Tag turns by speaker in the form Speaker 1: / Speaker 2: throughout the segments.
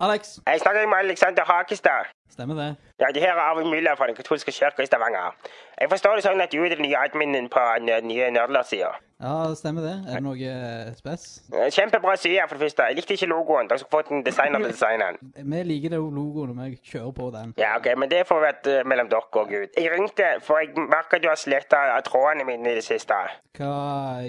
Speaker 1: Alex.
Speaker 2: Jeg snakker med Alexander Hakestad.
Speaker 1: Stemmer det.
Speaker 2: Ja, det her er Arvid Müller fra Den katolske kirke i Stavanger. Jeg forstår det sånn at du er den nye adminen på den eh, nye nerdlersida. Eh,
Speaker 1: Ja, stemmer det. Er det noe eh, spes?
Speaker 2: Kjempebra side, for det første. Jeg likte ikke logoen. Dere skulle fått en designer til å designe den.
Speaker 1: Vi liker det jo logoen, og vi kjører på den.
Speaker 2: Ja, OK, men det får vært eh, mellom dere og Gud. Jeg ringte, for jeg merker du har sletta trådene mine i det siste.
Speaker 1: Hva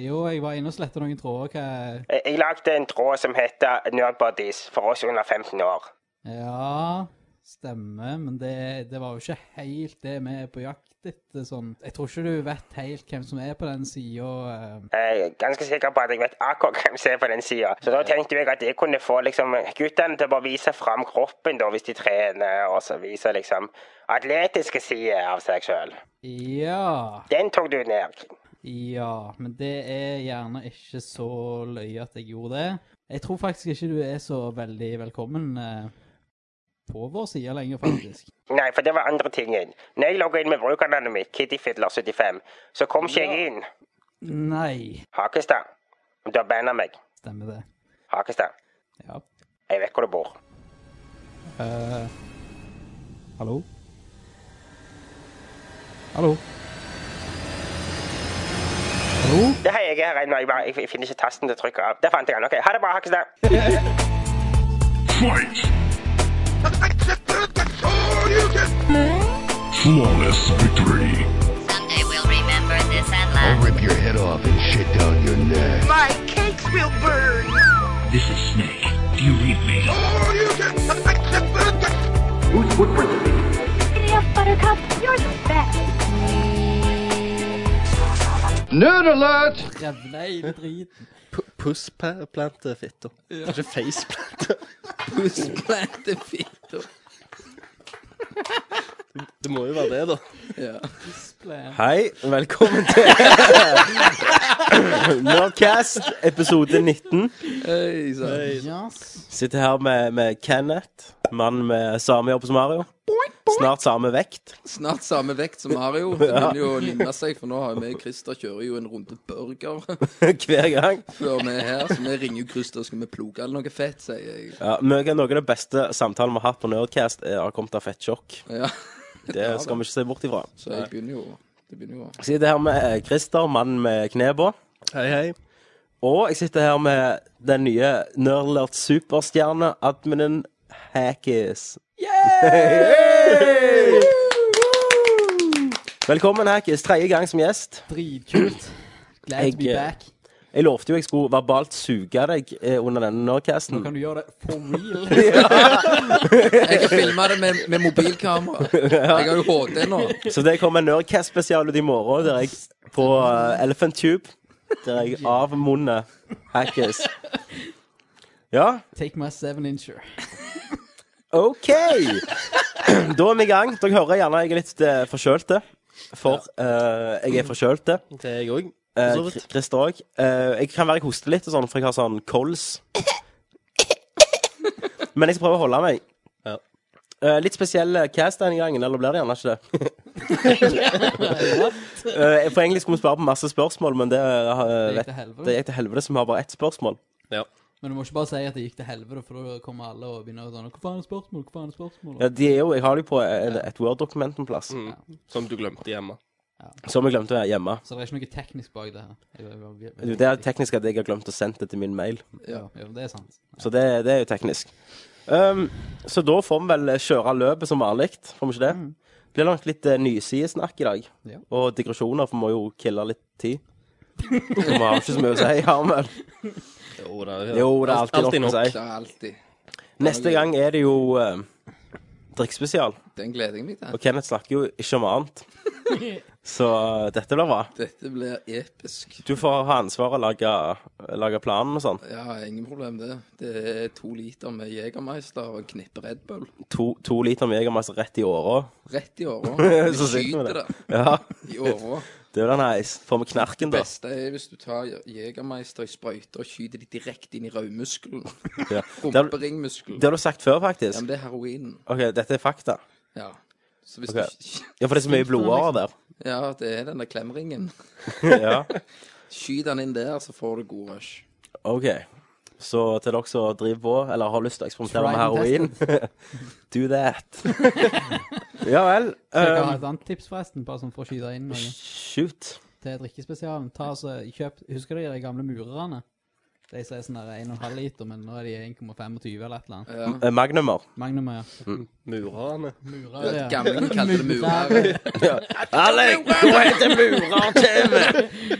Speaker 1: Jo, jeg var inne og sletta noen tråder. Hva
Speaker 2: Eh, Jeg, jeg lagde en tråd som heter Nerdbodies for oss under 15 år.
Speaker 1: Ja, stemmer, men det, det var jo ikke helt det vi er på jakt etter. Sånn. Jeg tror ikke du vet helt hvem som er på den eh. sida.
Speaker 2: Jeg er Eh, ganske sikker på at jeg vet akkurat hvem som er på den sida. Så da tenkte jeg at jeg kunne få liksom, guttene til å bare vise fram kroppen da, hvis de trener, og så vise liksom atletiske sider av seg sjøl.
Speaker 1: Ja.
Speaker 2: Den tok du ned.
Speaker 1: Ja, men det er gjerne ikke så løye at jeg gjorde det. Jeg tror faktisk ikke du er så veldig velkommen eh, på vår side lenger, faktisk.
Speaker 2: Nei, for det var andre tingen. Når jeg logga inn med brukernavnet mitt, Kittyfiddler75, så kom ikke jeg inn.
Speaker 1: Nei,
Speaker 2: Hakestad. Du har banna meg.
Speaker 1: stemmer det.
Speaker 2: Hakestad.
Speaker 1: Ja.
Speaker 2: Jeg vet hvor du bor.
Speaker 1: Eh, hallo? Hallo? Hallo?
Speaker 2: Det har jeg her ennå. Jeg, bare- jeg finner ikke tasten til å trykke av. Der fant jeg den. OK, ha det bra, Hakestad.
Speaker 3: Fight! Flawless victory.
Speaker 4: Someday we'll remember this and laugh.
Speaker 5: I'll rip your head off and shit down your neck.
Speaker 6: My cakes will burn.
Speaker 3: This is Snake. Do you read me?
Speaker 7: Giggity up, Buttercup, you're the best.
Speaker 5: Nerd alert!
Speaker 1: Jævla driten.
Speaker 8: Pussplantefitto. Ikke faceplante. Pussplantefitta. Det må jo være det, da. Hei, velkommen til Nerdcast, episode 19.
Speaker 1: Yes.
Speaker 8: Sitter her med, med Kenneth, mann med samme jobb som Mario. Snart samme vekt.
Speaker 9: Snart samme vekt som Mario. Det vil jo ligne seg, for nå har vi Christer kjører jo en runde burger
Speaker 8: Hver gang.
Speaker 9: før vi er her. Så vi ringer jo Christer, skal vi pluge eller noe fett, sier jeg.
Speaker 8: Ja, Mye av noe av det beste samtalen vi har hatt på Nerdcast, er, har kommet av fett sjokk.
Speaker 9: Ja,
Speaker 8: Det skal vi ikke se bort ifra.
Speaker 9: så jeg begynner jo Det begynner jo å
Speaker 8: Sitter her med eh, Christer, mannen med kne på.
Speaker 10: Hei, hei.
Speaker 8: Og jeg sitter her med den nye Nerdlert superstjerne-adminen Hackis. Hey! Velkommen, Hackis. Tredje gang som gjest.
Speaker 1: Dritkult. Glad to be
Speaker 8: Jeg, eh,
Speaker 1: back.
Speaker 8: Jeg lovte jo jeg skulle verbalt suge deg eh, under denne Nerdcasten.
Speaker 1: Kan du gjøre det for real?
Speaker 9: Jeg har filma det med, med mobilkamera. Jeg har jo HD nå.
Speaker 8: Så det kommer en Nerdcast-spesial ut i morgen der jeg, på eh, Elephant Tube. Der jeg avmunner Hackis. Ja,
Speaker 1: Take my seven incher.
Speaker 8: OK! Da er vi i gang. Dere hører gjerne jeg er litt eh, forkjølte. For eh, jeg er forkjølte.
Speaker 10: Det er jeg òg.
Speaker 8: Eh,
Speaker 10: så vidt.
Speaker 8: Kri- Christer òg. jeg kan være jeg hoster litt, og sånn, for jeg har sånn kols. Men jeg skal prøve å holde meg.
Speaker 10: Ja.
Speaker 8: Eh, litt spesiell cast denne gangen, eller blir det gjerne ikke det? Eh, for egentlig skulle vi svare på masse spørsmål, men det, eh,
Speaker 1: Det gikk
Speaker 8: vet,
Speaker 1: til helvete.
Speaker 8: det gikk til helvete, så vi har bare ett spørsmål.
Speaker 10: Ja.
Speaker 1: Men du må ikke bare si at det gikk til helvete, for da kommer alle og begynner å sånn Hva faen er spørsmål? Hva faen er spørsmål?
Speaker 8: Ja, de er jo, jeg har dem på eh, et Word-dokument en plass,
Speaker 10: Mm. Som du glemte hjemme.
Speaker 8: som jeg glemte å være hjemme.
Speaker 1: Så det er ikke noe teknisk bak det her. Jeg- jeg- jeg-
Speaker 8: Du, Det er teknisk at jeg har glemt å sende det til min mail.
Speaker 1: Ja, ja, det er sant.
Speaker 8: Så det, det er jo teknisk. Um, så da får vi vel kjøre løpet som vanlig, får vi ikke det? Det blir nok litt uh, nysidesnakk i dag.
Speaker 1: Ja.
Speaker 8: Og digresjoner, for vi må jo kille litt tid. Så vi har jo ikke så mye å si, har vi vel?
Speaker 10: Jo, det er,
Speaker 8: Jo, det er alltid nok å si.
Speaker 9: Det er alltid.
Speaker 8: Neste gang er det jo uh, drikkspesial.
Speaker 9: Den gleder jeg meg til.
Speaker 8: Og Kenneth snakker jo ikke om annet. Så uh, dette blir bra.
Speaker 9: Dette blir episk.
Speaker 8: Du får ha ansvaret å lage, lage planen og sånn.
Speaker 9: Ja, ingen problem, det. Det er to liter med Jegermeister og en knippe Red Bull.
Speaker 8: To, to liter med Jegermeister rett i åra.
Speaker 9: Rett i åra.
Speaker 8: Så
Speaker 9: Vi
Speaker 8: sitter vi med
Speaker 9: skyter det
Speaker 8: Ja,
Speaker 9: i åra.
Speaker 8: det blir nice. Får vi knerken, da?
Speaker 9: beste er hvis du tar Jegermeister i sprøyter og skyter de direkte inn i rødmuskelen.
Speaker 8: Ja. Det,
Speaker 9: Rumperingmuskelen.
Speaker 8: det har du sagt før, faktisk.
Speaker 9: Ja, men det er heroin.
Speaker 8: Ok, dette er fakta.
Speaker 9: Ja. Så hvis
Speaker 8: Ok.
Speaker 9: du
Speaker 8: Ja, for det er så mye blodårer der.
Speaker 9: Ja, det er den der klemringen.
Speaker 8: Ja,
Speaker 9: Skyt den inn der, så får du god rush.
Speaker 8: ok. Så til dere som driver på, eller har lyst til å eksperimentere med
Speaker 1: Tried
Speaker 8: heroin
Speaker 1: and
Speaker 8: Do that. ja vel.
Speaker 1: Skal dere
Speaker 8: eh,
Speaker 1: ha et annet tips forresten, bare sånn for å skyte inn noe
Speaker 8: shoot.
Speaker 1: til drikkespesialen? Ta altså, kjøp, Husker dere de gamle murerne? De som er sånn der 1,5 liter, men nå er de 1,25 eller et eller annet.
Speaker 9: Ja.
Speaker 8: Eh, Magnumer.
Speaker 1: Magnum, ja.
Speaker 10: Murerne.
Speaker 1: Murer, ja.
Speaker 9: Gamlingen kalte det murer.
Speaker 8: Alec, du heter Murer-TV!
Speaker 1: Ja,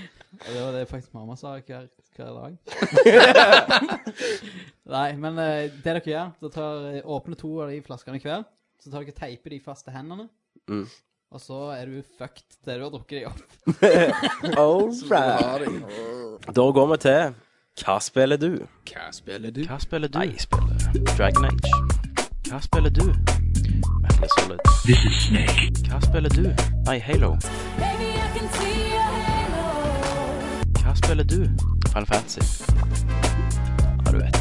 Speaker 1: Det var det faktisk mamma sa hver, hver dag. Nei, men eh, det dere gjør, da tar, åpner to av de flaskene hver, så tar dere teiper de fast til hendene,
Speaker 8: Mm.
Speaker 1: og så er du fucked til du har drukket de opp.
Speaker 8: All right.
Speaker 9: Har de.
Speaker 8: Da går vi til Hva spiller du?
Speaker 9: Hva spiller du?
Speaker 11: Hva spiller du? Jeg spiller Dragon Age. Hva spiller du? Metal Gear Solid.
Speaker 3: This is Snake.
Speaker 11: Hva spiller du? Nei, Halo. Hva spiller du? Final Fantasy. Ja, du vet.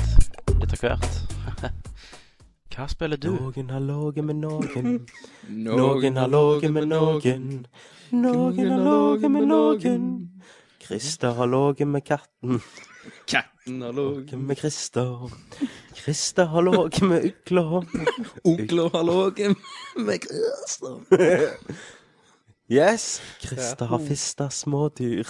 Speaker 11: Litt av hvert. Hva spiller du?
Speaker 8: Noen har ligget med noen.
Speaker 9: Noen
Speaker 8: Noen har ligget med noen. Noen har ligget med noen. Christer har ligget med katten.
Speaker 9: Katten har låg.
Speaker 8: Ligget med Christer. Christer har ligget med ugla.
Speaker 9: Onkler har låg. Med Christer.
Speaker 8: Yes. Christer har fista smådyr.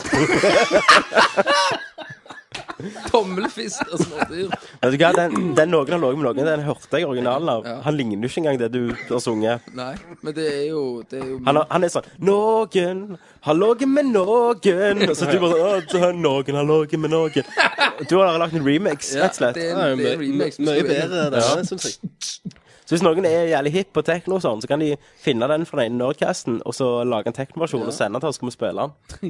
Speaker 9: Tommelfist og smådyr.
Speaker 8: Vet du hva, den, den noen har ligget med noen, den hørte jeg originalen av.
Speaker 9: Ja.
Speaker 8: Han ligner jo ikke engang det du har sunget.
Speaker 9: Nei, men det er jo Det er jo
Speaker 8: Han, har- han er sånn Noen har ligget med noen. Så du bare «Å, så har Noen har ligget med noen. Du har lagd en remix,
Speaker 9: Ja,
Speaker 8: rett og slett.
Speaker 9: det er
Speaker 10: Det er
Speaker 9: en
Speaker 10: jo
Speaker 9: det er en
Speaker 10: mye-
Speaker 9: remix.
Speaker 10: mye bedre, det
Speaker 8: Ja.
Speaker 10: ja.
Speaker 9: sånn
Speaker 10: syns jeg.
Speaker 8: Så hvis noen er jævlig hip på tekno, og sånn, så kan de finne den fra den ene Nerdcasten og så lage en teknoversjon og sende den til oss, så skal vi spille den. Det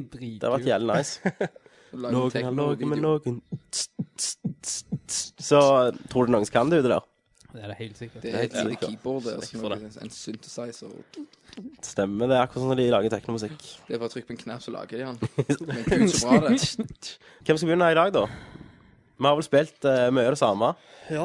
Speaker 8: har
Speaker 1: Dritkult.
Speaker 8: vært jævlig nice.
Speaker 9: Noen
Speaker 8: Noen har ligget med noen Så tror du noen som kan det ute der?
Speaker 1: Det er det helt sikkert.
Speaker 9: Det er et lite
Speaker 8: sikkert.
Speaker 9: keyboard der.
Speaker 10: Snakk
Speaker 9: Som
Speaker 10: for
Speaker 9: er en synthesizer.
Speaker 8: Stemmer, det er akkurat sånn når de lager teknomusikk.
Speaker 9: Det er bare å trykke på en knapp, så lager de han. Men gud, så bra det. er.
Speaker 8: Hvem skal begynne i dag, da? Vi har vel spilt eh, mye av det samme.
Speaker 10: Ja.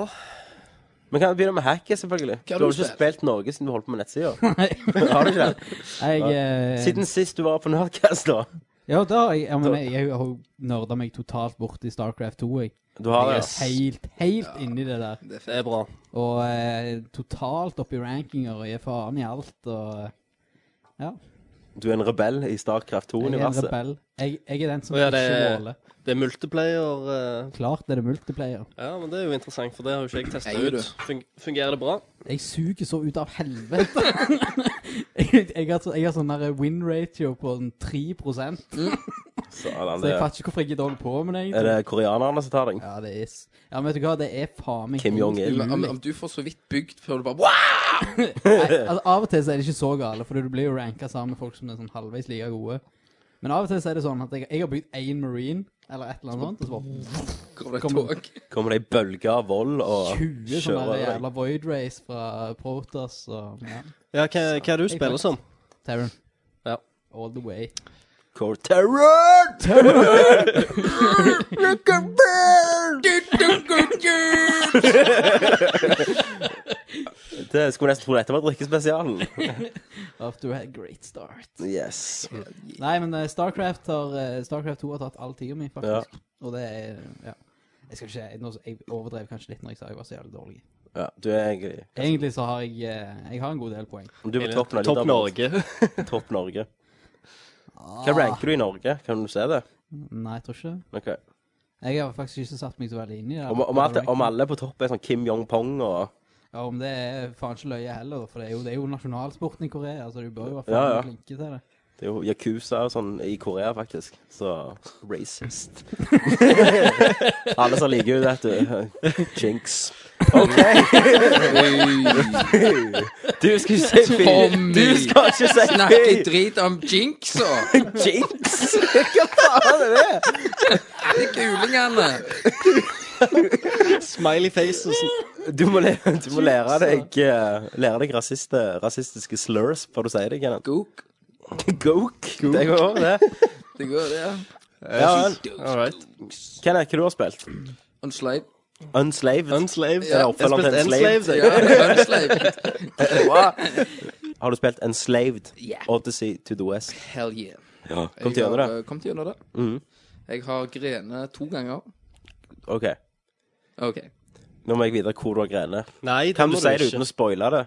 Speaker 8: Vi kan begynne med hacket, selvfølgelig. Du
Speaker 9: har
Speaker 8: har
Speaker 9: du
Speaker 8: jo ikke
Speaker 9: spilt?
Speaker 8: spilt noe siden du holdt på med nettsida.
Speaker 1: Nei,
Speaker 8: Har du ikke det?
Speaker 1: jeg, eh,
Speaker 8: Siden sist du var på Nerdcast, da.
Speaker 1: ja, da, har jeg, ja, men jeg, jeg har jo nerda meg totalt bort i Starcraft 2. Jeg,
Speaker 8: Du har det,
Speaker 1: jeg er
Speaker 8: ass.
Speaker 1: helt, helt inni det der.
Speaker 9: Det er
Speaker 10: Det er bra.
Speaker 1: Og eh, totalt opp i rankinger og gir faen i alt. og... eh,
Speaker 8: Du er en rebell i Starcraft
Speaker 1: Jeg er en
Speaker 8: 2-universet.
Speaker 1: rebell. Jeg, jeg er den som
Speaker 10: Å ja, det
Speaker 1: ikke
Speaker 10: er-
Speaker 1: måler.
Speaker 10: Det er multiplayer. eh,
Speaker 1: Klart er det multiplayer.
Speaker 10: Ja, men det er jo interessant, for det har jo ikke jeg testa
Speaker 9: Jeg er
Speaker 10: ut. Fung fungerer det bra?
Speaker 1: Jeg suger så ut av helvete. jeg, jeg, har, så- jeg har sånn der win ratio på sånn 3 så
Speaker 8: Sådan,
Speaker 1: jeg
Speaker 8: det-
Speaker 1: fatter ikke hvorfor jeg gidder holde på med det.
Speaker 8: Er
Speaker 1: egentlig.
Speaker 8: det koreanerne som tar deg?
Speaker 1: Ja, det er s- Ja, men vet du hva, det er faen meg
Speaker 8: Kim
Speaker 1: helt
Speaker 8: Jong-il.
Speaker 1: umulig.
Speaker 9: Om, om du får så vidt bygd før du bare Wow!
Speaker 1: Nei, altså, Av og til så er det ikke så gale, for du blir jo ranka sammen med folk som er sånn halvveis like gode. Men av og til så er det sånn at jeg, jeg har bygd én marine, eller et eller annet sånt, og så bare
Speaker 9: Kommer det et
Speaker 1: Kommer-
Speaker 9: tog?
Speaker 8: Kommer det ei bølge av vold og
Speaker 1: 20
Speaker 8: kjører
Speaker 1: sånne der
Speaker 8: over deg?
Speaker 1: jævla void race fra Protoss og ja.
Speaker 10: Ja, hva, hva er det du
Speaker 1: Jeg
Speaker 10: spiller
Speaker 1: faktisk-
Speaker 10: som?
Speaker 1: Terran.
Speaker 10: Ja.
Speaker 1: All the way.
Speaker 8: Core terror! Det skulle vi nesten tro dette var drikkespesialen.
Speaker 1: After a great start.
Speaker 8: Yes.
Speaker 1: Nei, men eh, Starcraft, har, eh, Starcraft 2 har tatt all tida mi, faktisk. Og det er Ja. Jeg skal ikke jeg- nå- Jeg overdrev kanskje litt når jeg sa jeg var så jævlig dårlig.
Speaker 8: Ja, du er egentlig
Speaker 1: Egentlig så har jeg eh, Jeg har en god del poeng.
Speaker 8: Du er på toppen av leaderboard.
Speaker 10: Topp Norge.
Speaker 8: Topp Norge.
Speaker 1: Ah.
Speaker 8: Hva ranker du i Norge? Kan du se det?
Speaker 1: Nei, jeg tror ikke det.
Speaker 8: Ok.
Speaker 1: Jeg har faktisk ikke satt meg så veldig inn i det.
Speaker 8: Om, om, alt, om alle på topp er sånn Kim Jong-pong og
Speaker 1: Ja, om det er faen ikke løye heller, for det er jo, det er jo nasjonalsporten i Korea. Altså, du bør jo være faen
Speaker 8: Ja, ja.
Speaker 1: flinke til det.
Speaker 8: Det er jo Yakuza og sånn i Korea, faktisk. Så racist. Alle som liker ut, vet du. Jinx. OK. Du skal ikke si fy.
Speaker 9: Tommy.
Speaker 8: Du skal ikke si
Speaker 9: Snakker
Speaker 8: fy.
Speaker 9: drit om jinxa!
Speaker 8: Jinx? Hva faen er det?
Speaker 9: De kulingene!
Speaker 10: Smiley faces.
Speaker 8: Du må, lære, du må lære deg eh, Lære deg rasiste, rasistiske slurs før du sier det, Kenneth.
Speaker 9: Gook.
Speaker 8: Gook. Det går òg, det.
Speaker 9: Det går, det. ja.
Speaker 8: Ja vel.
Speaker 10: All right.
Speaker 8: Kenneth, hva du har spilt?
Speaker 9: Unslaved.
Speaker 8: Unslaved?
Speaker 10: Unslaved.
Speaker 8: Ja,
Speaker 10: jeg
Speaker 8: oppfølgeren til
Speaker 10: spilte
Speaker 8: Enslaved.
Speaker 10: Enslaved. jeg.
Speaker 9: Ja, unslaved.
Speaker 8: Har du spilt Enslaved?
Speaker 9: Ja.
Speaker 8: Odyssey to the West.
Speaker 9: Hell yeah.
Speaker 8: Ja. Kom til gjennom
Speaker 9: Jeg
Speaker 8: det.
Speaker 9: har, eh, Kom til gjennom det. Jeg har grenet to ganger.
Speaker 8: OK.
Speaker 9: OK.
Speaker 8: Nå må jeg vite hvor du har grenene.
Speaker 10: Nei, det
Speaker 8: Kan du
Speaker 10: må
Speaker 8: si
Speaker 10: du
Speaker 8: det
Speaker 10: ikke.
Speaker 8: uten å spoile det?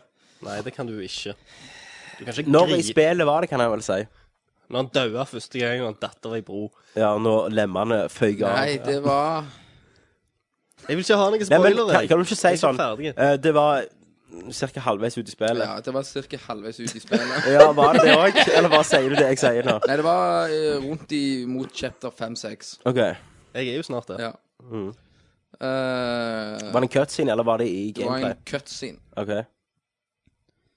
Speaker 10: Nei, det kan du ikke. Du kan ikke
Speaker 8: Når i
Speaker 10: gripe
Speaker 8: spillet var det, kan jeg vel si.
Speaker 10: når han daua første gang og han datt over ei bro.
Speaker 8: Ja, når lemmene føyk av.
Speaker 9: Nei, det var
Speaker 10: Jeg vil ikke ha noen
Speaker 8: Nei, men,
Speaker 10: spoilere.
Speaker 8: kan, kan du ikke si
Speaker 10: Jeg er
Speaker 8: sånn
Speaker 10: ferdig.
Speaker 8: eh, Det var ca. halvveis ut i spillet.
Speaker 9: Ja, det var ca. halvveis ut i spillet.
Speaker 8: Ja, var det det òg? Eller bare sier du det jeg sier nå?
Speaker 9: Nei, det var eh, rundt i, mot chapter 5-6.
Speaker 8: OK.
Speaker 10: Jeg er jo snart
Speaker 9: Ja.
Speaker 10: der.
Speaker 9: Eh,
Speaker 8: Var det en cutscene, eller var det i
Speaker 9: det var
Speaker 8: gameplay?
Speaker 9: en cutscene.
Speaker 8: OK.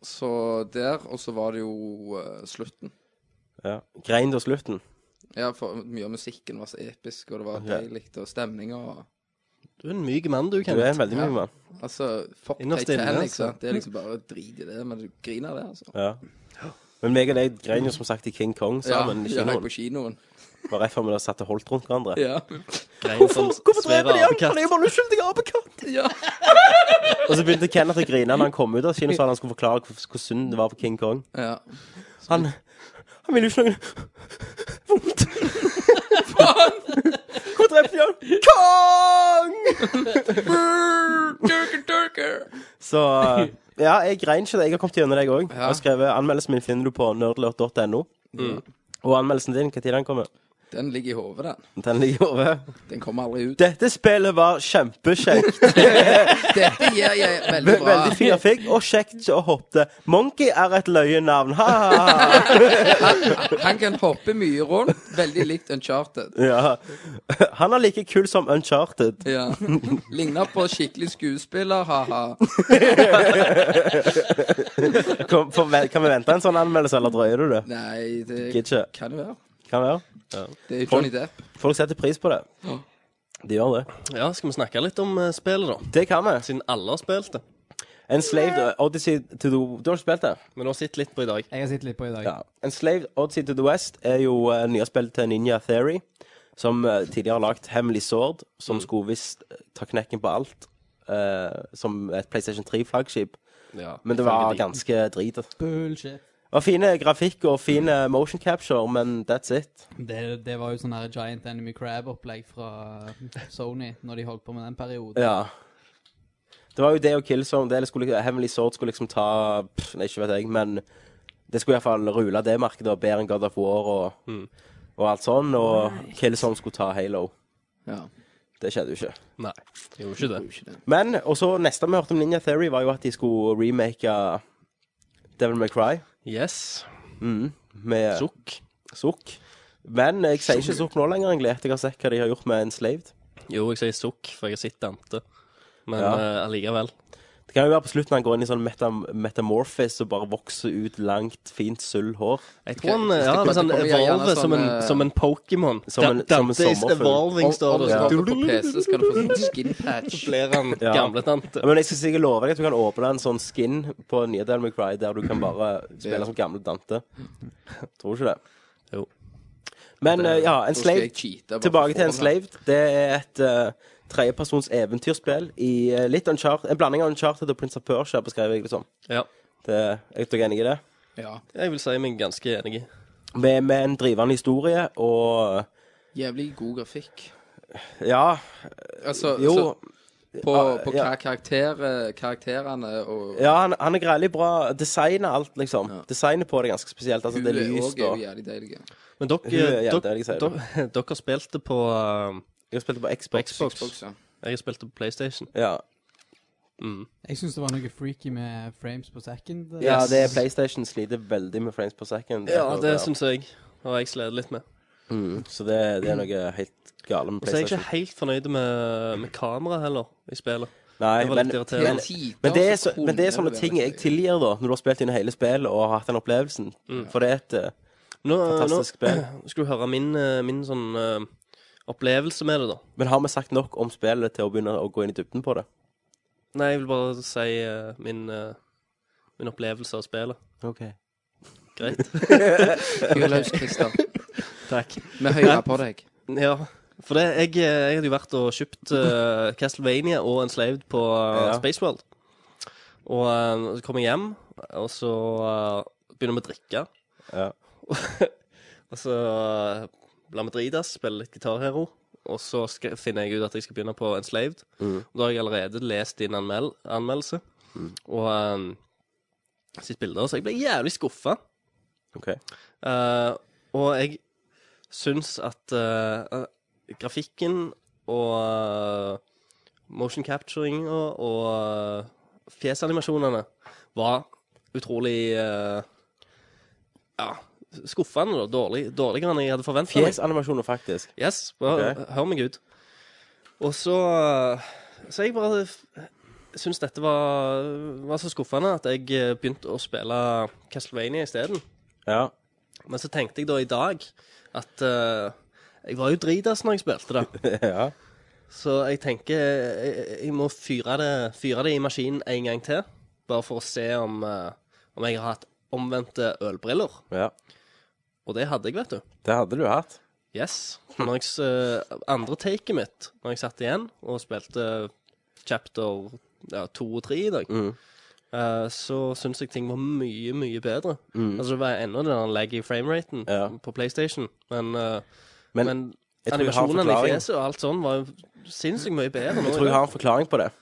Speaker 9: Så der, og så var det jo eh, slutten.
Speaker 8: Ja. Grein da slutten?
Speaker 9: Ja, for mye av musikken var så episk, og det var
Speaker 8: Ok.
Speaker 9: deilig, og stemninga og
Speaker 10: Du er en myk mann, du,
Speaker 8: Du er
Speaker 10: Kenneth.
Speaker 8: en veldig mye
Speaker 9: Ja.
Speaker 8: mann.
Speaker 9: Altså, fuck
Speaker 10: Innerst inne,
Speaker 9: Titanic,
Speaker 10: altså.
Speaker 9: sant. Det er liksom bare drit i det, men du griner det, altså.
Speaker 8: Ja. Men meg og deg grein jo som sagt i King Kong sammen.
Speaker 9: ja,
Speaker 8: ikke
Speaker 9: jeg
Speaker 8: noen.
Speaker 9: på kinoen.
Speaker 8: Bare rett før vi da satt og holdt rundt hverandre.
Speaker 9: Ja. Sånn
Speaker 10: Hvorfor dreper de
Speaker 8: er jo bare en uskyldig apekatt!
Speaker 9: ja.
Speaker 8: Og så begynte Kenneth å grine når han kom ut av kinosalen. Han skulle forklare hvor, hvor synd det var på King Kong.
Speaker 9: ja.
Speaker 8: Han, han ville jo ikke noe vondt. Hvor drepte de han? Kong!
Speaker 9: Durker, durker.
Speaker 8: Så eh, ja, jeg grein ikke det. Jeg har kommet gjennom deg òg. Jeg har skrevet anmeldelsen min finner du på nerdlurt.no. Og anmeldelsen din, når den kommer?
Speaker 9: Den ligger i hodet, den.
Speaker 8: Den ligger over.
Speaker 9: Den kommer aldri ut.
Speaker 8: Dette spillet var kjempekjekt.
Speaker 9: Dette gir jeg veldig
Speaker 8: Ve-
Speaker 9: bra.
Speaker 8: Veldig fin grafikk og kjekt å hoppe. Monkey er et løyennavn. Ha, ha, ha.
Speaker 9: Han kan hoppe mye rundt, veldig likt Uncharted.
Speaker 8: Ja. Han er like kul som Uncharted.
Speaker 9: Ja. Ligner på skikkelig skuespiller, ha-ha.
Speaker 8: Kom, forve- kan vi vente en sånn anmeldelse, eller drøyer du det?
Speaker 9: Nei, det
Speaker 8: Gidder ikke.
Speaker 9: kan jo være.
Speaker 8: Kan være.
Speaker 9: Det er jo Johnny Depp.
Speaker 8: Folk setter pris på det. De gjør det.
Speaker 10: Ja, skal vi snakke litt om eh, spillet, da?
Speaker 8: Det kan vi.
Speaker 10: Siden alle har spilt det.
Speaker 8: Enslaved Odyssey to the Du har ikke spilt det?
Speaker 10: Men du har sett litt på i dag.
Speaker 1: Jeg har sittet litt på i dag.
Speaker 8: Ja. Enslaved Odyssey to the West er jo eh, nye spill til Ninja Theory, som eh, tidligere har lagd Hemmelig Sword, som skulle visst eh, ta knekken på alt, eh, som et PlayStation 3-flaggskip.
Speaker 10: Ja,
Speaker 8: Men det var
Speaker 10: ifølge de.
Speaker 8: ganske drit. Det
Speaker 1: Bullshit.
Speaker 8: var fine grafikk og fine motion capture, men that's it.
Speaker 1: Det, det var jo sånn her Giant Enemy Crab-opplegg fra Sony når de holdt på med den perioden.
Speaker 8: Ja. Det var jo det og Killzone. Det eller skulle, Hemmelig Sword skulle liksom ta pff, Nei, ikke vet jeg, men det skulle iallfall rule det markedet og bedre enn God of War og, og alt sånn. Og Killzone skulle ta Halo.
Speaker 9: Ja.
Speaker 8: Det skjedde jo ikke.
Speaker 10: Nei, det gjorde ikke det.
Speaker 8: Men, og så neste vi hørte om Ninja Theory, var jo at de skulle remake uh, Devil May Cry Mm,
Speaker 10: Yes.
Speaker 8: med
Speaker 10: Sukk.
Speaker 8: Sukk. Men jeg sier ikke Sukk nå lenger, egentlig, etter jeg har sett hva de har gjort med Enslaved.
Speaker 10: Jo, jeg sier sukk, for jeg har sett Dante. Men
Speaker 8: Ja.
Speaker 10: eh, allikevel.
Speaker 8: Det kan jo være på slutten han går inn i sånn metam metamorphis og bare vokser ut langt, fint sølvhår.
Speaker 10: Jeg
Speaker 9: Ok,
Speaker 10: tror han
Speaker 9: hvis
Speaker 10: eh,
Speaker 9: det
Speaker 10: ja,
Speaker 9: kommer-
Speaker 10: men han
Speaker 9: det kommer gjerne
Speaker 10: evolver
Speaker 9: sånn,
Speaker 10: som en,
Speaker 9: eh,
Speaker 10: som en
Speaker 8: Som en-
Speaker 10: Pokémon. Da-
Speaker 8: som en
Speaker 10: Dante is
Speaker 8: sommerfugl.
Speaker 10: evolving,
Speaker 9: Om
Speaker 10: står
Speaker 9: du
Speaker 10: det. sånn
Speaker 9: står på PC, skal du få sånn skin patch.
Speaker 10: Blir han
Speaker 8: Ja.
Speaker 10: gamle tante.
Speaker 8: Ja, Men jeg skal sikkert love deg at du kan åpne en sånn skin på nye Devil May Cry der du kan bare spille som gamle Dante. Tror du ikke det?
Speaker 10: Jo.
Speaker 8: Men eh, ja,
Speaker 9: Da skal jeg
Speaker 8: Enslaved
Speaker 9: cheate, bare
Speaker 8: Tilbake til
Speaker 9: for å få den.
Speaker 8: Enslaved. Det er et eh, tredjepersons eventyrspill i eh, litt Uncharted, en blanding av Uncharted og Prince of Persia, beskrev jeg det som.
Speaker 10: Ja.
Speaker 8: Det, er dere enig i det?
Speaker 9: Ja.
Speaker 10: Jeg vil si meg ganske enig.
Speaker 8: Med, med en drivende historie og eh,
Speaker 9: Jævlig god grafikk.
Speaker 8: Ja,
Speaker 9: Altså,
Speaker 8: jo Ah,
Speaker 9: så på, på
Speaker 8: ja.
Speaker 9: kar- karakter, eh, karakterene og
Speaker 8: Ja, han, han er greielig bra. Designer alt, liksom.
Speaker 9: Ja.
Speaker 8: Designet på det er ganske spesielt. Altså, det er
Speaker 9: òg
Speaker 8: lyst
Speaker 9: er jo
Speaker 8: og
Speaker 9: jævlig deilige.
Speaker 10: Men dere,
Speaker 8: Hun er jævlig,
Speaker 10: dere,
Speaker 8: jeg sier det.
Speaker 10: dere, dere spilte på eh,
Speaker 8: Jeg spilte på
Speaker 10: på
Speaker 8: Xbox.
Speaker 10: Xbox.
Speaker 9: Xbox, ja.
Speaker 10: Jeg har spilt på PlayStation. Mm.
Speaker 8: Ja.
Speaker 1: Jeg syns det var noe freaky med frames på second. eh,
Speaker 8: ja, det er PlayStation sliter veldig med frames per second.
Speaker 10: Ja, det syns jeg. Og jeg sleder litt med.
Speaker 8: mm, Så det, det er noe helt gale med
Speaker 10: Og så er jeg
Speaker 8: PlayStation.
Speaker 10: ikke helt fornøyd med, med kameraet heller i spillet.
Speaker 8: Nei,
Speaker 10: Det var litt
Speaker 8: men,
Speaker 10: irriterende.
Speaker 8: men,
Speaker 9: Til
Speaker 8: men, det er,
Speaker 9: tider
Speaker 8: så,
Speaker 9: kunne
Speaker 8: men det er sånne
Speaker 9: være
Speaker 8: ting jeg
Speaker 9: deilig.
Speaker 8: tilgir, da, når du har spilt gjennom hele spillet og har hatt den opplevelsen. For det er et eh,
Speaker 10: Mm. Nå,
Speaker 8: fantastisk
Speaker 10: nå
Speaker 8: spill.
Speaker 10: skal du høre min, eh, min sånn eh, opplevelse med det, da.
Speaker 8: Men har vi sagt nok om spillet til å begynne å gå inn i dybden på det?
Speaker 10: Nei, jeg vil bare si eh, min, eh, min opplevelse av spillet.
Speaker 8: Ok.
Speaker 10: Greit.
Speaker 9: Fyr løs, Christer.
Speaker 10: Takk.
Speaker 9: Vi hører på deg.
Speaker 10: Ja. For det, jeg, eh, jeg hadde jo vært og kjøpt eh, Castlevania og Enslaved på uh,
Speaker 8: Ja.
Speaker 10: Spaceworld. Og eh, så kom jeg hjem, og så eh, begynner vi å drikke.
Speaker 8: Ja.
Speaker 10: og så eh, lar vi dritas, spiller litt gitarhero. Og så skal, finner jeg ut at jeg skal begynne på Enslaved.
Speaker 8: Mm.
Speaker 10: Og da har jeg allerede lest din anmel anmeldelse og um, sitt bilder, så jeg ble jævlig skuffa.
Speaker 8: OK.
Speaker 10: Eh, og jeg syns at eh, eh, grafikken og eh, motion capturinga og eh, fjesanimasjonene var utrolig eh, ja, skuffende. Da. Dårlig, dårligere enn jeg hadde forventa.
Speaker 8: Fjesanimasjoner, faktisk.
Speaker 10: Yes, bare
Speaker 8: Ok.
Speaker 10: hør meg ut. Og så eh, Så jeg bare syns dette var, var så skuffende at jeg eh, begynte å spille Castlevania isteden.
Speaker 8: Ja.
Speaker 10: Men så tenkte jeg da i dag at eh, Jeg var jo dritas når jeg spilte det.
Speaker 8: ja.
Speaker 10: Så jeg tenker jeg, jeg må fyre det, fyre det i maskinen en gang til. Bare for å se om, eh, om jeg har hatt omvendte ølbriller.
Speaker 8: ja.
Speaker 10: Og det hadde jeg, vet du.
Speaker 8: Det hadde du hatt.
Speaker 10: Yes. Når jeg, s- eh, andre taket mitt, når jeg satt igjen og spilte chapter ja, to og tre i dag,
Speaker 8: Mhm.
Speaker 10: eh, så syns jeg ting var mye, mye bedre. Altså, det var ennå den laggy frameraten
Speaker 8: Mm. Ja.
Speaker 10: på PlayStation, men, eh,
Speaker 8: Men
Speaker 10: men
Speaker 8: jeg tror jeg har en
Speaker 10: animasjonene i
Speaker 8: forklaring.
Speaker 10: fjeset og alt sånn var jo sinnssykt mye bedre nå.
Speaker 8: Jeg tror jeg har en forklaring på det.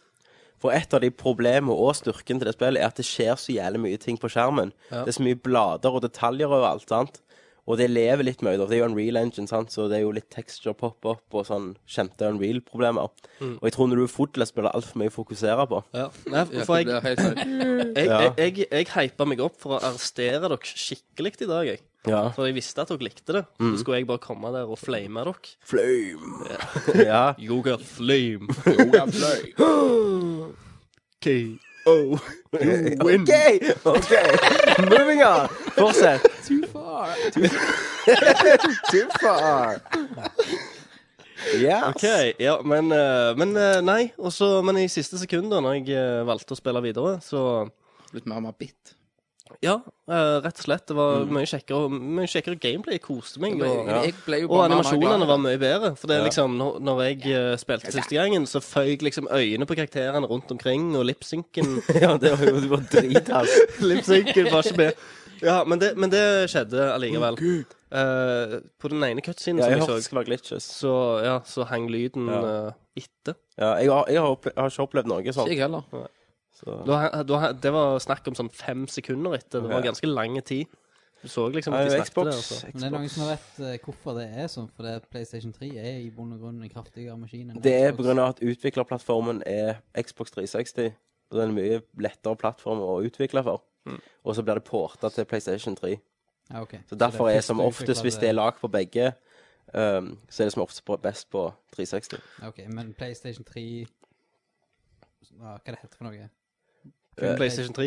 Speaker 8: For et av de problemene og styrken til det spillet er at det skjer så jævlig mye ting på skjermen.
Speaker 10: Ja.
Speaker 8: Det er så mye blader og detaljer overalt, sant. Og det lever litt med det. Det er jo en real engine, sant? så det er jo litt texture pop-up og sånn kjente unreal problemer Og jeg tror når du er fotball, spiller altfor mye å fokusere på.
Speaker 10: Ja. Nei,
Speaker 9: Ja,
Speaker 10: for
Speaker 9: det
Speaker 10: jeg,
Speaker 9: blir helt feil.
Speaker 10: jeg,
Speaker 8: Ja.
Speaker 10: jeg, jeg, jeg hypa meg opp for å arrestere dere skikkelig i dag, jeg.
Speaker 8: Ja.
Speaker 10: For jeg visste at dere likte det.
Speaker 8: Mm.
Speaker 10: Så skulle jeg bare komme der og flame dere.
Speaker 8: Flame! ja.
Speaker 10: You got flame.
Speaker 8: Oh, you win. OK, ok. Moving on. Fortsett.
Speaker 1: Too far.
Speaker 8: Too far. Yes.
Speaker 10: OK. Ja, men, eh, men eh, nei. Og så- men i siste sekund, da når jeg eh, valgte å spille videre, så
Speaker 9: Litt mer mabitt.
Speaker 10: Ja, eh, rett og slett. Det var
Speaker 8: Mm.
Speaker 10: mye kjekkere, mye kjekkere gameplay. Jeg koste meg.
Speaker 9: Jeg,
Speaker 10: Og,
Speaker 9: jeg ble jo
Speaker 10: Og
Speaker 9: bare mer og mer glad.
Speaker 10: animasjonene var mye bedre. For det er
Speaker 8: Ja.
Speaker 10: liksom, når, når jeg eh, spilte første gangen, så føyk liksom øynene på karakterene rundt omkring, og lipsynken
Speaker 8: Ja, det var jo det var dritass.
Speaker 10: Lipsynken var ikke med. Ja, men det, men det skjedde allikevel. Eh, på den ene cutscenen
Speaker 8: Ja, jeg hørte
Speaker 10: som
Speaker 8: det
Speaker 10: jeg så,
Speaker 8: skulle være glitches.
Speaker 10: så, ja, så hang lyden
Speaker 8: Ja.
Speaker 10: eh, etter.
Speaker 8: Ja, jeg, har, jeg, har opple- jeg har ikke opplevd noe
Speaker 9: Ikke
Speaker 10: sånn.
Speaker 8: sånt.
Speaker 9: jeg heller.
Speaker 8: Så.
Speaker 10: Da, hang- da, hang- det var snakk om sånn fem sekunder etter. Det var
Speaker 8: Ja.
Speaker 10: ganske lang tid. Du så liksom
Speaker 8: Nei,
Speaker 10: at de snakket
Speaker 8: Xbox,
Speaker 10: der. Altså.
Speaker 1: Men det er noen
Speaker 8: Xbox.
Speaker 1: som har vet eh, hvorfor det er sånn, for det er PlayStation 3 er i bunn og grunn en kraftigere maskin enn
Speaker 8: Det er
Speaker 1: Xbox.
Speaker 8: pga. at utviklerplattformen er Xbox 360. Og det er en mye lettere plattform å utvikle for. Og så blir det porta til PlayStation 3.
Speaker 1: Ja, ok.
Speaker 8: Så derfor
Speaker 1: det
Speaker 8: er som
Speaker 1: første
Speaker 8: oftest,
Speaker 1: utviklet
Speaker 8: hvis det er lag på begge, ehm, så er det som oftest på- best på 360.
Speaker 1: Ja, Ok, men PlayStation 3 ja, Hva det heter for noe?
Speaker 10: PlayStation 3.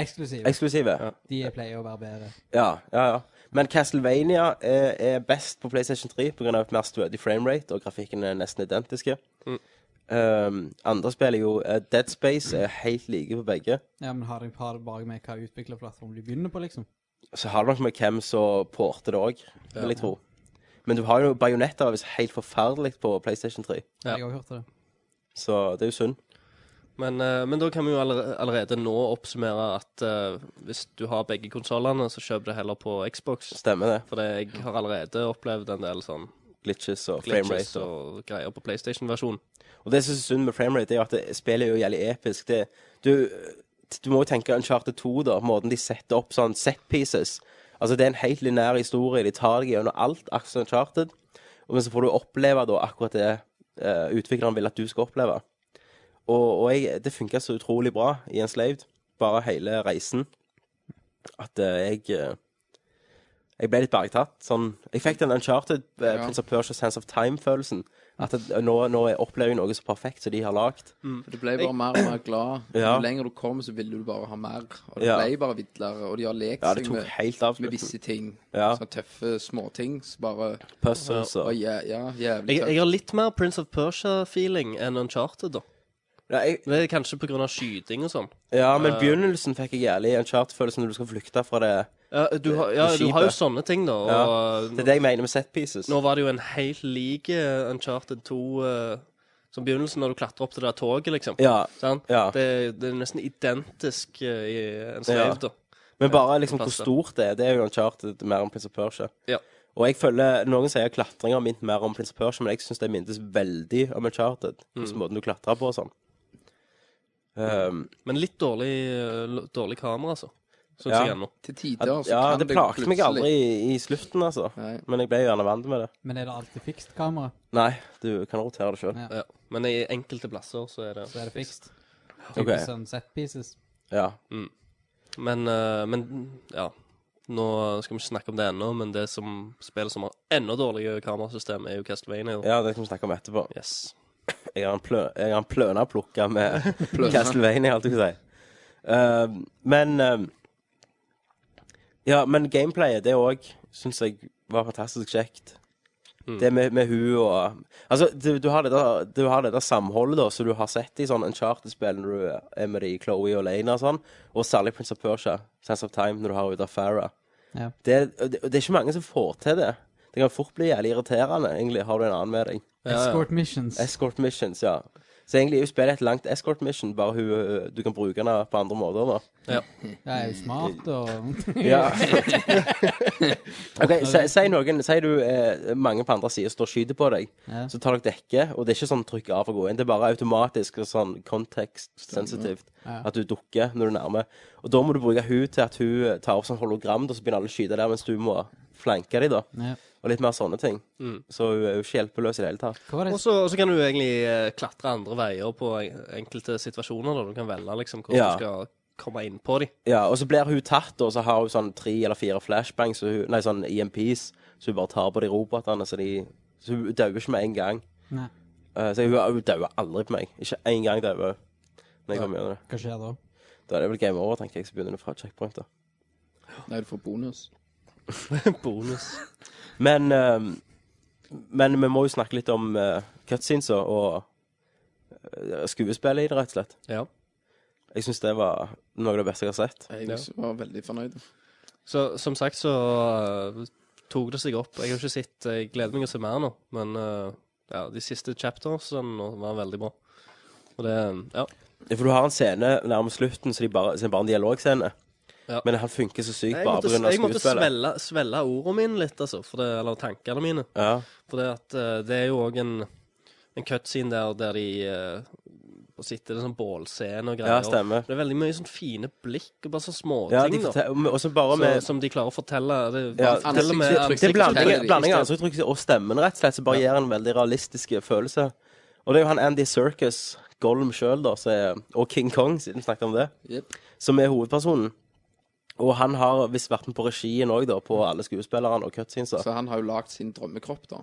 Speaker 1: Eksklusiv.
Speaker 8: Øh, Eksklusive. Ja.
Speaker 1: De pleier å være bedre.
Speaker 8: Ja, ja, Men Castlevania er, er best på PlayStation 3 pga. et mer stødig framerate, og grafikken er nesten identiske. Um, andre spill er jo eh, Dead Space er helt like på begge.
Speaker 1: Ja, men har det, har det bare med hva utviklerplattform de begynner på, liksom?
Speaker 8: Så har det nok med hvem som porter det òg, vil jeg tro. Men du har jo bajonetter er visst helt forferdelig på PlayStation 3,
Speaker 10: Ja.
Speaker 1: Jeg har hørt det.
Speaker 8: så det er jo synd.
Speaker 10: Men, eh, men da kan vi jo allerede, allerede nå oppsummere at eh, hvis du har begge konsollene, så kjøp det heller på Xbox.
Speaker 8: Stemmer det.
Speaker 10: For det, jeg har allerede opplevd en del sånn
Speaker 8: Glitches og
Speaker 10: glitches
Speaker 8: framerate. Og...
Speaker 10: og greier på PlayStation-versjonen.
Speaker 8: og det som er så synd med framerate, er jo at det, spillet er jo jævlig episk. Det, du, du må jo tenke Uncharted 2, da. Måten de setter opp sånn set pieces. Altså, det er en helt linær historie. De tar deg gjennom alt, akkurat som Uncharted. Og Men så får du oppleve da akkurat det eh, utvikleren vil at du skal oppleve. Og, og jeg, det funka så utrolig bra i Enslaved, bare hele reisen, at eh, jeg eh, Jeg ble litt bergtatt. Sånn, jeg fikk den Uncharted eh,
Speaker 9: Ja.
Speaker 8: Prince of Persia Sense of Time-følelsen. At det, nå, nå jeg opplever jeg noe så perfekt som de har lagd.
Speaker 9: For Du ble bare mer og mer glad.
Speaker 8: Ja.
Speaker 9: Jo lenger du kom, så ville du bare ha mer. Og det
Speaker 8: Ja.
Speaker 9: ble bare vidlere. Og de har lekt
Speaker 8: Ja, det
Speaker 9: seg
Speaker 8: tok
Speaker 9: med,
Speaker 8: helt av.
Speaker 9: med visse ting.
Speaker 8: Ja.
Speaker 9: Sånne tøffe småting som bare
Speaker 8: Puzzles
Speaker 9: var
Speaker 8: og
Speaker 9: jæ ja, jævlig
Speaker 10: Jeg, jeg
Speaker 9: tøft.
Speaker 10: har litt mer Prince of Persia-feeling enn Uncharted, da.
Speaker 8: ja, jeg,
Speaker 10: Det er kanskje pga. skyting og sånn.
Speaker 8: ja, men begynnelsen fikk jeg jævlig Uncharted-følelsen når du skal flykte fra det.
Speaker 10: Ja, du, har- ja,
Speaker 8: Det- det
Speaker 10: du har jo
Speaker 8: skipet.
Speaker 10: sånne ting, da. Og
Speaker 8: Det er det jeg mener med set pieces.
Speaker 10: nå var det jo en helt lik eh, Uncharted 2 eh, som begynnelsen, når du klatrer opp til det der toget, liksom.
Speaker 8: Ja,
Speaker 10: Sant?
Speaker 8: ja.
Speaker 10: Det, det er nesten identisk eh, i en slave,
Speaker 8: Ja.
Speaker 10: da.
Speaker 8: Men bare liksom hvor
Speaker 10: Fantastisk.
Speaker 8: stort det er, det er jo Uncharted mer enn Prince of Persia.
Speaker 10: Ja.
Speaker 8: Og jeg føler, Noen sier klatring har minnet mer om Prince of Persia, men jeg syns det mintes veldig om Uncharted. Mm. Måten du klatrer på og sånn. Um,
Speaker 10: Men litt dårlig, eh, dårlig kamera, altså. Syns
Speaker 8: Ja.
Speaker 10: jeg ennå.
Speaker 9: Til tider så
Speaker 8: ja,
Speaker 9: kan
Speaker 8: det plagte meg aldri i, i slutten, altså.
Speaker 9: Nei.
Speaker 8: Men jeg ble gjerne vant med det.
Speaker 1: Men er det alltid fikst kamera,
Speaker 8: Nei, du kan rotere det sjøl.
Speaker 1: Ja.
Speaker 10: Ja. Men i enkelte plasser så er det
Speaker 1: så er det fikst. Typisk
Speaker 8: Ok.
Speaker 1: sånn set pieces.
Speaker 8: Ja.
Speaker 10: Men, eh, men ja. Nå skal vi ikke snakke om det ennå, men det som spillet som har enda dårligere kamerasystem, er jo Castlevania.
Speaker 8: ja, det skal vi snakke om etterpå.
Speaker 10: Yes.
Speaker 8: Jeg har en, plø, jeg har en pløna plukka med
Speaker 9: Pløna.
Speaker 8: Castlevania, holdt jeg på å si. Um, men um, Ja, men gameplayet, det òg, syns jeg var fantastisk kjekt. Det med, med hun og Altså, du, du, har det der, du har det der samholdet da, som du har sett i sånn Uncharted-spill når du er med de Chloé og Lena og sånn, og særlig Prince of Persia, Sense of Time, når du har Uda Farah.
Speaker 1: Ja.
Speaker 8: Det, og det, og det er ikke mange som får til det. Det kan fort bli jævlig irriterende, egentlig, har du en annen med deg.
Speaker 1: Escort missions.
Speaker 8: Escort missions, ja. Så egentlig er jo spillet et langt escort mission, bare hun, øh, du kan bruke henne på andre måter, da.
Speaker 10: Ja.
Speaker 1: Jeg er jo smart og
Speaker 8: Ja. ok, si, si noen, si du eh, mange på andre siden står og skyter på deg,
Speaker 1: Ja.
Speaker 8: så tar dere dekke, og det er ikke sånn trykk av for å gå inn, det er bare automatisk og sånn kontekstsensitivt,
Speaker 1: Ja.
Speaker 8: at du dukker når du er nærme. Og da må du bruke hun til at hun eh, tar opp sånn hologram, da så begynner alle å skyte der, mens du må flanke dem da,
Speaker 1: ja.
Speaker 8: og litt mer sånne ting. Så hun er jo ikke hjelpeløs i det hele tatt.
Speaker 1: Hva var
Speaker 10: Og
Speaker 1: det?
Speaker 10: så og så kan du egentlig eh, klatre andre veier på en- enkelte situasjoner. Da. Du kan velge liksom, hvor
Speaker 8: Ja.
Speaker 10: du skal komme inn på dem.
Speaker 8: Ja, og så blir hun tatt, og så har hun sånn tre eller fire flashbangs, så hun, nei, sånn EMPs, så hun bare tar på de robotene, så de Så hun dauer ikke med en gang.
Speaker 1: Nei.
Speaker 8: Eh, så hun, hun dauer aldri på meg. Ikke én gang dauer hun. Når jeg kommer gjennom det.
Speaker 1: Hva skjer da?
Speaker 8: Da er det vel game over, tenker jeg, så begynner du fra checkpoint, da.
Speaker 9: Nei, du får bonus.
Speaker 10: Bonus.
Speaker 8: Men ehm, Men vi må jo snakke litt om uh, cutscenes og, og eh, skuespillet i det, rett og slett.
Speaker 10: Ja.
Speaker 8: Jeg syns det var noe av det beste jeg har sett.
Speaker 9: Jeg
Speaker 10: Ja.
Speaker 9: var veldig fornøyd.
Speaker 10: Så som sagt så eh, tok det seg opp. Jeg har ikke sett Jeg gleder meg å se mer nå, men eh, ja, de siste chaptersene var veldig bra. Og det Ja.
Speaker 8: For du har en scene nærmest slutten, så, de bare, så det er bare en dialogscene.
Speaker 10: Ja.
Speaker 8: Men han funker så sykt
Speaker 10: Jeg
Speaker 8: bare
Speaker 10: måtte,
Speaker 8: pga. skuespillet.
Speaker 10: jeg måtte svelle, svelle ordene mine litt, altså. For det, eller tankene mine.
Speaker 8: Ja.
Speaker 10: For det, at, eh, det er jo òg en, en cutscene der, der de eh, sitter i en sånn bålscene og greier.
Speaker 8: Ja, stemmer.
Speaker 10: Det er veldig mye sånn fine blikk og bare sånn
Speaker 8: ja de
Speaker 10: småting, da.
Speaker 8: fortel- og så bare
Speaker 10: Så,
Speaker 8: med
Speaker 10: som de klarer å fortelle. Det,
Speaker 8: Ja,
Speaker 10: bare forteller med
Speaker 9: ansiktsuttrykk.
Speaker 8: Det er blanding
Speaker 9: Forteller de.
Speaker 8: blanding av altså, ansiktsuttrykk og stemmen, rett og slett, som bare gir en veldig realistisk følelse. Og det er jo han Andy Circus, Gollum sjøl, da, som er- og King Kong, siden vi snakket om det,
Speaker 9: Jep.
Speaker 8: som er hovedpersonen. Og han har visst vært med på regien òg, da, på alle skuespillerne og cutscenes.
Speaker 9: Så han har jo lagd sin drømmekropp, da.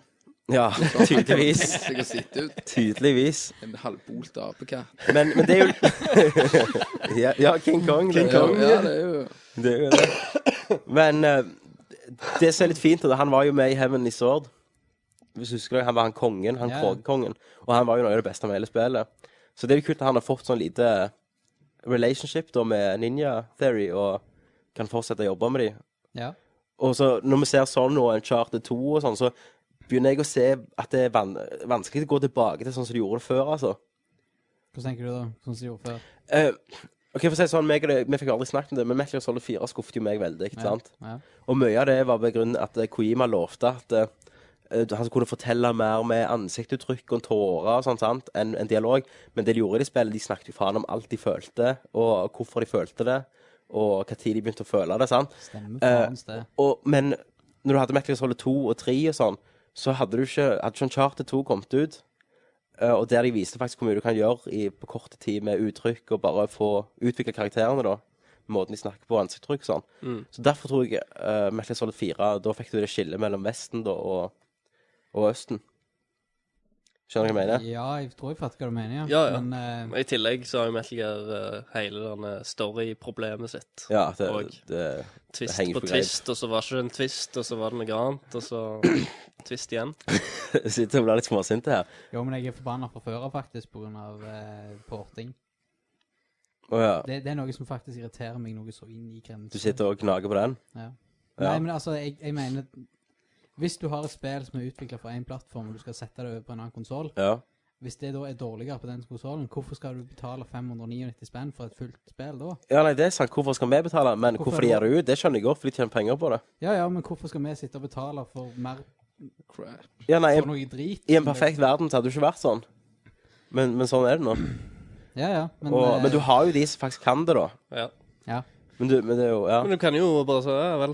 Speaker 8: Ja, tydeligvis.
Speaker 9: Så jeg har sett ut
Speaker 8: Tydeligvis.
Speaker 9: en halvbolt apekatt.
Speaker 8: Men, men det er jo ja, ja, King Kong. King
Speaker 9: Ja, det er jo
Speaker 8: Det er jo det. Men eh, det som er litt fint, og det- han var jo med i Heavenly Sword. Hvis du husker det, Han var han kongen, han
Speaker 1: Ja, ja.
Speaker 8: krogekongen. Og han var jo noe av det beste med hele spillet. Så det er jo kult at han har fått sånn lite relationship da med Ninja Theory, og kan fortsette å jobbe med de.
Speaker 1: Ja.
Speaker 8: Og så når vi ser sånn og Uncharted 2 og sånn, så begynner jeg å se at det er van vanskelig å gå tilbake til sånn som de gjorde det før, altså.
Speaker 1: Hva tenker du da? Sånn som du gjorde før?
Speaker 8: Eh, ok, for å si det sånn, meg og det, Vi fikk aldri snakket om det, men Metal Gear Solid 4 skuffet jo meg veldig. ikke sant?
Speaker 1: Ja.
Speaker 8: Og mye av det var på grunn at eh, Kojima lovte at eh, eh, han kunne fortelle mer med ansiktuttrykk og tårer og sånn, sant, enn en dialog. Men det de gjorde i det spillet, de snakket jo faen om alt de følte, og hvorfor de følte det, og når de begynte å føle det. sant?
Speaker 1: Stemmer
Speaker 8: Eh,
Speaker 1: faen sted.
Speaker 8: og, men når du hadde Metal Gear Solid 2 og 3 og sånn, så hadde du ikke, hadde ikke Uncharted 2 kommet ut. eh, Og der de viste faktisk hvor mye du kan gjøre i, på kort tid med uttrykk, og bare få utvikle karakterene, da. Måten de snakker på, ansiktsuttrykk og sånn.
Speaker 1: Mm.
Speaker 8: Så derfor tror jeg uh, Metal Gear Solid 4 Da fikk du det skillet mellom Vesten da, og, og Østen. Skjønner du hva jeg mener?
Speaker 1: Ja, jeg tror jeg fatter hva du mener, ja.
Speaker 10: Ja, ja.
Speaker 1: Men eh,
Speaker 10: I tillegg så har jo Metal Gear eh, hele denne story-problemet sitt.
Speaker 8: Ja, det,
Speaker 10: Og-
Speaker 8: det,
Speaker 10: Twist
Speaker 8: henger
Speaker 10: på
Speaker 8: på greip.
Speaker 10: twist, og så var ikke det en twist, og så var det noe annet, og så twist igjen.
Speaker 8: jeg sitter og blir litt småsint her.
Speaker 1: jo, men jeg er forbanna fra før av, faktisk, på grunn av eh, porting.
Speaker 8: Å ja.
Speaker 1: Det, det er noe som faktisk irriterer meg noe så inn i grensen.
Speaker 8: Du sitter og gnager på den?
Speaker 1: Ja.
Speaker 8: Ja.
Speaker 1: Nei, men altså, jeg, jeg mener Hvis du har et spill som er utvikla for én plattform, og du skal sette det over på en annen konsoll,
Speaker 8: Ja.
Speaker 1: Hvis det da er dårligere på den konsollen, hvorfor skal du betale 599 spenn for et fullt spill da?
Speaker 8: Ja, nei, det er sant. Hvorfor skal vi betale? Men
Speaker 1: Hvorfor
Speaker 8: hvorfor de
Speaker 1: er
Speaker 8: gir det ut, det skjønner jeg godt, for de tjener penger på det.
Speaker 1: Ja, ja, men hvorfor skal vi sitte og betale for mer
Speaker 9: Crap.
Speaker 8: Ja, nei,
Speaker 1: for noe drit?
Speaker 8: I en perfekt verden så hadde det ikke vært sånn. Men, men sånn er det nå.
Speaker 1: Ja, ja, men,
Speaker 8: Og,
Speaker 1: eh,
Speaker 8: men du har jo de som faktisk kan det, da.
Speaker 10: Ja.
Speaker 1: ja.
Speaker 8: Men, du, men det er jo Ja.
Speaker 10: Men du kan jo bare si ja vel.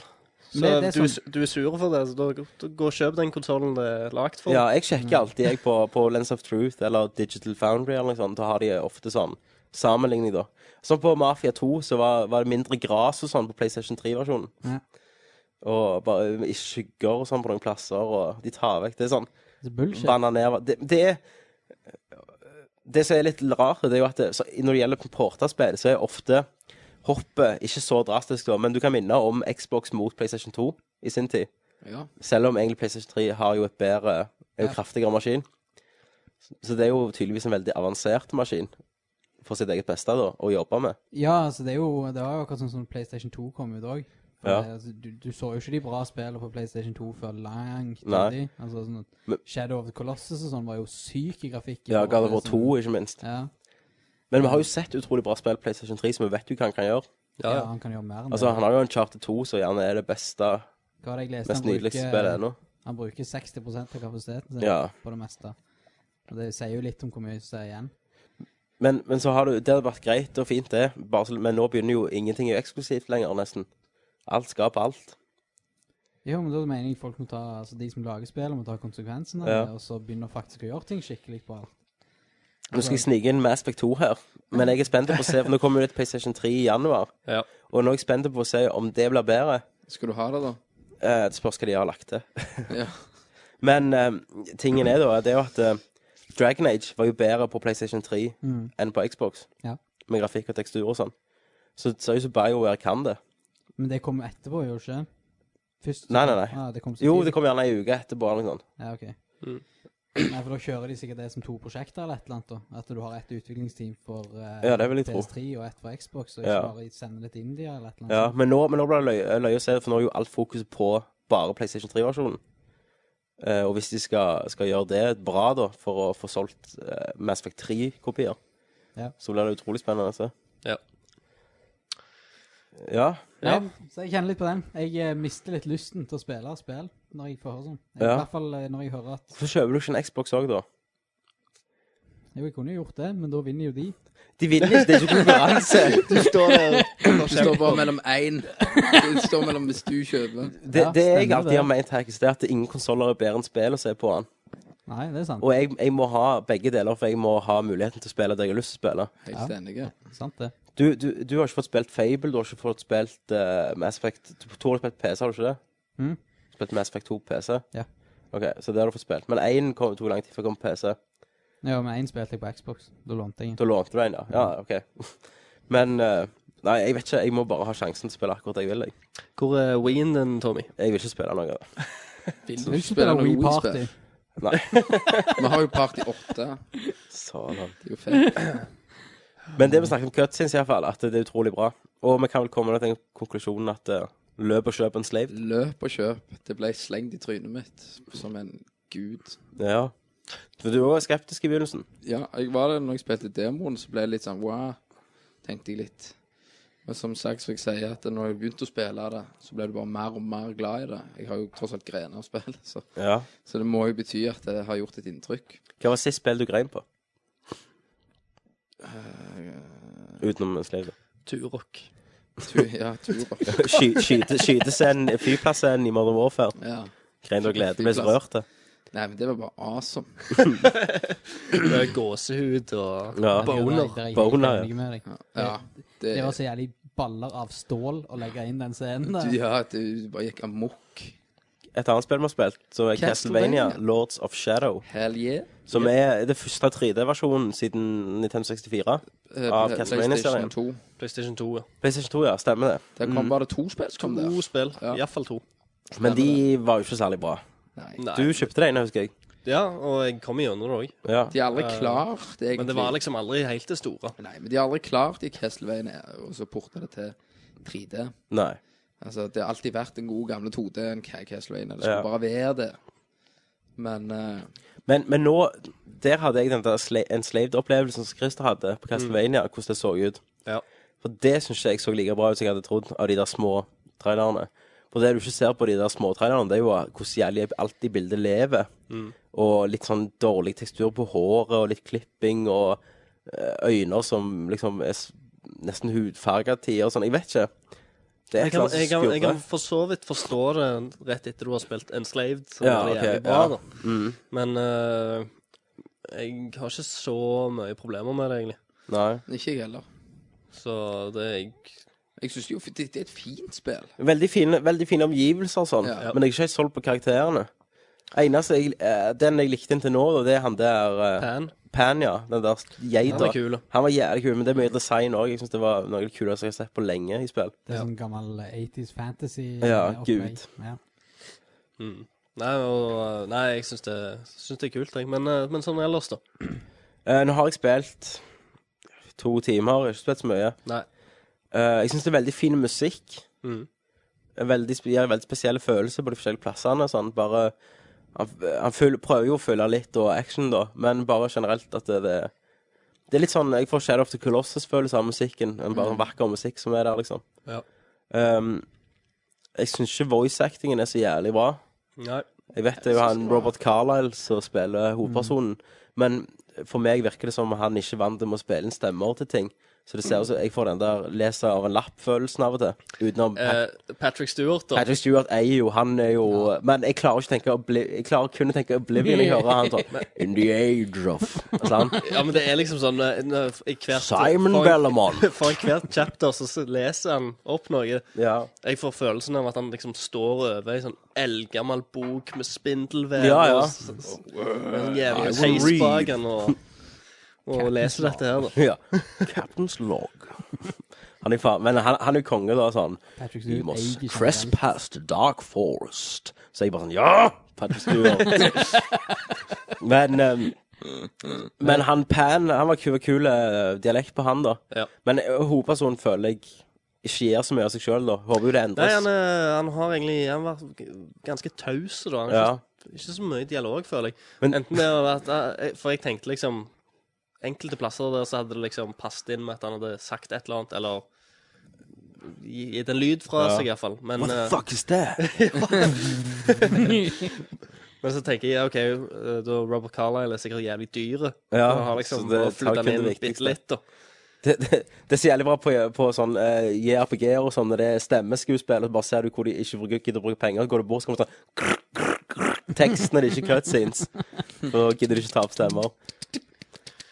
Speaker 10: Så
Speaker 1: Men det- det er
Speaker 10: du, er
Speaker 1: sånn-
Speaker 10: su- du er sur for det, så da, da gå og kjøp den konsollen det er lagd for.
Speaker 8: ja jeg sjekker alltid jeg på, på Lens of Truth eller Digital Foundry eller noe sånt. Da har de ofte sånn sammenligning, da. Som på Mafia 2 så var, var det mindre gras og sånn på PlayStation 3-versjonen.
Speaker 1: Ja.
Speaker 8: Og bare i skygger og sånn på noen plasser, og de tar vekk Det er sånn
Speaker 1: Det er bullshit.
Speaker 8: vanna ned det, det er Det som er litt rart, det er jo at det, så, når det gjelder porterspill, så er ofte hoppet ikke så drastisk, da, men du kan minne om Xbox mot PlayStation 2 i sin tid.
Speaker 9: Ja.
Speaker 8: Selv om egentlig PlayStation 3 har jo et bedre, er jo
Speaker 1: Ja.
Speaker 8: kraftigere maskin. Så- Så det er jo tydeligvis en veldig avansert maskin for sitt eget beste da, å jobbe med.
Speaker 1: Ja, altså det er jo Det var jo akkurat sånn som PlayStation 2 kom ut òg.
Speaker 8: Ja.
Speaker 1: Altså, du, du så jo ikke de bra spillene på PlayStation 2 før langt
Speaker 8: Nei.
Speaker 1: uti. Altså, sånn,
Speaker 8: Men-
Speaker 1: Shadow of the Colossus og sånn var jo syk i grafikk.
Speaker 8: Ja, God of War 2, ikke minst.
Speaker 1: Ja,
Speaker 8: Men vi har jo sett utrolig bra spill på PlayStation 3, så vi vet jo hva han kan gjøre.
Speaker 1: ja, han kan gjøre mer enn
Speaker 8: Altså,
Speaker 1: det.
Speaker 8: Han har jo en Charter 2 som gjerne er det beste,
Speaker 1: Hva var det jeg leste?
Speaker 8: mest
Speaker 1: Han bruker-
Speaker 8: nydeligste spillet ennå.
Speaker 1: Han bruker 60 av kapasiteten sin
Speaker 8: Ja.
Speaker 1: på det meste. Og det sier jo litt om hvor mye som er igjen.
Speaker 8: Men, men så har du, det hadde vært greit og fint det, bare, så- men nå begynner jo ingenting er jo eksklusivt lenger nesten. Alt skal på alt.
Speaker 1: Jo, men da mener jeg folk må ta Altså de som lager spill, må ta konsekvensen av
Speaker 8: Ja.
Speaker 1: det, og så begynne faktisk å gjøre ting skikkelig på alt.
Speaker 8: Nå skal jeg snike inn Mass Effect 2 her, men jeg er spent på å se, for nå kommer jo det til PlayStation 3 i januar,
Speaker 10: Ja.
Speaker 8: og nå er jeg spent på å se om det blir bedre.
Speaker 9: Skal du ha det, da?
Speaker 8: Eh, det spørs hva de har lagt til.
Speaker 9: Ja.
Speaker 8: Men eh, tingen er da, det er jo at eh, Dragon Age var jo bedre på PlayStation 3
Speaker 1: Mm.
Speaker 8: enn på Xbox,
Speaker 1: Ja.
Speaker 8: med grafikk og tekstur og sånn. Så det ser ut som BioWare kan det.
Speaker 1: Men det kommer etterpå, gjør det ikke? Først,
Speaker 8: Nei, nei, nei.
Speaker 1: Ah, det kom så
Speaker 8: Jo,
Speaker 1: tidlig.
Speaker 8: det kommer gjerne en uke etterpå eller noe sånt.
Speaker 1: Ja, ok. Nei, for da kjører de sikkert det som to prosjekter eller et eller annet da. At du har et utviklingsteam for eh,
Speaker 8: Ja, det vil jeg tro.
Speaker 1: PS3 og et for Xbox, og ikke
Speaker 8: Ja.
Speaker 1: bare sende det til India eller et eller
Speaker 8: Ja,
Speaker 1: annet.
Speaker 8: men nå, men nå blir det løye, løye å se, for nå er jo alt fokuset på bare PlayStation 3-versjonen. Eh, og hvis de skal, skal gjøre det bra, da, for å få solgt eh, Mass Effect 3-kopier,
Speaker 1: Ja.
Speaker 8: så blir det utrolig spennende å se.
Speaker 10: Ja.
Speaker 8: Ja.
Speaker 1: Ja, så jeg kjenner litt på den. Jeg eh, mister litt lysten til å spille spill når jeg får høre sånn. Jeg,
Speaker 8: Ja.
Speaker 1: I hvert fall eh, når jeg hører at
Speaker 8: Hvorfor kjøper du ikke en Xbox òg, da?
Speaker 1: Jo, jeg kunne jo gjort det, men da vinner jo de.
Speaker 8: De vinner ikke, det er ikke konkurranse!
Speaker 10: Du står der
Speaker 9: Det står bare mellom én. Det står mellom hvis du kjøper.
Speaker 8: Det,
Speaker 1: Ja,
Speaker 8: det jeg
Speaker 1: stemmer
Speaker 8: alltid
Speaker 1: det.
Speaker 8: har ment, Herkes, det er at ingen konsoller er bedre enn spill å se på den.
Speaker 1: Nei, det er sant.
Speaker 8: Og jeg, jeg må ha begge deler, for jeg må ha muligheten til å spille det jeg har lyst til å spille.
Speaker 9: Helt enig.
Speaker 1: Sant det.
Speaker 8: Du, du, du har ikke fått spilt Fable, du har ikke fått spilt eh, Mass Effect Du to har spilt PC, har du ikke det? Hmm?
Speaker 1: Mhm.
Speaker 8: Spilt Mass Effect 2 PC?
Speaker 1: Ja.
Speaker 8: Ok, så det har du fått spilt. Men én kom- tok lang tid før jeg kom på PC.
Speaker 1: Ja, men én spilte jeg på Xbox. Da lånte jeg den.
Speaker 8: Da lånte du en, ja. Ja, ok. Men eh, Nei, jeg vet ikke. Jeg må bare ha sjansen til å spille akkurat det jeg vil. Jeg,
Speaker 10: Hvor er Wien din, Tommy?
Speaker 8: jeg vil ikke spille noe. av det.
Speaker 9: Vil
Speaker 1: Vil du spille Wii Party?
Speaker 9: Vi har jo Party 8.
Speaker 8: Sånn.
Speaker 9: Det er jo fett.
Speaker 8: Men det vi snakket om cutscenes, i hvert fall, at det er utrolig bra. Og vi kan vel komme til den konklusjonen at eh, løp og kjøp en slave.
Speaker 9: Løp og kjøp. Det ble slengt i trynet mitt som en gud.
Speaker 8: Ja. For du var jo skeptisk i begynnelsen.
Speaker 9: Ja, jeg var det når jeg spilte demoen, så ble jeg litt sånn wow. Tenkte jeg litt. Men som sagt, så jeg sier at når jeg begynte å spille det, så ble du bare mer og mer glad i det. Jeg har jo tross alt grener av spillet, så,
Speaker 8: Ja.
Speaker 9: så det må jo bety at det har gjort et inntrykk.
Speaker 8: Hva var sist spill du grein på? Eh, Utenom en slave.
Speaker 10: Turok.
Speaker 9: Tu, ja, turer.
Speaker 8: Sky- skyte- Skytescenen, flyplassen i Modern Warfare.
Speaker 9: Ja.
Speaker 8: Grein og glede. Ble så rørt, det.
Speaker 9: Nei, men det var bare awesome.
Speaker 10: Eh, Gåsehud og
Speaker 8: Ja.
Speaker 10: boner.
Speaker 1: Det er jeg helt
Speaker 8: Boner, ja.
Speaker 1: enig med deg.
Speaker 9: Ja, det,
Speaker 1: Det var så jævlig baller av stål å legge inn den scenen der.
Speaker 9: ja, du bare gikk amok.
Speaker 8: Et annet spill vi har spilt, så er
Speaker 9: Castlevania.
Speaker 8: Castlevania, Lords of Shadow.
Speaker 9: Hell yeah.
Speaker 8: Som er det første 3D-versjonen siden 1964.
Speaker 9: Eh,
Speaker 8: Av
Speaker 9: Play-
Speaker 8: Castlevania-serien. Mm.
Speaker 9: PlayStation 2.
Speaker 10: PlayStation 2, ja.
Speaker 8: PlayStation 2, ja. Stemmer det.
Speaker 9: Der kom bare to spill som kom der.
Speaker 10: To spill.
Speaker 9: Ja.
Speaker 10: Iallfall to.
Speaker 8: Men de var jo ikke særlig bra.
Speaker 9: Nei.
Speaker 10: Nei.
Speaker 8: Du kjøpte det ene, husker jeg.
Speaker 10: Ja, og jeg kom gjennom det òg.
Speaker 8: Ja.
Speaker 9: De har aldri klart egentlig.
Speaker 10: Men det var liksom aldri helt det store.
Speaker 9: Nei, men de har aldri klart i Castlevania og så porta det til 3D.
Speaker 8: Nei.
Speaker 9: Altså, det har alltid vært en god gamle 2D enn Castlevania. Det
Speaker 8: Ja.
Speaker 9: skulle bare være det. Men eh,
Speaker 8: Men, men nå Der hadde jeg den der sla enslaved-opplevelsen som Christer hadde på Castlevania, hvordan det så ut.
Speaker 10: Ja.
Speaker 8: For det syns ikke jeg så like bra ut som jeg hadde trodd av de der små trailerne. For det du ikke ser på de der små trailerne, det er jo hvordan jævlig alt i bildet lever.
Speaker 10: Mm.
Speaker 8: Og litt sånn dårlig tekstur på håret, og litt klipping, og eh, øyne som liksom er s- nesten hudfarga til og sånn. Jeg vet ikke. Det er
Speaker 10: Jeg
Speaker 8: et eller
Speaker 10: kan,
Speaker 8: annet
Speaker 10: jeg,
Speaker 8: som
Speaker 10: kan, jeg
Speaker 8: skurrer.
Speaker 10: kan for så vidt forstå det rett etter du har spilt Enslaved, som
Speaker 8: Ja,
Speaker 10: er
Speaker 8: ok,
Speaker 10: jævlig bra,
Speaker 8: ja.
Speaker 10: da.
Speaker 8: Mm.
Speaker 10: Men eh, jeg har ikke så mye problemer med det, egentlig.
Speaker 8: Nei.
Speaker 9: Ikke jeg heller.
Speaker 10: Så det er jeg
Speaker 9: Jeg syns jo det, det er et fint spill.
Speaker 8: Veldig fine, veldig fine omgivelser og sånn,
Speaker 9: Ja.
Speaker 8: men jeg er ikke helt solgt på karakterene. Eneste jeg, eh, Den jeg likte inntil nå, da, det er han der eh,
Speaker 10: fan.
Speaker 8: Pan, ja. Den der geita.
Speaker 10: Han er kul.
Speaker 8: Han var jævlig kul, men det er mye design òg. Jeg syns det var noe av det kuleste jeg har sett på lenge i spill.
Speaker 1: Det er sånn gammel 80s fantasy.
Speaker 8: Ja,
Speaker 1: eh, opplegg.
Speaker 8: Gud.
Speaker 1: Ja.
Speaker 10: Mm. Nei, og, eh, nei, jeg syns det, syns det er kult, jeg. Men, eh, men sånn ellers, da.
Speaker 8: Eh, nå har jeg spilt to timer, jeg har ikke spilt så mye.
Speaker 10: Nei.
Speaker 8: Eh, jeg syns det er veldig fin musikk.
Speaker 10: Mm.
Speaker 8: En Veldig, sp- gir en veldig spesielle følelser på de forskjellige plassene. og Sånn. Bare, han han føl, prøver jo å følge litt og action, da, men bare generelt at det, det Det er litt sånn Jeg får Shadow of the Colossus-følelse av musikken, enn bare vakker musikk som er der, liksom.
Speaker 10: Ja.
Speaker 8: Ehm, jeg syns ikke voice-actingen er så jævlig bra.
Speaker 10: Nei.
Speaker 8: Jeg vet det er jo han Robert Carlyle som spiller hovedpersonen, men for meg virker det som om han ikke vant til med å spille inn stemmer til ting. Så det ser ut som jeg får den der leser av en lapp-følelsen av og til. Utenom Pat
Speaker 10: Eh, Patrick Stewart, da.
Speaker 8: Patrick Stewart er jo Han er jo Men jeg klarer ikke tenke Obli- Jeg klarer kun å tenke Oblivion. Jeg hører han sånn In the age of sånn.
Speaker 10: Ja, men det er liksom sånn eh, nå- I hvert
Speaker 8: Simon
Speaker 10: foran-
Speaker 8: Bellamont.
Speaker 10: Foran hvert chapter så s- leser han opp noe.
Speaker 8: Ja.
Speaker 10: Jeg får følelsen av at han liksom står over ei sånn eldgammel bok med spindelvev
Speaker 8: Ja, ja.
Speaker 10: og s- s- med en sånn jævlig heis bak han og, og leser dette her, da.
Speaker 8: ja. Captain's log. Han er faen Men han, han er jo konge, da, sånn.
Speaker 1: Patrick
Speaker 8: We
Speaker 1: Stewart eier
Speaker 8: must
Speaker 1: ikke den.
Speaker 8: trespass the dark forest. Så jeg bare sånn Ja! Patrick Stewart. men ehm, Men han Pan, han var kul, kul eh, dialekt på han, da.
Speaker 10: Ja.
Speaker 8: Men eh, hovedpersonen føler jeg ikke gir så mye av seg sjøl, da. Håper jo det
Speaker 10: Nei,
Speaker 8: endres.
Speaker 10: han, er- han har egentlig Han var ganske taus, da. Han er
Speaker 8: Ja.
Speaker 10: ikke, ikke så mye dialog, føler jeg.
Speaker 8: Men-
Speaker 10: Enten det har vært eh, For jeg tenkte liksom Enkelte plasser der så hadde det liksom passet inn med at han hadde sagt et eller annet, eller gitt en lyd fra
Speaker 8: Ja.
Speaker 10: seg, iallfall. Men
Speaker 8: What the
Speaker 10: eh,
Speaker 8: fuck is that?
Speaker 10: Men så tenker jeg, ja, ok, eh, da Robert Carlyle er sikkert jævlig dyre.
Speaker 8: Ja,
Speaker 10: Han har liksom
Speaker 8: så det er
Speaker 10: flyttet
Speaker 8: takken
Speaker 10: den inn
Speaker 8: det
Speaker 10: bitte
Speaker 8: viktigste.
Speaker 10: litt, da.
Speaker 8: det, det, det er så jævlig bra på, på sånn eh, JRPG-er og sånn, når det er stemmeskuespill, og så bare ser du hvor de ikke bruker, gidder å bruke penger, går du bort, så kommer det sånn krr, krr, krr, Tekst når det ikke er cutscenes. Og da gidder de ikke ta opp stemmer.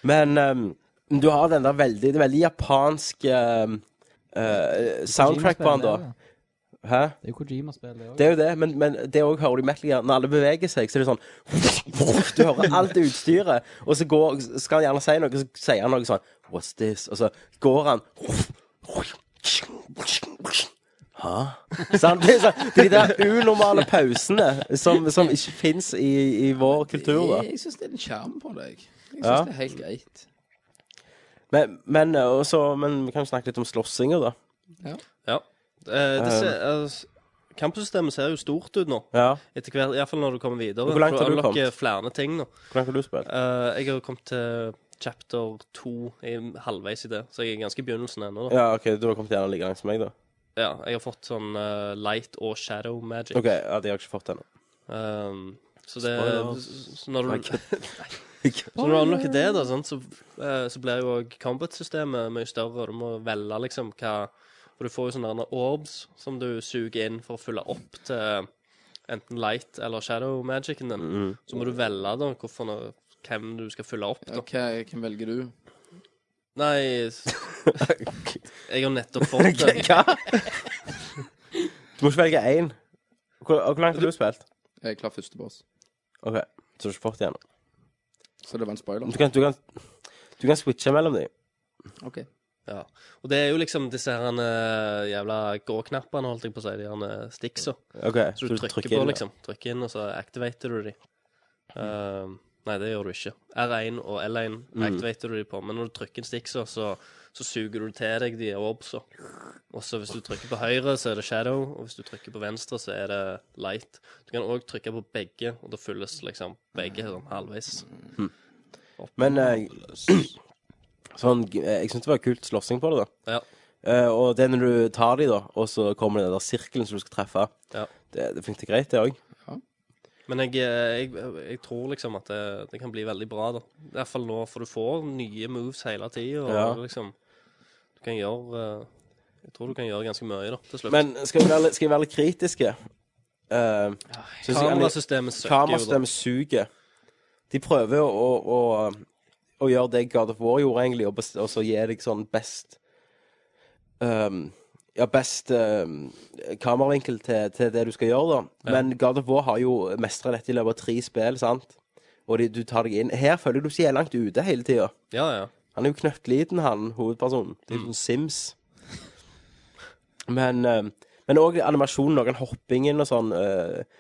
Speaker 8: Men eh, du har den der veldig, det er veldig japanske eh, eh, soundtrack-banen, da.
Speaker 1: Kojima-spill,
Speaker 8: Hæ?
Speaker 1: Det er jo Kojima-spill, det
Speaker 8: Det
Speaker 1: òg.
Speaker 8: er jo det, men, men det òg hører du i Metal Gear. Når alle beveger seg, så er det sånn Du hører alt det utstyret, og så går, skal han gjerne si noe, så sier han noe sånn What's this? Og så går han Hæ? Sant? Det er sånn, de der unormale pausene som, som ikke fins i, i vår kultur, da.
Speaker 9: Jeg, jeg syns det er en sjarm på det. Jeg, jeg syns
Speaker 8: Ja.
Speaker 9: det er helt greit.
Speaker 8: Men, men, og så- men vi kan snakke litt om slåssinger, da.
Speaker 10: Ja. Eh, det ser,
Speaker 8: Um,
Speaker 10: eh, kampsystemet ser jo stort ut nå,
Speaker 8: Ja.
Speaker 10: etter hvert, iallfall når du kommer videre.
Speaker 8: Hvor langt
Speaker 10: for
Speaker 8: har du
Speaker 10: å unlocke
Speaker 8: kommet?
Speaker 10: flere ting nå.
Speaker 8: Hvordan har du spilt?
Speaker 10: Eh, jeg har jo kommet til chapter to, jeg er halvveis i det, så jeg er ganske i begynnelsen ennå. da.
Speaker 8: Ja, OK, du har kommet gjerne like langt som meg, da.
Speaker 10: Ja, jeg har fått sånn eh, light og shadow magic.
Speaker 8: OK, ja, det har jeg ikke fått ennå.
Speaker 10: Um, så det
Speaker 8: Spoilers.
Speaker 10: så når du,
Speaker 8: Nei,
Speaker 10: Så når du unlocker det, da, sant, så, eh, så blir jo òg combat-systemet mye større. og Du må velge liksom hva For du får jo sånne andre orbs som du suger inn for å fylle opp til enten light eller shadow magicen din.
Speaker 8: Mm.
Speaker 10: Så må du velge da hvorfor, nå- hvem du skal fylle opp.
Speaker 9: Ja, hva- hvem velger du?
Speaker 10: Nei s- Jeg har nettopp fått det.
Speaker 8: Hva? Du må ikke velge én. Hvor, og hvor langt har du spilt?
Speaker 9: Jeg er klar første boss.
Speaker 8: OK, så du har ikke fått igjen.
Speaker 9: Så det var en spoiler.
Speaker 8: Du kan, du kan, du kan switche mellom dem.
Speaker 9: OK.
Speaker 10: Ja. Og det er jo liksom disse her eh, jævla gå-knappene, holdt jeg på å si, de her eh, sticksa.
Speaker 8: OK,
Speaker 10: Så du trykker, på,
Speaker 8: inn, ja.
Speaker 10: liksom. Trykker inn, og så activater du de. Um, Nei, det gjør du ikke. R1 og L1
Speaker 8: Mm.
Speaker 10: activater du de på, men når du trykker en stikkser, så, så suger du til deg de orbsa. Og så hvis du trykker på høyre, så er det shadow, og hvis du trykker på venstre, så er det light. Du kan òg trykke på begge, og da fylles liksom begge sånn halvveis.
Speaker 8: Men eh, sånn, eh, jeg syns det var kult slåssing på det, da.
Speaker 10: Ja.
Speaker 8: Eh, og det er når du tar de da, og så kommer den der sirkelen som du skal treffe.
Speaker 10: Ja.
Speaker 8: Det, det funket greit, det òg.
Speaker 10: Men jeg, eh, jeg, jeg tror liksom at det, det kan bli veldig bra, da. I hvert fall nå, for du får nye moves hele tida, og
Speaker 8: Ja.
Speaker 10: liksom Du kan gjøre eh, Jeg tror du kan gjøre ganske mye, da, til slutt.
Speaker 8: Men skal vi være, litt- skal vi være litt kritiske? Uh,
Speaker 10: kamerasystemet søker jo, da.
Speaker 8: Kamerasystemet suger. De prøver å, å, å, å gjøre det God of War gjorde, egentlig, og, bes- og så gi deg sånn best ehm, Ja, best ehm, kameravinkel til, til det du skal gjøre, da.
Speaker 10: Ja.
Speaker 8: Men God of War har jo mestra dette i løpet av tre spill, sant? Og de, du tar deg inn Her føler jeg du ikke er langt ute hele tida.
Speaker 10: Ja, ja.
Speaker 8: Han er jo knøttliten, han hovedpersonen. Det er jo sånn Sims. Men eh, Men òg animasjonen, noen hoppingen og sånn. eh,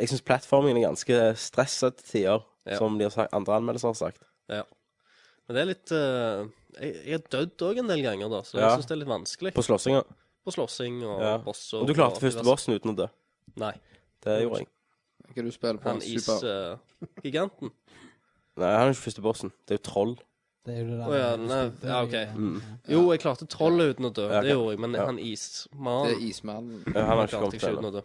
Speaker 8: jeg syns plattformingen er ganske stressa til tider,
Speaker 10: Ja.
Speaker 8: som de har sagt, andre anmeldelser har sagt.
Speaker 10: Ja. Men det er litt eh, Jeg, jeg har dødd òg en del ganger, da, så
Speaker 8: Ja.
Speaker 10: jeg syns det er litt vanskelig.
Speaker 8: På slåssinga.
Speaker 10: På slåssing og
Speaker 8: Ja.
Speaker 10: bosser.
Speaker 8: Og du klarte første
Speaker 10: diverse-
Speaker 8: bossen uten å dø.
Speaker 10: Nei.
Speaker 8: Det gjorde jeg.
Speaker 9: Hva du spiller på?
Speaker 10: Han eh, isgiganten.
Speaker 8: Nei, han er ikke første bossen. Det er jo troll.
Speaker 1: Det er jo det der
Speaker 10: Å ja,
Speaker 1: du
Speaker 10: nei,
Speaker 1: spilte
Speaker 10: ja,
Speaker 1: i,
Speaker 10: OK.
Speaker 1: eh,
Speaker 8: Mm.
Speaker 10: Jo, jeg klarte trollet uten å dø,
Speaker 8: Ja, ok.
Speaker 10: det gjorde jeg, men
Speaker 8: Ja.
Speaker 10: han
Speaker 9: Det
Speaker 10: ismannen
Speaker 9: er Ismannen.
Speaker 8: Ja, han har ikke
Speaker 10: klarte
Speaker 8: kommet
Speaker 10: jeg ikke
Speaker 8: til
Speaker 10: uten
Speaker 8: ennå.
Speaker 10: å dø.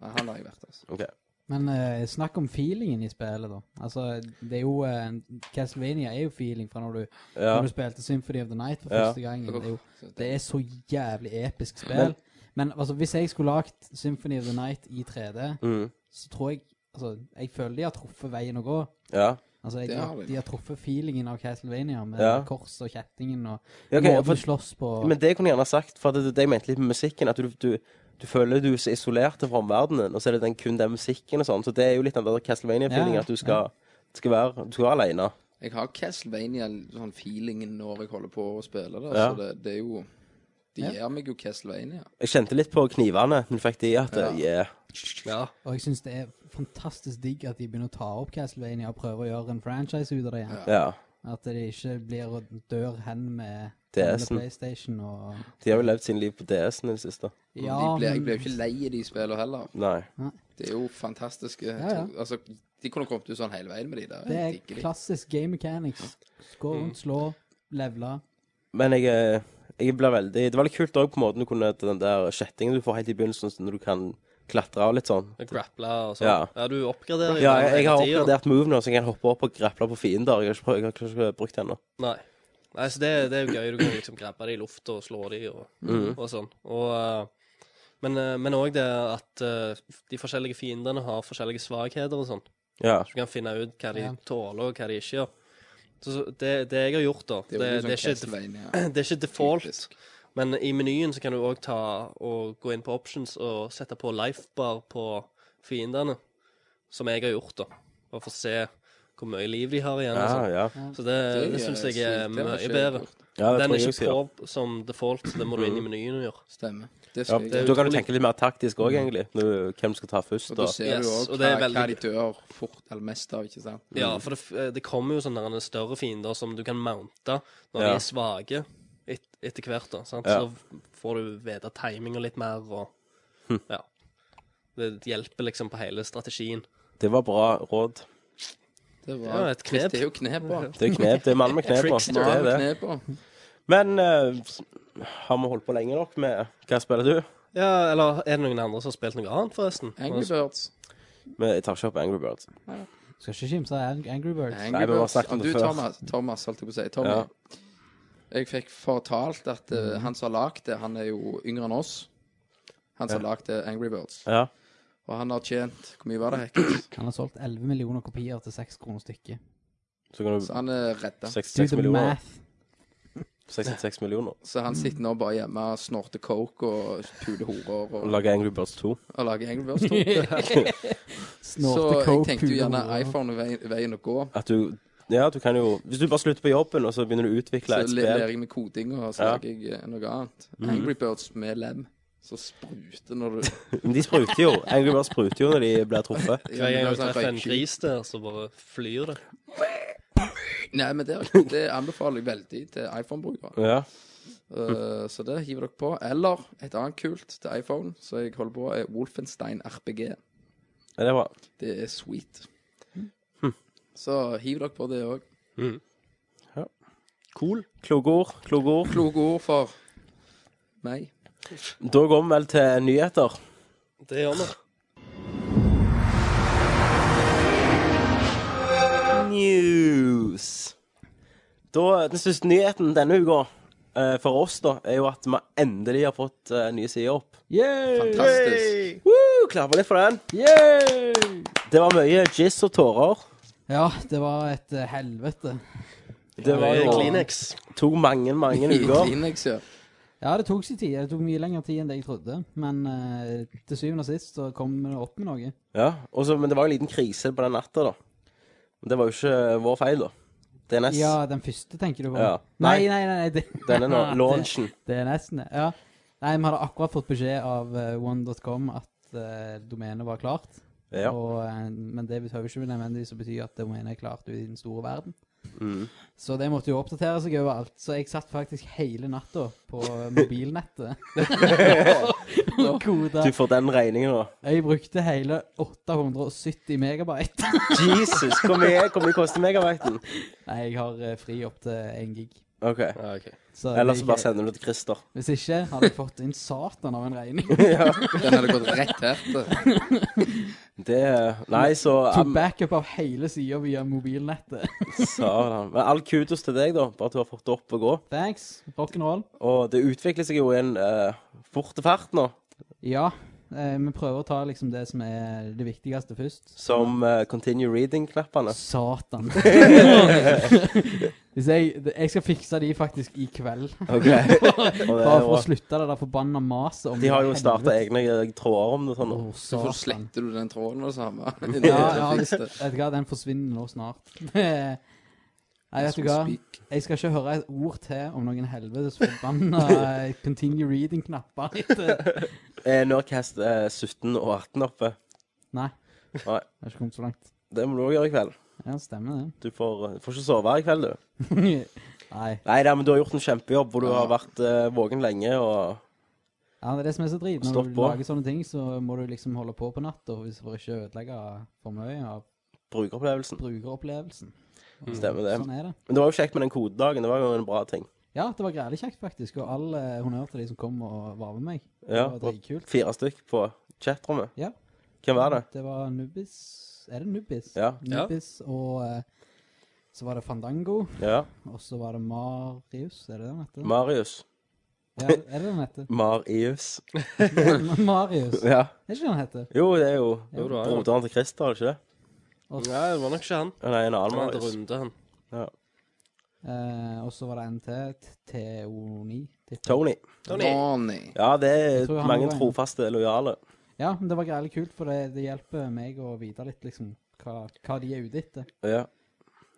Speaker 9: Nei, han har jeg vært, altså.
Speaker 8: Ok.
Speaker 1: Men eh, snakk om feelingen i spillet, da. Altså, det er jo eh, Castlevania er jo feeling fra når du,
Speaker 8: Ja.
Speaker 1: når du spilte Symphony of the Night for
Speaker 8: Ja.
Speaker 1: første gang. Det er Mm, jo
Speaker 9: Så
Speaker 1: det er så jævlig episk spill. Men, altså, hvis jeg skulle lagt Symphony of the Night i 3D,
Speaker 8: Mm.
Speaker 1: så tror jeg Altså, jeg føler de har truffet veien å gå.
Speaker 8: Ja.
Speaker 1: Altså, jeg,
Speaker 9: Det har de.
Speaker 1: de har truffet feelingen av Castlevania med
Speaker 8: Ja.
Speaker 1: kors og kjettingen og
Speaker 8: Ja, ok,
Speaker 1: måten
Speaker 8: for-
Speaker 1: du slåss på.
Speaker 8: Men det kunne jeg gjerne ha sagt, for det, det, det jeg mente litt med musikken, at du, du, du føler du er så isolert fra omverdenen, og så er det den, kun den musikken og sånn, så det er jo litt den der Castlevania-feelingen,
Speaker 1: Ja,
Speaker 8: at du skal, skal være, du skal være alene.
Speaker 9: Jeg har Castlevania sånn feelingen når jeg holder på å spille det.
Speaker 8: Ja.
Speaker 9: Så det, det er jo De
Speaker 1: Ja.
Speaker 9: gir meg jo Castlevania.
Speaker 8: Jeg kjente litt på knivene, men fikk de at, yeah.
Speaker 10: Ja.
Speaker 1: Og jeg syns det er fantastisk digg at de begynner å ta opp Castlevania og prøve å gjøre en franchise ut av det igjen.
Speaker 8: ja,
Speaker 1: At det ikke blir og dør hen med
Speaker 8: DS-en.
Speaker 1: gamle PlayStation og
Speaker 8: de har jo levd sin liv på DS-en i det siste.
Speaker 9: Ja, de ble, jeg ble jo ikke lei i de spillene heller.
Speaker 8: Nei.
Speaker 9: Det er jo fantastiske
Speaker 1: ja.
Speaker 9: Altså, de kunne kommet ut sånn hele veien med de der.
Speaker 1: Det
Speaker 9: Jeg digger Mm.
Speaker 1: er
Speaker 9: de.
Speaker 1: klassisk game mechanics. Gå rundt, slå, levele.
Speaker 8: Men jeg, eh, jeg ble veldig, det var litt kult også på måten du kunne, den der kjettingen du får helt i begynnelsen, sånn når du kan klatre og litt sånn.
Speaker 10: Grappla og sånn.
Speaker 8: Ja.
Speaker 10: Ja, du oppgraderer
Speaker 8: Ja,
Speaker 10: jo
Speaker 8: jeg, jeg har
Speaker 10: hele tiden.
Speaker 8: oppgradert move nå, så jeg kan hoppe opp og grapple på fiender. Jeg har ikke, prøvd- jeg har ikke brukt det ennå.
Speaker 10: Nei. Nei, så det, det er jo gøy. Du kan liksom grabbe dem i lufta og slå dem og,
Speaker 8: Mm.
Speaker 10: og sånn. Og, eh, men eh, men òg det at eh, de forskjellige fiendene har forskjellige svakheter og sånn.
Speaker 8: Ja.
Speaker 10: Så du kan finne ut hva de
Speaker 1: Ja.
Speaker 10: tåler, og hva de ikke gjør. Så, så det, det jeg har gjort, da
Speaker 9: Det er
Speaker 8: liksom
Speaker 9: jo litt sånn
Speaker 10: ikke,
Speaker 9: Castlevania.
Speaker 10: det er ikke default,
Speaker 9: Typisk.
Speaker 10: men i menyen så kan du òg ta og gå inn på options og sette på lifebar på fiendene, som jeg har gjort, da. Bare for å se hvor mye liv de har igjen.
Speaker 8: Ja,
Speaker 10: og sånn.
Speaker 8: Ah, ja.
Speaker 10: Så det, det,
Speaker 9: er
Speaker 10: syns
Speaker 9: sweet.
Speaker 10: jeg er
Speaker 9: Det har
Speaker 10: mye
Speaker 9: ikke jeg
Speaker 10: bedre.
Speaker 9: gjort.
Speaker 8: Ja, det
Speaker 10: Den
Speaker 8: tror
Speaker 10: er
Speaker 8: jeg Mm.
Speaker 10: ikke
Speaker 8: også, ja.
Speaker 10: på som default, så den må du inn i menyen og gjøre.
Speaker 9: Stemmer. Det
Speaker 8: Ja,
Speaker 9: skal jeg
Speaker 8: da
Speaker 9: gjøre.
Speaker 8: kan du tenke litt mer taktisk òg, egentlig. Når, du- hvem du skal ta først.
Speaker 9: Og da
Speaker 8: Og,
Speaker 9: ser
Speaker 10: Yes,
Speaker 9: du òg hva,
Speaker 10: og det er veldig
Speaker 9: hva de dør fort eller mest av, ikke sant?
Speaker 10: Ja, for det, f- eh, det kommer jo sånne der større fiender som du kan mounte når de
Speaker 8: Ja.
Speaker 10: er svake et, etter hvert. da, sant?
Speaker 8: Ja.
Speaker 10: Så får du vite timinga litt mer, og ja. Det hjelper liksom på hele strategien.
Speaker 8: det var bra råd.
Speaker 9: Det var,
Speaker 10: Ja, et knep.
Speaker 9: Det er jo knep på.
Speaker 8: Det er knep. Det er mann med knep. nå.
Speaker 10: Trickster.
Speaker 8: Det er det.
Speaker 9: knep på.
Speaker 8: Men eh, har vi holdt på lenge nok med Hva spiller du?
Speaker 10: Ja, eller er det noen andre som har spilt noe annet, forresten?
Speaker 9: Angry Birds.
Speaker 8: Men jeg tar ikke opp Angry Birds.
Speaker 1: Skal ikke kimse av Ang- Angry Birds.
Speaker 9: Angry
Speaker 8: Nei, vi har
Speaker 9: Birds.
Speaker 8: snakket om
Speaker 9: Om
Speaker 8: det
Speaker 9: du,
Speaker 8: før.
Speaker 9: Thomas, Thomas holdt jeg på å si. Tommy.
Speaker 8: Ja. Mm.
Speaker 9: Jeg fikk fortalt at eh, han som har lagd det, han er jo yngre enn oss. Han som har lagd det, Angry Birds.
Speaker 8: Ja.
Speaker 9: Og han har tjent Hvor mye var det, Hekkes?
Speaker 1: Han har solgt 11 millioner kopier til 6 kroner stykket.
Speaker 8: Så kan du
Speaker 9: Så han er redda.
Speaker 1: Do
Speaker 8: 66
Speaker 1: the
Speaker 8: millioner.
Speaker 1: math.
Speaker 8: 66 millioner.
Speaker 9: Så han sitter nå bare hjemme og snorter coke og puler horer
Speaker 8: Og
Speaker 9: og,
Speaker 8: lage Angry Birds 2.
Speaker 9: og lager Angry Birds 2. Så
Speaker 1: Snorte
Speaker 9: jeg
Speaker 1: coke,
Speaker 9: tenkte jo gjerne
Speaker 1: puler.
Speaker 9: iPhone er veien, veien å gå.
Speaker 8: At du Ja, du kan jo Hvis du bare slutter på jobben, og så begynner du å utvikle
Speaker 9: Så
Speaker 8: et
Speaker 9: lærer
Speaker 8: spill
Speaker 9: jeg meg koding, og så
Speaker 8: Ja. Mm.
Speaker 9: lager jeg eh, noe annet. Angry Birds med lem. Så spruter når du
Speaker 8: Men de spruter jo. Angry Birds spruter jo når de blir truffet.
Speaker 10: Hver gang du treffer en gris der, så bare flyr det.
Speaker 9: Nei, men det, det anbefaler jeg veldig til iPhone-brukere.
Speaker 8: Ja.
Speaker 9: Eh, så det hiver dere på. Eller et annet kult til iPhone, så jeg holder på, er Wolfenstein RPG.
Speaker 8: Ja, Det er bra.
Speaker 9: Det er sweet.
Speaker 1: Hm.
Speaker 9: Så hiv dere på det òg.
Speaker 8: Cool. Kloke ord. Kloke ord.
Speaker 9: Kloke ord for meg.
Speaker 8: Da går vi vel til nyheter.
Speaker 10: Det gjør vi.
Speaker 8: News. Da, den største nyheten denne uka eh, for oss da, er jo at vi endelig har fått eh, nye sider opp.
Speaker 1: Yay!
Speaker 9: Fantastisk.
Speaker 8: Woo! Klapper litt for den.
Speaker 1: Yay!
Speaker 8: Det var mye jizz og tårer.
Speaker 1: Ja, det var et eh, helvete.
Speaker 8: Det
Speaker 10: Det
Speaker 8: var
Speaker 10: er
Speaker 8: jo,
Speaker 10: Kleenex.
Speaker 8: tok mange, mange
Speaker 9: I
Speaker 8: uker.
Speaker 9: Kleenex, ja.
Speaker 1: Ja, det tok sin tid. Det tok mye lengre tid enn det jeg trodde. Men eh, til syvende og sist så kom det opp med noe.
Speaker 8: Ja, og så- men det var jo en liten krise på den natta, da. Men Det var jo ikke eh, vår feil, da. DNS.
Speaker 1: Ja, den første tenker du på.
Speaker 8: Ja.
Speaker 1: Nei, nei, nei. nei det,
Speaker 8: Denne nå,
Speaker 1: det-
Speaker 8: launchen.
Speaker 1: Det er nesten det. Ja. Nei, vi hadde akkurat fått beskjed av eh, one.com at eh, domenet var klart.
Speaker 8: Ja.
Speaker 1: Og, eh, men det behøver jo ikke nødvendigvis å bety at domenet er klart ute i den store verden.
Speaker 8: Mm.
Speaker 1: Så det måtte jo oppdatere seg overalt. Så jeg satt faktisk hele natta på mobilnettet. og koda.
Speaker 8: Du får den regningen, da.
Speaker 1: Jeg brukte hele 870 megabyte.
Speaker 8: Jesus, hvor mye, hvor mye koster megabyten?
Speaker 1: Nei, jeg har eh, fri opp til 1 gig.
Speaker 8: OK.
Speaker 10: Ja, ok.
Speaker 1: Så
Speaker 8: Ellers
Speaker 1: det
Speaker 8: så
Speaker 1: gikk-
Speaker 8: bare sender du til Christer.
Speaker 1: Hvis ikke hadde jeg fått en satan av en regning.
Speaker 9: Den hadde gått rett her.
Speaker 8: Det Nei, så
Speaker 1: Tok backup av hele sida via mobilnettet.
Speaker 8: Satan. Men all kudos til deg, da, bare at du har fått det opp og gå.
Speaker 1: Thanks. Rock'n'roll.
Speaker 8: Og det utvikler seg jo i en uh, fort fart nå,
Speaker 1: Ja. Eh, vi prøver å ta liksom det som er det viktigste først.
Speaker 8: som eh, continue reading-knappene.
Speaker 1: Satan. Hvis jeg, jeg skal fikse de faktisk i kveld.
Speaker 8: Ok. Og det
Speaker 1: Bare
Speaker 8: er
Speaker 1: for å
Speaker 8: bra.
Speaker 1: slutte det der forbanna maset om
Speaker 8: De har jo
Speaker 1: helvete. Mm.
Speaker 8: starta egne eh, tråder om det. sånn.
Speaker 1: Å,
Speaker 9: Så
Speaker 1: satan.
Speaker 9: sletter du den tråden med det samme.
Speaker 1: Ja, ja, hvis- vet du hva, den forsvinner nå snart. Nei, vet du hva. Jeg skal ikke høre et ord til om noen helvetes forbanna eh, continue reading-knapper.
Speaker 8: Er Nerdcast eh, 17 og 18 oppe?
Speaker 1: Nei.
Speaker 8: Nei.
Speaker 1: Jeg har ikke kommet så langt.
Speaker 8: Det må du òg gjøre i kveld.
Speaker 1: Ja, det stemmer det.
Speaker 8: Du får, eh, får ikke sove her i kveld, du.
Speaker 1: Nei.
Speaker 8: Nei da, men du har gjort en kjempejobb, hvor du har vært eh, våken lenge og
Speaker 1: Ja, det er det som er så drit. Når
Speaker 8: Stopp
Speaker 1: du
Speaker 8: på.
Speaker 1: lager sånne ting, så må du liksom holde på på natta hvis- for ikke å ødelegge for mye av
Speaker 8: brukeropplevelsen.
Speaker 1: brukeropplevelsen.
Speaker 8: Stemmer det.
Speaker 1: Sånn er det.
Speaker 8: Men det var jo kjekt med den kodedagen. Det var jo en bra ting.
Speaker 1: Ja, det var grælig kjekt, faktisk. Og all eh, honnør til de som kom og var med meg. det
Speaker 8: Ja,
Speaker 1: var
Speaker 8: og
Speaker 1: dritkult.
Speaker 8: Fire stykk på chatrommet.
Speaker 1: Ja.
Speaker 8: Hvem var det?
Speaker 1: Det var Nubis Er det Nubis?
Speaker 8: Ja.
Speaker 10: Ja.
Speaker 1: Nubis og eh, så var det Fandango,
Speaker 8: Ja.
Speaker 1: og så var det Marius, er det det han heter?
Speaker 8: Marius.
Speaker 1: ja, er det det han heter?
Speaker 8: Marius.
Speaker 1: Marius. Er
Speaker 8: Ja.
Speaker 1: det ikke det han heter?
Speaker 8: Jo, det er jo
Speaker 10: Jo, det er jo.
Speaker 8: broderen til Christer, er det ikke det?
Speaker 1: Og
Speaker 10: Nei, det var nok ikke han.
Speaker 8: Ja, Nei, en annen
Speaker 10: Han hadde
Speaker 8: Marius.
Speaker 10: runde, han.
Speaker 1: Eh, og så var det NT, TO9. tipper jeg.
Speaker 8: Tony.
Speaker 9: Tony.
Speaker 8: Ja, det
Speaker 1: tror
Speaker 8: er
Speaker 1: han
Speaker 8: mange
Speaker 1: var en.
Speaker 8: trofaste lojale.
Speaker 1: Ja, men det var greilig kult, for det, det hjelper meg å vite litt liksom hva, hva de er ute etter.
Speaker 8: Ja.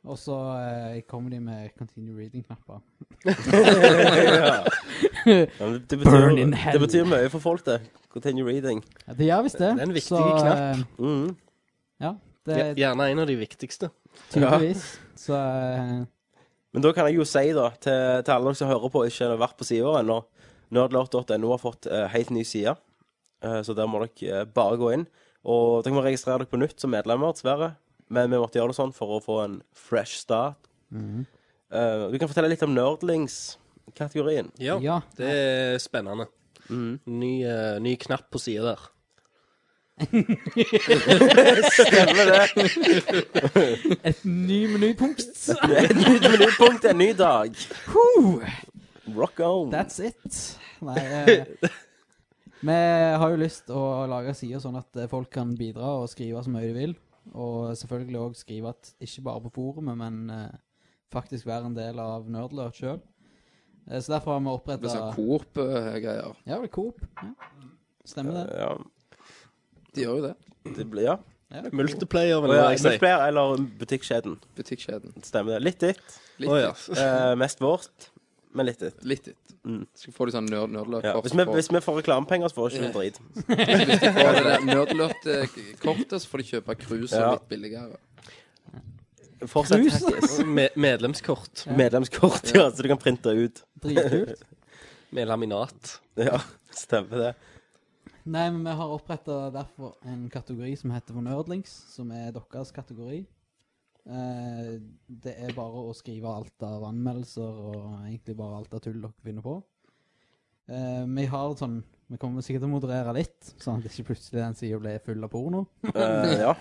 Speaker 1: Og så eh, kommer de med continue reading-knapper.
Speaker 8: Ja, men det,
Speaker 1: Burn
Speaker 8: betyr,
Speaker 1: in hell.
Speaker 8: det betyr mye for folk, det. Continue reading.
Speaker 1: Ja, det gjør visst det.
Speaker 10: Det er en viktig
Speaker 1: så, eh,
Speaker 10: knapp.
Speaker 8: Mhm.
Speaker 1: Ja, det
Speaker 10: Ja,
Speaker 1: er
Speaker 10: Gjerne en av de viktigste.
Speaker 1: tydeligvis. Så eh,
Speaker 8: Men da kan jeg jo si da, til, til alle dere som hører på og ikke har vært på sida vår ennå, nerdlort.no har fått eh, helt ny side, Eh, så der må dere eh, bare gå inn. Og dere må registrere dere på nytt som medlemmer, dessverre. Men vi måtte gjøre det sånn for å få en fresh start. Eh, du kan fortelle litt om nerdlings-kategorien.
Speaker 10: Ja,
Speaker 1: Ja.
Speaker 10: det er spennende.
Speaker 8: Mm.
Speaker 10: Ny, eh, ny knapp på sida der.
Speaker 1: et ny menypunkt.
Speaker 8: Et nytt menypunkt, en ny dag. Rock on.
Speaker 1: That's it. Nei eh, Vi har jo lyst å lage sider sånn at eh, folk kan bidra og skrive så mye de vil. Og selvfølgelig òg skrive at ikke bare på forumet, men eh, faktisk være en del av Nerdlert sjøl. så derfor har vi
Speaker 9: Det blir
Speaker 1: oppretta
Speaker 9: sånn Coop-greier.
Speaker 1: Ja, det er Coop. Ja. Stemmer det.
Speaker 8: Ja,
Speaker 9: De gjør jo det.
Speaker 8: det blir, ja.
Speaker 1: Ja, det er Coop.
Speaker 10: Multiplayer, vil
Speaker 8: Og, ja
Speaker 10: jeg si.
Speaker 8: Multiplayer eller butikkjeden.
Speaker 9: Butikkjeden.
Speaker 8: Stemmer det. Litt ditt.
Speaker 9: Litt
Speaker 10: Å, ja.
Speaker 8: Eh, mest vårt. Men litt it.
Speaker 9: Litt it. Skal få litt sånn nerd
Speaker 8: Mm.
Speaker 9: nerdlurt
Speaker 8: Ja.
Speaker 9: kort
Speaker 8: Hvis, vi,
Speaker 9: for-
Speaker 8: hvis vi får reklamepenger, så får vi ikke noe drit.
Speaker 9: Hvis de får det der nerdlurt eh, k- kortet, så får de kjøpe krus og
Speaker 8: Ja.
Speaker 9: litt billigere.
Speaker 8: Fortsett
Speaker 1: Knus.
Speaker 8: hackes.
Speaker 10: Me medlemskort
Speaker 8: Medlemskort, ja, så du kan printe ut.
Speaker 1: Dritkult.
Speaker 10: med laminat.
Speaker 8: Ja, stemmer det.
Speaker 1: Nei, men vi har oppretta derfor en kategori som heter for nerdlings, som er deres kategori. Eh, det er bare å skrive alt av anmeldelser og egentlig bare alt av tull dere finner på. Eh, vi har sånn Vi kommer sikkert til å moderere litt, sånn at ikke plutselig den sida blir full av porno.
Speaker 8: Eh, ja.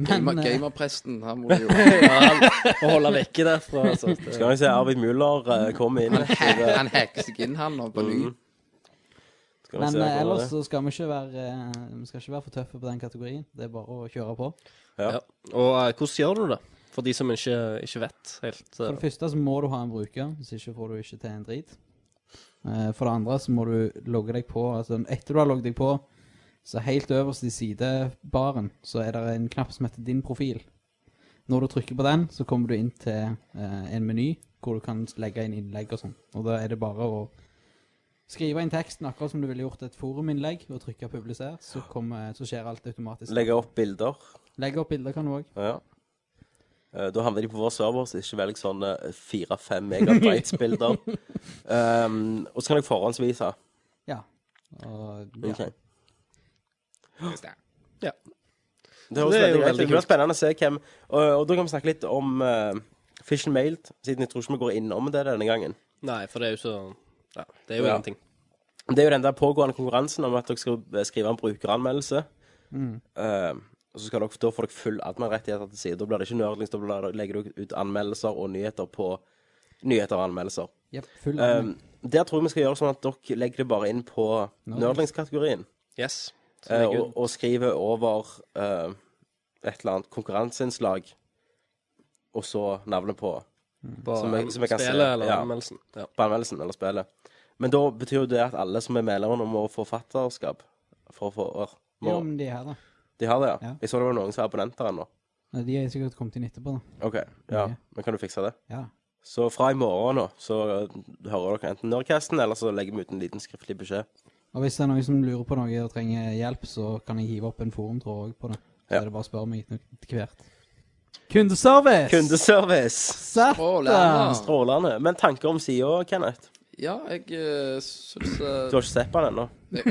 Speaker 1: Men
Speaker 9: Gamer,
Speaker 1: eh,
Speaker 9: gamerpresten, han må jo
Speaker 10: Å holde vekke derfra. Altså.
Speaker 8: Skal vi se Arvid Müller eh, komme inn.
Speaker 9: Han, hack- han hacker seg inn, han, nå, på ny.
Speaker 8: Mm. Skal vi
Speaker 1: Men eh,
Speaker 8: se hvordan
Speaker 1: ellers
Speaker 8: det er.
Speaker 1: så skal vi ikke være eh, Vi skal ikke være for tøffe på den kategorien. Det er bare å kjøre på.
Speaker 8: Ja.
Speaker 10: Ja. Og eh, hvordan gjør du det? For de som ikke, ikke vet helt.
Speaker 1: For
Speaker 10: eh,
Speaker 1: det første så må du ha en bruker, hvis ikke får du ikke til en drit. Eh, For det andre så må du logge deg på. Altså etter du har logget deg på, så helt øverst i sidebaren så er det en knapp som heter 'din profil'. Når du trykker på den, så kommer du inn til eh, en meny hvor du kan legge inn innlegg og sånn. Og da er det bare å skrive inn teksten akkurat som du ville gjort et foruminnlegg, og trykke 'publiser', så, kommer, så skjer alt automatisk.
Speaker 8: Legge opp bilder.
Speaker 1: Legg opp bilder kan du òg.
Speaker 8: Ja. Eh, Da havner de på vår server, så ikke velg sånne fire-fem megabytes-bilder. um, og så kan jeg forhåndsvise.
Speaker 1: Ja. Og, ja.
Speaker 8: Ok.
Speaker 10: Ja.
Speaker 8: Det, høres
Speaker 10: Det er jo
Speaker 8: veldig greit ut.
Speaker 10: veldig
Speaker 8: det blir spennende å se hvem Og, og da kan vi snakke litt om eh, Fish and Mailed, siden jeg tror ikke vi går innom det denne gangen.
Speaker 10: Nei, for det er jo så ja, Det er jo
Speaker 8: Ja.
Speaker 10: ingenting.
Speaker 8: Det er jo den der pågående konkurransen om at dere skal eh, skrive en brukeranmeldelse.
Speaker 10: Mm.
Speaker 8: Eh, og så skal dere, da får dere full admin-rettigheter til side. Da blir det ikke nerdlings, da blir det- legger dere ut anmeldelser og nyheter på nyheter og anmeldelser.
Speaker 1: Jep, full
Speaker 10: Mm.
Speaker 8: Eh, der tror jeg vi skal gjøre sånn at dere legger det bare inn på nerdlingskategorien.
Speaker 10: Yes. Så
Speaker 8: eh,
Speaker 10: legger
Speaker 8: og, og skriver over eh, et eller annet konkurranseinnslag, og så navnet på
Speaker 10: ut på
Speaker 8: som jeg- som jeg kan se.
Speaker 10: spillet eller
Speaker 8: Ja.
Speaker 10: anmeldelsen. Ja.
Speaker 8: på anmeldelsen eller spillet. Men da betyr jo det at alle som er medlemmer nå må få forfatterskap for å få år. Må,
Speaker 1: Jo, men de her, da.
Speaker 8: de har det, ja.
Speaker 1: Ja.
Speaker 8: Jeg så det var noen som er abonnenter ennå.
Speaker 1: Nei, De er sikkert kommet inn etterpå, da.
Speaker 8: OK, ja.
Speaker 1: Ok.
Speaker 8: Men kan du fikse det?
Speaker 1: Ja.
Speaker 8: Så fra i morgen nå, så eh, hører dere enten Nerdcasten, eller så legger vi ut en liten skriftlig beskjed.
Speaker 1: Og hvis det er noen som lurer på noe og trenger hjelp, så kan jeg hive opp en forumtråd òg på det. Så
Speaker 8: Ja.
Speaker 1: er det bare å spørre meg etter hvert. Kundeservice!
Speaker 8: Kundeservice!
Speaker 1: Satan!
Speaker 8: Strålende. Men tanker om sida, Kenneth?
Speaker 9: Ja, jeg uh, syns
Speaker 8: Du
Speaker 9: eh,
Speaker 8: har ikke sett på den ennå?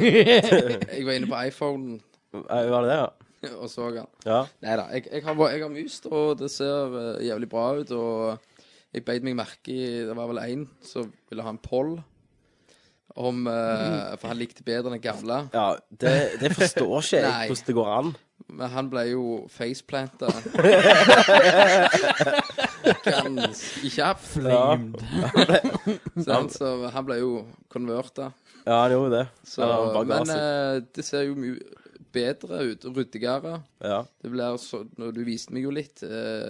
Speaker 9: Jeg var inne på iPhonen
Speaker 8: Eh, Var det det, ja?
Speaker 9: og så den.
Speaker 8: Ja.
Speaker 9: Nei da, jeg, jeg, har, bare- jeg har must, og det ser eh, jævlig bra ut. Og jeg beit meg merke i Det var vel én som ville ha en poll. Om, eh, for han likte bedre enn den gamle.
Speaker 8: ja det, det forstår ikke jeg
Speaker 9: Nei.
Speaker 8: hvordan det går an.
Speaker 9: Men han ble jo faceplanta. Ganske kjapt.
Speaker 1: Blamed.
Speaker 9: sant? Så han ble jo konverta.
Speaker 8: Ja, han gjorde det.
Speaker 9: Så,
Speaker 8: ja, han bare ga
Speaker 9: men
Speaker 8: seg.
Speaker 9: eh, det ser jo mye bedre ut, og ryddigere.
Speaker 8: Ja.
Speaker 9: Det blir så, når Du viste meg jo litt eh,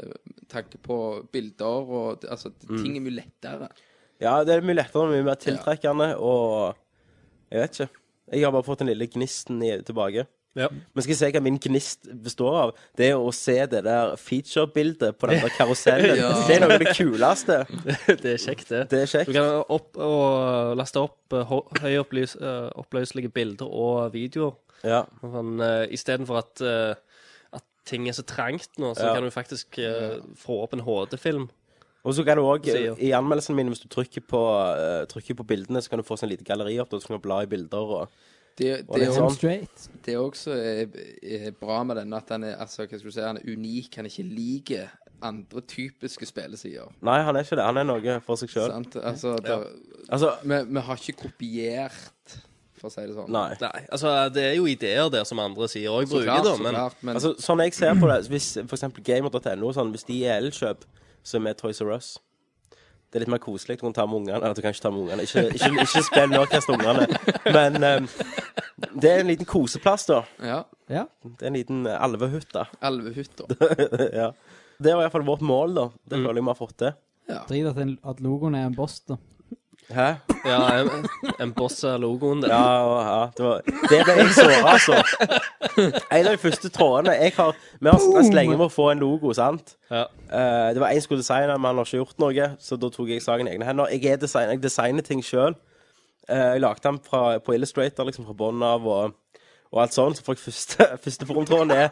Speaker 9: tanke på bilder og det- Altså, det-
Speaker 8: Mm.
Speaker 9: ting er mye lettere.
Speaker 8: Ja, det er mye lettere og mye mer tiltrekkende, og jeg vet ikke. Jeg har bare fått den lille gnisten i, tilbake.
Speaker 10: Ja.
Speaker 8: Men skal jeg se hva min gnist består av? Det er å se det der feature-bildet på den der karusellen.
Speaker 9: Ja.
Speaker 8: Det er noe av det kuleste.
Speaker 10: det er kjekt, det.
Speaker 8: Det er
Speaker 10: Du
Speaker 8: kjekt.
Speaker 10: kan opp og laste opp eh, hå- høyopplys- eh, oppløselige bilder og videoer.
Speaker 8: Ja.
Speaker 10: Sånn, eh, Istedenfor at, eh, at ting er så trangt nå, så
Speaker 8: Ja.
Speaker 10: kan du faktisk eh, få opp en HD-film.
Speaker 8: Og så kan du òg,
Speaker 10: Sier.
Speaker 8: i anmeldelsen min, hvis du trykker på, eh, trykker på bildene, så kan du få sånn lite galleri opp, og så kan du bla i bilder og
Speaker 9: Det,
Speaker 8: Og
Speaker 9: det,
Speaker 8: litt
Speaker 9: er
Speaker 8: sånn.
Speaker 9: også,
Speaker 1: I'm straight.
Speaker 9: det er også er, er bra med denne at han er, altså, hva skal du si, han er unik. Han ikke liker andre typiske spillesider.
Speaker 8: Nei, han er ikke det. Han er noe for seg sjøl.
Speaker 9: Sant? Altså, der,
Speaker 8: Altså,
Speaker 9: vi, vi har ikke kopiert, for å si det sånn.
Speaker 8: nei.
Speaker 10: Nei, altså Det er jo ideer der som andre sier òg
Speaker 9: så
Speaker 10: bruker,
Speaker 9: klart,
Speaker 10: da,
Speaker 9: så
Speaker 10: men
Speaker 9: klart, men
Speaker 8: Altså, sånn jeg ser på det, hvis for eksempel gamer.no, sånn, hvis de er elkjøp, så er vi Toys R Us. Det er litt mer koselig. Du kan ta med ungene. Eller du kan ikke ta med ungene. Ikke, ikke, ikke spill Nordkast ungene. Men ehm, det er en liten koseplass, da.
Speaker 9: ja,
Speaker 1: Ja.
Speaker 8: Det er en liten eh, alvehytte.
Speaker 9: Alvehytta.
Speaker 8: ja. Det var iallfall vårt mål, da. Det føler jeg vi har fått til.
Speaker 1: Drit at, en- at logoen er en boss, da.
Speaker 8: Hæ?
Speaker 10: Ja, em- embossa logoen der.
Speaker 8: Ja, og- ja det, var, det ble jeg såra, altså. En av de første trådene jeg har Vi har stress lenge med å få en logo, sant?
Speaker 10: Ja.
Speaker 8: Eh, det var en som skulle designe, men han har ikke gjort noe, så da tok jeg saken i egne hender. Jeg, er design, jeg designer ting sjøl. Eh, jeg lagde den fra, på Illustrator, liksom fra bunnen av, og, og alt sånt. Så fikk første, første forumtråden er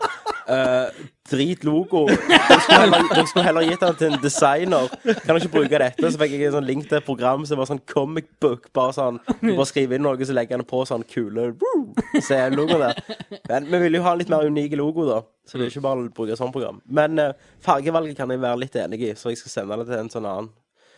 Speaker 8: eh, Drit logo. Dere skulle, heller- dere skulle heller gitt den til en designer. Kan dere ikke bruke dette? Så fikk jeg en sånn link til et program som var sånn comic book. Bare sånn, du bare skriver inn noe, så legger han på sånn kule woo, Så er logoen der. Men vi ville jo ha en litt mer unik logo, da. Så det er ikke bare å bruke sånn program. Men eh, fargevalget kan jeg være litt enig i, så jeg skal sende det til en sånn annen.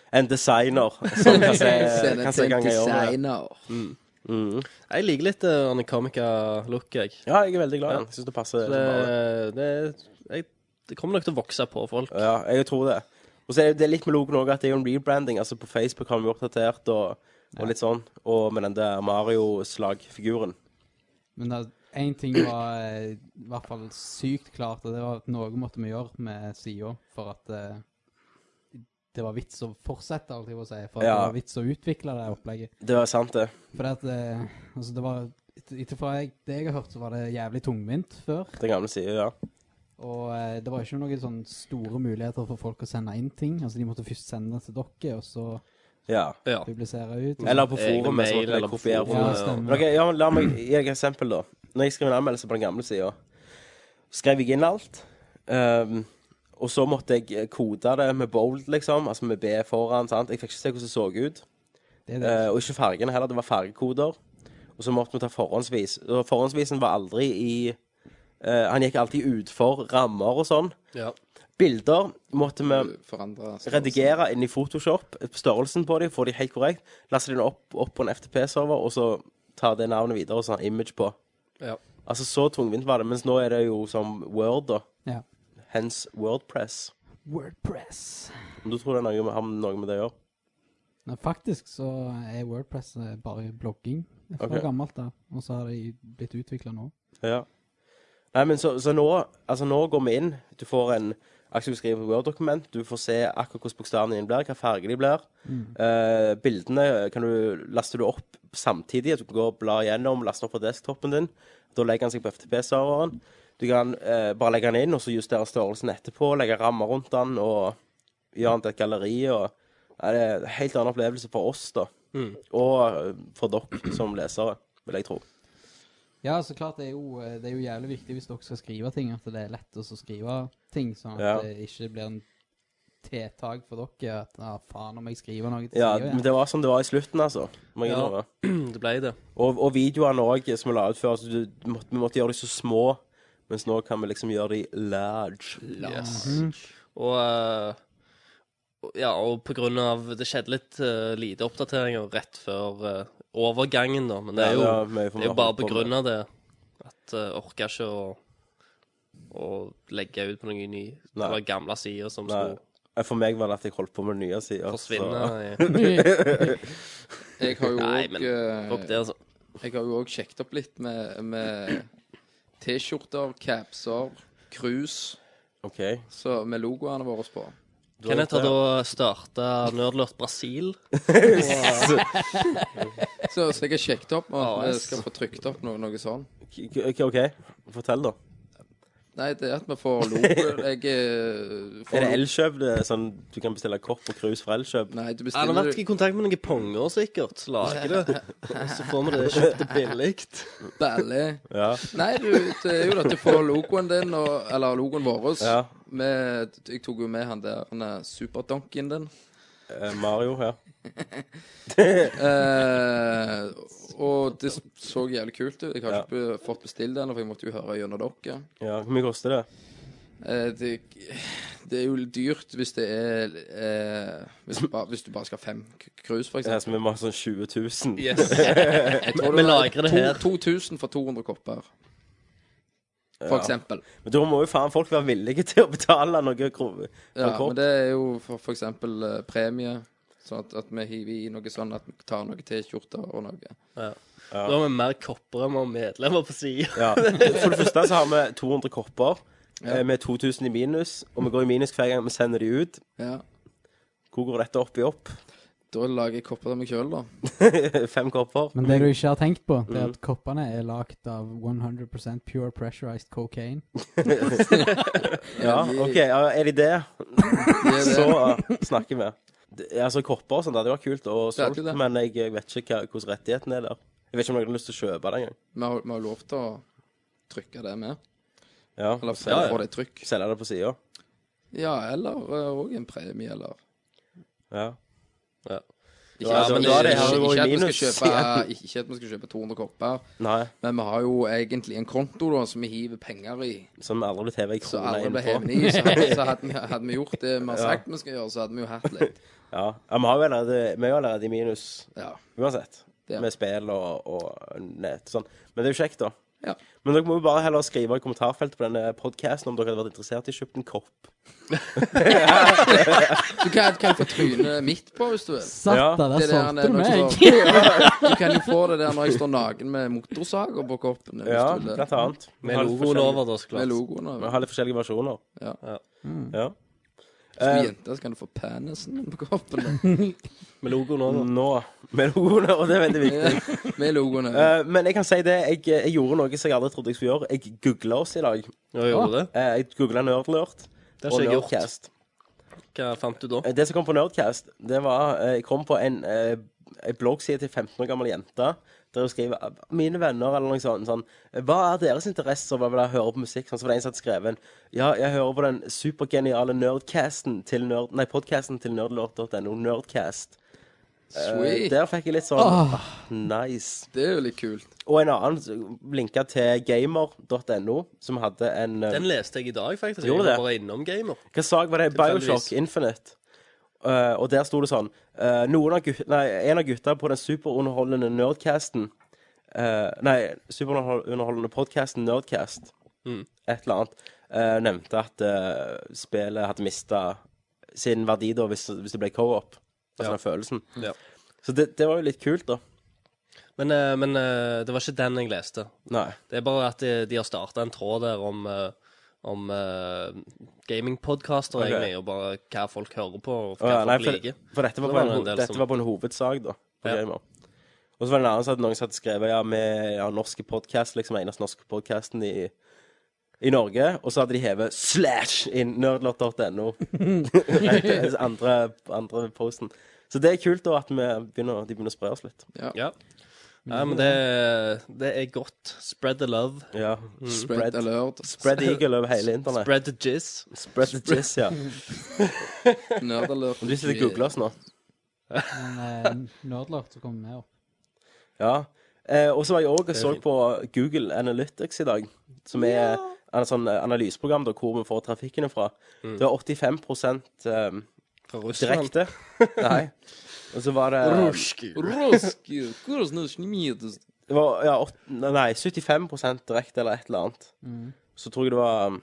Speaker 8: En designer som kan se,
Speaker 9: Send
Speaker 8: kan
Speaker 9: det
Speaker 8: se
Speaker 9: til en
Speaker 8: ganger i året. Mm.
Speaker 9: designer.
Speaker 10: Jeg liker litt uh, comica-look, jeg.
Speaker 8: Ja, jeg er veldig glad i den. Jeg synes det passer. som
Speaker 10: Det,
Speaker 8: bare-
Speaker 10: det, jeg, det kommer nok til å vokse på folk.
Speaker 8: Ja, jeg tror det. Og så er det- det er litt med logoen òg at det er jo en rebranding. Altså På Facebook har vi oppdatert og, og litt sånn. Og med den der Mario-slagfiguren.
Speaker 1: Men da, en ting var eh, i hvert fall sykt klart, og det var at noe måtte vi gjøre med sida for at eh, det var vits å fortsette, alt jeg må si, for at
Speaker 8: Ja.
Speaker 1: det var vits å utvikle det opplegget.
Speaker 8: Det var sant, det.
Speaker 1: For at, eh, altså det var, etter fra jeg, det jeg har hørt, så var det jævlig tungvint før,
Speaker 8: Den gamle sida, ja.
Speaker 1: og eh, det var ikke noen sånn store muligheter for folk å sende inn ting, altså de måtte først sende det til dere, og så
Speaker 8: ja.
Speaker 10: Ja.
Speaker 1: publisere ut.
Speaker 8: Eller på
Speaker 10: Egne
Speaker 8: forumet. så
Speaker 10: mail,
Speaker 8: kan jeg
Speaker 10: eller på
Speaker 8: kopiere
Speaker 10: forumet,
Speaker 8: forumet.
Speaker 1: ja, stemmer.
Speaker 8: Men ok, ja, men La meg gi deg et eksempel, da. Når jeg skrev en anmeldelse på den gamle sida, skrev jeg inn alt. ehm, og så måtte jeg kode det med bold, liksom. Altså med B foran. sant? Jeg fikk ikke se hvordan det så ut.
Speaker 1: Det er det.
Speaker 8: Eh, og ikke fargene heller, det var fargekoder. Og så måtte vi ta forhåndsvis. Og forhåndsvisen var aldri i eh, Han gikk alltid utfor rammer og sånn.
Speaker 10: Ja.
Speaker 8: Bilder måtte vi
Speaker 9: Forandre
Speaker 8: redigere inn i Photoshop. Størrelsen på dem, få de helt korrekt. Laste dem opp, opp på en FTP-server, og så ta det navnet videre og sånn image på.
Speaker 10: Ja.
Speaker 8: Altså, så tungvint var det. Mens nå er det jo som Word, da.
Speaker 1: Ja.
Speaker 8: Hens Wordpress.
Speaker 1: Wordpress.
Speaker 8: Om du tror det er noe med, har noe med det å gjøre?
Speaker 1: Nei, faktisk så er Wordpress eh, bare blogging fra
Speaker 8: Ok.
Speaker 1: gammelt da, og så har de blitt utviklet nå.
Speaker 8: Ja. Nei, men så, så nå, altså nå går vi inn. Du får en Aksel skriver et Word-dokument. Du får se akkurat hvordan bokstavene dine blir, hva farge de blir. Eh, bildene kan du, laster du opp samtidig. at Du går og blar gjennom, laster opp på desktopen din. Da legger han seg på FTP-serveren. Du kan eh, bare legge den inn, og så justere størrelsen etterpå. Legge rammer rundt den, og gjøre den til et galleri. Og, Nei, det er en helt annen opplevelse for oss, da. Og eh, for dere som lesere, vil jeg tro.
Speaker 1: Ja, så klart det er, jo, eh, det er jo jævlig viktig hvis dere skal skrive ting, at det er lett å så skrive ting, sånn at
Speaker 8: Ja.
Speaker 1: det ikke blir en tiltak for dere, at ah, faen om jeg skriver noe til
Speaker 8: Ja,
Speaker 1: siden,
Speaker 8: men det var som det var i slutten, altså. Må jeg
Speaker 10: Ja.
Speaker 8: innrømme.
Speaker 10: Det ble det.
Speaker 8: Og, og videoene òg, som vi la ut før. Altså, du, du måtte, vi måtte gjøre de så små, mens nå kan vi liksom gjøre de large.
Speaker 10: Yes.
Speaker 1: Mm.
Speaker 10: Og eh, ja, og på grunn av Det skjedde litt eh, lite oppdateringer rett før eh, overgangen, da. Men det er jo,
Speaker 8: Ja, det er mye for
Speaker 10: det er
Speaker 8: meg
Speaker 10: jo
Speaker 8: å
Speaker 10: bare
Speaker 8: holde på
Speaker 10: på
Speaker 8: med.
Speaker 10: grunn av det. At jeg orker ikke å, å legge ut på noen ny
Speaker 8: Nei.
Speaker 10: Eller gamle sider som
Speaker 8: Nei.
Speaker 10: skulle
Speaker 8: Eh, For meg var det at jeg holdt på med nye sider.
Speaker 10: forsvinne.
Speaker 8: så-
Speaker 10: i-
Speaker 9: Jeg har jo
Speaker 10: Nei,
Speaker 9: også,
Speaker 10: men
Speaker 9: eh,
Speaker 10: fuck det, altså.
Speaker 9: Jeg har jo òg sjekket opp litt med, med T-skjorter, capser, krus
Speaker 8: OK.
Speaker 9: så med logoene våre på.
Speaker 10: Kenneth har da starta Nerdlert Brasil.
Speaker 9: Så, så jeg har sjekket opp med
Speaker 8: Ah,
Speaker 9: at vi
Speaker 10: AS.
Speaker 9: skal få trykt opp noe, noe sånn.
Speaker 8: K- k- OK, fortell, da.
Speaker 9: Nei, det er at vi får logo Jeg eh,
Speaker 8: Er
Speaker 9: får
Speaker 8: det
Speaker 9: logo.
Speaker 8: Elkjøp? Det er sånn, du kan bestille kopp og krus fra Elkjøp?
Speaker 9: Nei, du
Speaker 10: Han har
Speaker 9: bestiller
Speaker 10: vært i kontakt med noen ponger, sikkert. Så lager det. Og så får vi det kjøpt billig.
Speaker 9: ballet.
Speaker 8: Ja.
Speaker 9: Nei, du, det er jo at du får logoen din, og, eller logoen vår.
Speaker 8: Ja.
Speaker 9: Med, jeg tok jo med han der han er superdonken din.
Speaker 8: Eh, Mario, ja.
Speaker 9: Eh, og det så jævlig kult ut. Jeg har ikke be- fått bestilt den, for jeg måtte jo høre gjennom dere.
Speaker 8: ja. Hvor mye koster det?
Speaker 9: Eh, det, det er jo litt dyrt hvis det er eh, hvis, du bare, hvis du bare skal ha fem k- krus, for
Speaker 8: Det er
Speaker 9: eksempel.
Speaker 8: som vi må ha sånn 20 000.
Speaker 9: Jeg tror
Speaker 10: Vi
Speaker 9: det var
Speaker 10: lagrer det
Speaker 9: to-
Speaker 10: her.
Speaker 9: 2000 for 200 kopper. For eksempel.
Speaker 8: Men da må jo faen folk være villige til å betale noe kro- for
Speaker 9: Ja,
Speaker 8: kopp.
Speaker 9: men det er jo for, for eksempel eh, premie. Sånn at, at vi hiver i noe sånn at vi tar noe T-skjorter og noe.
Speaker 10: Nå har vi mer kopper enn vi har medlemmer på sida.
Speaker 8: Ja. For det første så har vi 200 kopper eh, med 2000 i minus, og vi går i minus hver gang vi sender de ut.
Speaker 9: Ja.
Speaker 8: Hvor går dette opp i opp?
Speaker 9: Da lager jeg kopper til meg sjøl, da.
Speaker 8: Fem kopper.
Speaker 1: Men det du ikke har tenkt på, det er
Speaker 8: Mm.
Speaker 1: at koppene er lagd av 100 pure pressurized cocaine.
Speaker 8: Ja, OK, ja, er de det, så eh, snakker vi. Det- Altså Kopper og sånn, det hadde vært kult og
Speaker 9: Det er
Speaker 8: solgt,
Speaker 9: ikke det.
Speaker 8: men jeg, jeg vet ikke hva, hvordan rettigheten er der. Jeg vet ikke om noen har lyst til å kjøpe det engang.
Speaker 9: Vi har vi har lov til å trykke det med.
Speaker 8: Ja,
Speaker 9: Eller
Speaker 8: selge-
Speaker 9: få få det i trykk.
Speaker 8: Selge det på sida.
Speaker 9: Ja, eller òg en premie, eller
Speaker 8: Ja.
Speaker 9: Ikke,
Speaker 8: Ja,
Speaker 9: altså,
Speaker 8: men
Speaker 9: ikke,
Speaker 8: da er det-
Speaker 9: ikke,
Speaker 8: har det vært
Speaker 9: ikke, at vi
Speaker 8: minus
Speaker 9: skal kjøpe, ikke at vi skal kjøpe 200 kopper,
Speaker 8: Nei,
Speaker 9: men vi har jo egentlig en konto da som vi hiver penger i.
Speaker 8: som aldri blitt hevet ei
Speaker 9: Så
Speaker 8: krone
Speaker 9: alle
Speaker 8: inn
Speaker 9: ble
Speaker 8: på.
Speaker 9: hevet i. Så, så hadde, vi, hadde vi gjort det vi har sagt vi skal gjøre, så hadde vi jo hatt litt.
Speaker 8: Ja. ja, vi har jo allerede, vi er jo allerede i minus
Speaker 9: Ja.
Speaker 8: uansett.
Speaker 9: Det er-
Speaker 8: Med spill og, og nett og sånn. Men det er jo kjekt, da.
Speaker 9: Ja.
Speaker 8: Men dere må jo bare heller skrive i kommentarfeltet på denne podkasten om dere hadde vært interessert i å kjøpe en kopp.
Speaker 9: Du kan, kan få trynet mitt på hvis du vil.
Speaker 8: Ja,
Speaker 1: Satan, der
Speaker 9: Det der
Speaker 1: solgte du
Speaker 9: når jeg
Speaker 1: meg!
Speaker 9: står- Du kan jo få det der når jeg står naken med motorsager på koppen. Hvis
Speaker 8: Ja,
Speaker 9: du vil.
Speaker 8: blant annet. Vi
Speaker 10: Med
Speaker 8: har litt
Speaker 10: logoen
Speaker 8: forskjellige-
Speaker 10: over, da, så
Speaker 9: Med
Speaker 10: klart.
Speaker 9: logoen
Speaker 8: Vi
Speaker 9: og
Speaker 8: har litt forskjellige versjoner.
Speaker 9: Ja.
Speaker 8: Ja.
Speaker 10: Mm.
Speaker 9: Som jente så kan du få penisen på koppen. da.
Speaker 10: Med logoen over.
Speaker 8: Nå med logoene, og det er veldig viktig.
Speaker 9: Med logoen. ja.
Speaker 8: Eh, men jeg kan si det, jeg, jeg gjorde noe som jeg aldri trodde jeg skulle gjøre. Jeg googla oss i dag.
Speaker 10: Ja,
Speaker 9: Ah.
Speaker 10: gjorde du det?
Speaker 8: Eh, jeg googla Nerdlurt
Speaker 10: Det
Speaker 8: og
Speaker 10: har ikke jeg gjort.
Speaker 8: Nerdcast.
Speaker 10: Hva fant du da?
Speaker 8: Eh, Det som kom på Nerdcast, det var eh, Jeg kom på en, eh, en bloggside til 15 år gammel jente. Der hun skriver eh, 'Mine venner' eller noe sånt. Sånn, 'Hva er deres interesser?' Hva vil jeg høre på musikk? Sånn, så var det en som hadde skrevet en 'Ja, jeg hører på den supergeniale nerdcasten til nerd... Nei, podcasten til nerdlurt.no. Nerdcast'. Eh,
Speaker 9: Sweet.
Speaker 8: Der fikk jeg litt sånn ah, Nice.
Speaker 9: Det er jo litt kult.
Speaker 8: Og en annen linka til gamer.no, som hadde en eh,
Speaker 10: Den leste jeg i dag, faktisk.
Speaker 8: Gjorde
Speaker 10: jeg
Speaker 8: det?
Speaker 10: var bare innom Gamer.
Speaker 8: Hva sak var det?
Speaker 10: Tilfeldigvis.
Speaker 8: Bioshock Infinite. Eh, og der sto det sånn eh, noen av gut- nei, En av gutta på den superunderholdende nerdcasten eh, Nei, superunderholdende podcasten Nerdcast,
Speaker 10: Mm.
Speaker 8: et eller annet, eh, nevnte at eh, spillet hadde mista sin verdi da hvis, hvis det ble co-op. Altså
Speaker 10: Ja.
Speaker 8: den følelsen.
Speaker 10: Ja.
Speaker 8: Så det, det var jo litt kult, da.
Speaker 10: Men, eh, men eh, det var ikke den jeg leste.
Speaker 8: Nei.
Speaker 10: Det er bare at de, de har starta en tråd der om, eh, om eh, gamingpodcaster,
Speaker 8: Ok.
Speaker 10: egentlig, og bare hva folk hører på, og
Speaker 8: Å,
Speaker 10: hva
Speaker 8: ja, nei,
Speaker 10: folk
Speaker 8: for,
Speaker 10: liker.
Speaker 8: for dette, var
Speaker 10: Så
Speaker 8: på
Speaker 10: var
Speaker 8: en,
Speaker 10: det en
Speaker 8: ho-
Speaker 10: del
Speaker 8: dette
Speaker 10: som-
Speaker 8: var på en hovedsak, da. På
Speaker 10: Ja.
Speaker 8: Gamer. Og så var det en annen som hadde noen som hadde skrevet ja, med ja, norske podkast, liksom den eneste norske podkasten i, i Norge. Og så hadde de hevet slash inn nerdlot.no. Rett- andre, andre posten. Så det er kult da at vi begynner, de begynner å spre oss litt.
Speaker 10: Ja. ja, men det, det er godt. Spread the love.
Speaker 8: Ja.
Speaker 9: Spread
Speaker 8: Spread,
Speaker 9: alert.
Speaker 8: spread eagle over hele internett.
Speaker 10: Spread the jizz.
Speaker 8: Spread the jizz, ja.
Speaker 9: Nerd alert.
Speaker 8: Du sitter og googler oss nå.
Speaker 1: Men eh, Nerdlord som kommer med opp.
Speaker 8: Ja. Eh, og så var jeg òg og
Speaker 10: er
Speaker 8: så
Speaker 10: fint.
Speaker 8: på Google Analytics i dag, som er et sånn analyseprogram da, hvor vi får trafikken fra.
Speaker 10: Mm.
Speaker 8: Det var 85 eh,
Speaker 10: Fra Russland.
Speaker 8: direkte. Nei. Og så var det,
Speaker 9: Roski, hvordan er det sånn snimides?
Speaker 8: det var, ja, åt- Nei, 75 direkte eller et eller annet. Så tror jeg det var um,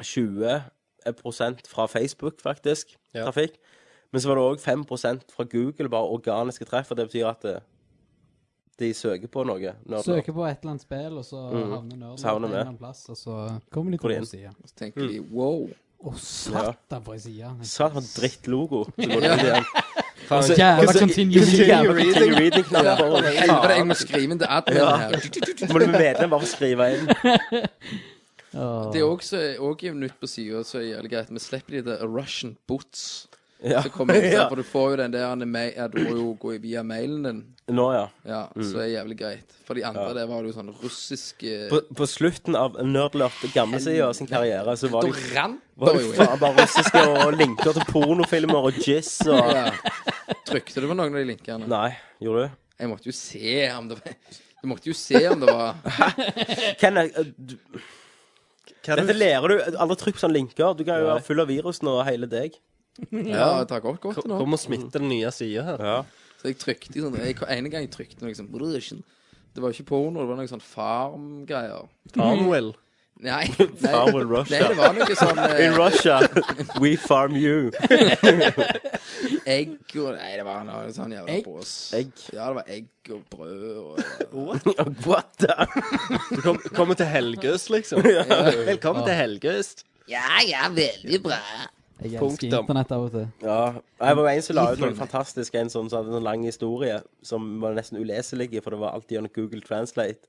Speaker 8: 20 fra Facebook, faktisk,
Speaker 10: Ja.
Speaker 8: trafikk. Men så var det òg 5 fra Google, bare organiske treff. Og det betyr at eh, de søker på noe. når-
Speaker 1: Søker på et eller annet spill, og så havner
Speaker 8: Mm. Så
Speaker 1: Nerdlord
Speaker 8: havner
Speaker 1: en
Speaker 8: vi.
Speaker 1: eller annen plass, og så kommer de
Speaker 8: Hvor
Speaker 1: til
Speaker 8: inn?
Speaker 1: å si ja.
Speaker 9: Så tenker de
Speaker 8: Mm.
Speaker 9: wow.
Speaker 1: Å, satan, for ei side.
Speaker 8: Satan, for en drittlogo. Så går det Altså, ut igjen.
Speaker 10: Faen,
Speaker 1: Jævla
Speaker 8: Så-
Speaker 1: continue
Speaker 8: så jævla
Speaker 1: reading.
Speaker 8: continue reading-knapp
Speaker 9: Ja,
Speaker 8: over.
Speaker 9: Helvete, jeg må skrive inn til admin her.
Speaker 8: Så må du bli medlem bare for å skrive inn.
Speaker 9: Det er også, også nytt på sida, så er det jævlig greit. Vi slipper de der Russian bots.
Speaker 8: Ja.
Speaker 9: Så kommer det,
Speaker 8: Ja.
Speaker 9: for du får jo den der han er ma- ja, Du må jo gå via mailen din.
Speaker 8: Nå, ja.
Speaker 9: Ja, Så er det jævlig greit. For de andre der var det jo sånn russisk eh,
Speaker 8: På, på slutten av Nerdlert gamlesida sin karriere, så var
Speaker 9: Da
Speaker 8: det
Speaker 9: rant
Speaker 8: var
Speaker 9: det
Speaker 8: det
Speaker 9: jo inn.
Speaker 8: faen bare russiske og linker til pornofilmer og jizz og
Speaker 9: Ja. Trykte du på noen av de linkene?
Speaker 8: Nei, gjorde du?
Speaker 9: Jeg måtte jo se om det var Du måtte jo se om det var
Speaker 8: Kenneth, eh, du-
Speaker 10: hva er
Speaker 8: dette
Speaker 10: det-
Speaker 8: lærer du. Aldri trykk på sånne linker. Du kan jo
Speaker 10: Nei.
Speaker 8: være full av virus nå og hele deg.
Speaker 9: Ja, det tar godt godt nå.
Speaker 10: Kom og smitte den nye sida her.
Speaker 9: Så jeg trykte i sånn jeg, En gang jeg trykte noe sånn Russian. Det var jo ikke porno, det var noe sånn farm-greier.
Speaker 10: Farmwell.
Speaker 9: Nei, nei,
Speaker 8: Farm with
Speaker 9: nei,
Speaker 8: Russia.
Speaker 9: det var noe sånn
Speaker 8: In
Speaker 9: eh,
Speaker 8: Russia, we farm you.
Speaker 9: egg og Nei, det var noe sånn jævla
Speaker 1: Egg?
Speaker 9: bås.
Speaker 8: Egg.
Speaker 9: Ja, det var egg og brød og
Speaker 8: What the?
Speaker 10: Du kom, kommer til Helgøst, liksom. Velkommen til Helgøst.
Speaker 4: Ja, ja, veldig bra.
Speaker 1: Jeg
Speaker 10: Punktum.
Speaker 1: elsker internett av og til.
Speaker 8: Ja. Jeg var jo en som la ut noe fantastisk, en som hadde en sånn lang historie som var nesten uleselig, for det var alltid gjennom Google Translate.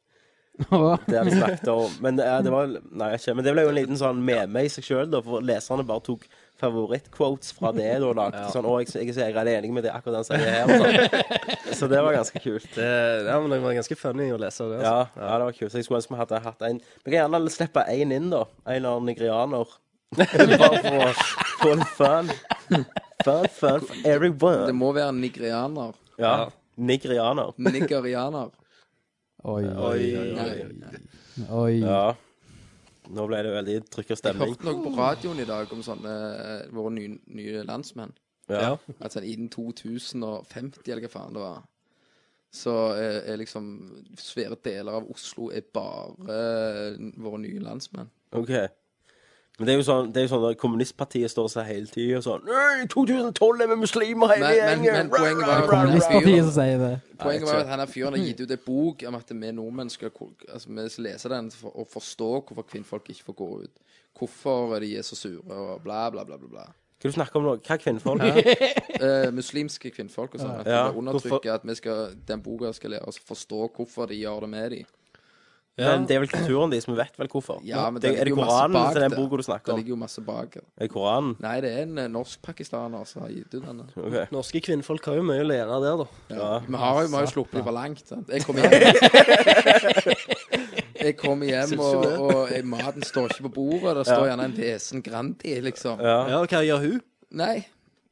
Speaker 8: Det de snakket om. Men eh, det var Nei, ikke. Men det ble jo en liten sånn meme i seg sjøl, da, for leserne bare tok favorittquotes fra det da, og lagde sånn Å, jeg, jeg, jeg er enig med det akkurat det han sier her. Og sånn. Så det var ganske kult.
Speaker 10: Det, ja, men det var ganske funny å lese det. altså.
Speaker 8: Ja, ja, det var kult. Så jeg skulle ønske vi hadde hatt en Vi kan gjerne slippe én inn, da. En eller annen nigerianer. Bare for å få litt fun. Fun, fun for
Speaker 9: Det
Speaker 8: everyone.
Speaker 9: må være nigerianer.
Speaker 8: Ja. Nigerianer.
Speaker 9: Nigerianer.
Speaker 1: Oi,
Speaker 8: Oi, oi, oi.
Speaker 1: oi.
Speaker 8: Ja. Nå ble det veldig trykk og stemning.
Speaker 9: Hørte noe på radioen i dag om sånne eh, våre nye, nye landsmenn.
Speaker 8: Ja.
Speaker 9: At sånn innen 2050, eller hva faen det var, så er, er liksom svære deler av Oslo er bare eh, våre nye landsmenn.
Speaker 8: Ok. Men det er jo sånn, det er jo sånn at kommunistpartiet står seg hele tiden og sånn «Nei, 2012 er vi muslimer hele
Speaker 9: Men- men-
Speaker 8: gjengen!
Speaker 9: men poenget var jo
Speaker 8: Rah, rah, rah, rah,
Speaker 1: Kommunistpartiet som sier det.
Speaker 9: Poenget var jo at han her fyren har gitt ut en bok om at vi nordmenn skal ko- altså, vi skal lese den for, og forstå hvorfor kvinnfolk ikke får gå ut. Hvorfor de er så sure og bla, bla, bla. bla, bla.
Speaker 8: Skal du snakke om noe? Hva er kvinnfolk? Ja.
Speaker 9: Eh, muslimske kvinnfolk og sånn. At
Speaker 8: Ja,
Speaker 9: det undertrykker at vi skal, den boka skal lære oss å forstå hvorfor de gjør det med de.
Speaker 8: Men det er vel kulturen de som vet vel hvorfor?
Speaker 9: Ja, men
Speaker 8: det,
Speaker 9: det
Speaker 8: er det
Speaker 9: ligger jo
Speaker 8: Koranen
Speaker 9: masse bak
Speaker 8: til den
Speaker 9: det.
Speaker 8: boka du
Speaker 9: Det
Speaker 8: snakker om?
Speaker 9: ligger jo masse bak.
Speaker 8: Er det Koranen?
Speaker 9: Nei, det er en eh, norsk-pakistaner som har gitt ut den.
Speaker 8: Ok.
Speaker 10: Norske kvinnfolk har jo mye å lære der, da.
Speaker 9: Ja. Vi har jo vi har jo sluppet det for langt. Sant? Jeg kommer hjem, jeg kommer hjem og, og eh, maten står ikke på bordet. Det står gjerne en vesen Grandi, liksom.
Speaker 8: Ja.
Speaker 10: Ja, hva gjør hun?
Speaker 9: Nei,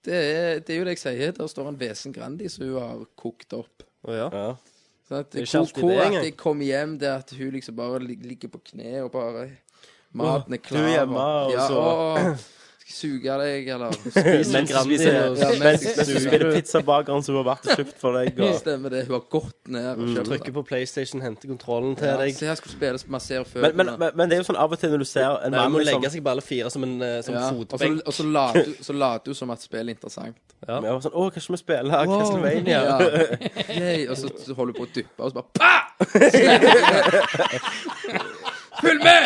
Speaker 9: det er, det er jo det jeg sier. Der står en vesen Grandi som hun har kokt opp.
Speaker 10: Å, ja.
Speaker 8: ja.
Speaker 9: Sånn at,
Speaker 10: er ikke
Speaker 9: hvor
Speaker 10: alltid
Speaker 9: hvor
Speaker 10: det
Speaker 9: at
Speaker 10: engang.
Speaker 9: jeg kom hjem, det at hun liksom bare lig- ligger på kne og bare Maten er
Speaker 8: Åh,
Speaker 9: klar.
Speaker 8: du er hjemme, og
Speaker 9: ja,
Speaker 8: så-
Speaker 9: å, Skal jeg suge deg, eller
Speaker 8: Mens du
Speaker 10: Grandi
Speaker 8: spiser,
Speaker 10: og-
Speaker 9: Ja, mens-
Speaker 8: mens,
Speaker 9: mens
Speaker 8: mens
Speaker 9: du-
Speaker 8: du spiser pizzabakeren som har vært og kjøpt for deg. Og...
Speaker 9: Stemmer det. Hun har gått ned og kjøpt
Speaker 10: Mm, Trykker på PlayStation, henter kontrollen til
Speaker 9: Ja,
Speaker 10: deg.
Speaker 9: Se her skal spilles massere før.
Speaker 8: Men, men, men, men det er jo sånn av og til når du ser en
Speaker 10: Nei,
Speaker 8: mann
Speaker 10: må
Speaker 8: liksom-
Speaker 10: legge seg på alle fire som en eh, som
Speaker 9: ja. Og så-
Speaker 10: fotbenk.
Speaker 9: og så later du- så later hun som at spillet er interessant.
Speaker 8: Ja, og sånn, Å, kanskje vi spiller Castlevania?
Speaker 9: Ja. Yay, og så så holder hun på å duppe, og så bare pa! Følg med!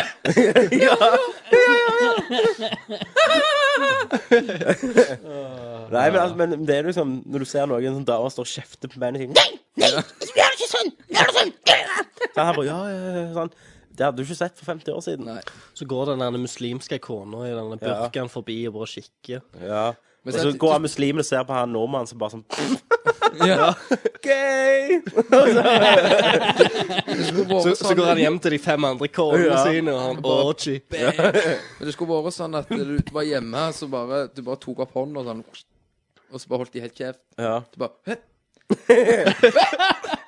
Speaker 8: Nei, men, altså, men det er liksom Når du ser noen som damer står og kjefter på menn og sier Nei! Nei! Du gjør det ikke sånn! Du gjør det sånn! Så han bare ja, ja, ja, ja, sånn. Det hadde du ikke sett for 50 år siden.
Speaker 9: Nei.
Speaker 10: Så går den der muslimske kona i den burkaen forbi og bare kikker.
Speaker 8: Ja.
Speaker 9: Men
Speaker 8: Og
Speaker 9: så-
Speaker 8: så går han muslimen og ser på han nordmannen som bare sånn
Speaker 9: Ja.
Speaker 8: Gay!
Speaker 10: Så, så
Speaker 9: sånn-
Speaker 10: går han hjem til de fem andre konene
Speaker 8: Ja.
Speaker 10: sine, og han orgy.
Speaker 9: Men det skulle vært sånn at du var hjemme, så bare Du bare tok opp hånda og sånn Og så bare holdt de helt kjeft.
Speaker 8: Ja.
Speaker 9: Du bare «Hæ?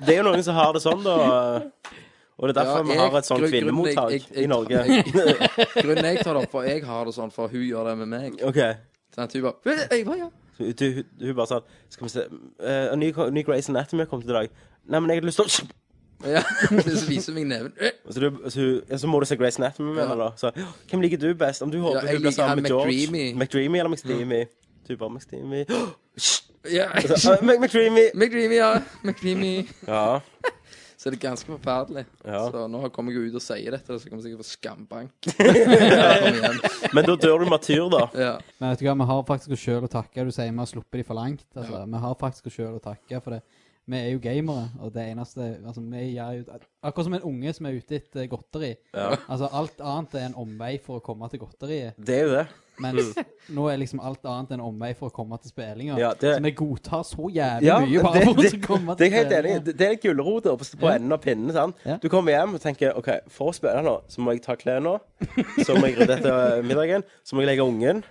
Speaker 8: Det er jo noen som har det sånn, da. Og det er derfor
Speaker 9: Ja,
Speaker 8: vi
Speaker 9: jeg-
Speaker 8: har et sånt
Speaker 9: grunn- grunnen jeg-
Speaker 8: kvinnemottak
Speaker 9: jeg- jeg-
Speaker 8: i Norge.
Speaker 9: Grunnen jeg tar det opp, for jeg har det sånn, for hun gjør det med meg.
Speaker 8: OK.
Speaker 9: Sånn at hun bare «Hæ? jeg bare, ja.
Speaker 8: Så Hun hun- hun bare sånn Skal vi se eh, En ny, ny Grace Anatomy kom til i dag. Nei, men jeg hadde lyst til å
Speaker 9: ja. Så viser hun meg neven. «Hæ?»
Speaker 8: Og Så, du, så, hun- ja, så må du se Grace Anatomy med
Speaker 9: Ja.
Speaker 8: henne, da. Så, «Åh, hvem liker du best? Om du håper
Speaker 9: jeg
Speaker 8: hun blir
Speaker 9: liker han
Speaker 8: sammen med George?
Speaker 9: McDreamy.
Speaker 8: McDreamy eller McSteamy? Du bare McSteamy. «Åh,
Speaker 9: Ja.
Speaker 8: altså, «Åh, Mc- McDreamy!
Speaker 9: McDreamy, ja. McDreamy.
Speaker 8: Ja.
Speaker 9: Så det er ganske forferdelig.
Speaker 8: Ja.
Speaker 9: Så nå kommer jeg jo ut og sier dette, så kommer jeg sikkert få skambank. Når jeg kommer hjem.
Speaker 8: Men da dør du matyr, da.
Speaker 9: Ja.
Speaker 1: Men vet du hva, vi har faktisk oss sjøl å takke. Du sier vi har sluppet de for langt. Altså, Vi har faktisk oss sjøl å takke for det. Vi er jo gamere, og det eneste altså, vi gjør jo, Akkurat som en unge som er ute etter godteri. Altså, alt annet er en omvei for å komme til godteriet.
Speaker 8: Det er jo det.
Speaker 1: Mens nå er liksom alt annet en omvei for å komme til spillinga.
Speaker 8: Mm. Ja, det-
Speaker 1: Så vi godtar så jævlig
Speaker 8: Ja,
Speaker 1: mye
Speaker 8: det-
Speaker 1: bare for
Speaker 8: det-
Speaker 1: å komme
Speaker 8: Det
Speaker 1: til
Speaker 8: er jeg helt enig. i.
Speaker 1: spillinga.
Speaker 8: Det- Det er gulroter på, på enden av pinnen. sant?
Speaker 1: Ja.
Speaker 8: Du kommer hjem og tenker OK, for å spille nå, så må jeg ta klærne nå. Så må jeg rydde etter middagen. Så må jeg legge ungen.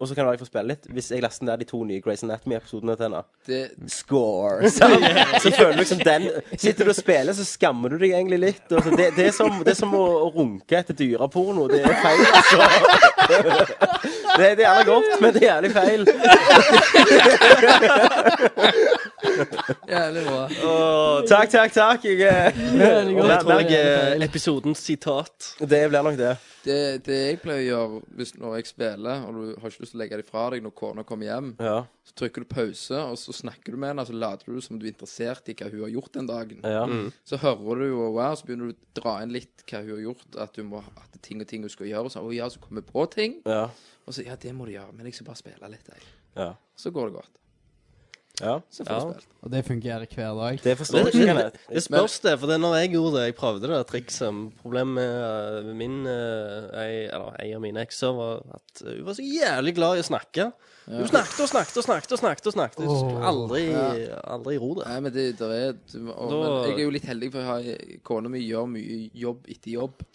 Speaker 8: Og så kan jeg få spille litt hvis jeg laster ned de to nye Grace Anatomy-episodene til henne.
Speaker 9: Det,
Speaker 8: score. sant? Så føler du liksom den Sitter du og spiller, så skammer du deg egentlig litt. Og så det, det, er som, det er som å, å runke etter dyreporno. Det er feil, altså. Det, det er jævlig godt, men det er jævlig feil.
Speaker 9: Jævlig bra.
Speaker 10: Åh, takk, takk, takk. Jeg, eh,
Speaker 1: Veldig godt.
Speaker 10: Mer-
Speaker 1: Jeg tror
Speaker 10: merk,
Speaker 1: jeg er
Speaker 10: eh,
Speaker 1: feil.
Speaker 10: episodens sitat.
Speaker 8: Det blir nok det.
Speaker 9: Det, det jeg pleier å gjøre hvis, når jeg spiller, og du har ikke lyst til å legge det fra deg når kona kommer hjem,
Speaker 8: Ja.
Speaker 9: så trykker du pause, og så snakker du med henne, og så later du som du er interessert i hva hun har gjort den dagen.
Speaker 8: ja.
Speaker 10: Mm.
Speaker 9: Så hører du jo wow, så begynner du å dra inn litt hva hun har gjort, at, du må, at det er ting og ting hun skal gjøre, og så, å ja, så kommer jeg på ting,
Speaker 8: Ja.
Speaker 9: og så ja, det må du gjøre, men jeg skal bare spille litt, jeg.
Speaker 8: Ja.
Speaker 9: Så går det godt.
Speaker 8: ja.
Speaker 9: Så får du
Speaker 10: Ja.
Speaker 9: spilt.
Speaker 1: Og det fungerer hver dag.
Speaker 8: Det forstår jeg
Speaker 10: Det,
Speaker 8: ikke,
Speaker 10: det,
Speaker 8: Kenneth.
Speaker 10: det spørs det, for det er når jeg gjorde det, jeg prøvde det trikset Problemet med eh, min eh, ei, eller ei av mine ekser var at eh, hun var så jævlig glad i å snakke. Hun snakket og snakket og snakket og snakket. og snakket Hun skulle aldri, aldri ro det.
Speaker 9: Nei, men det der er du, å,
Speaker 10: Da-
Speaker 9: men Jeg er jo litt heldig, for jeg har, kona mi gjør mye jobb etter jobb.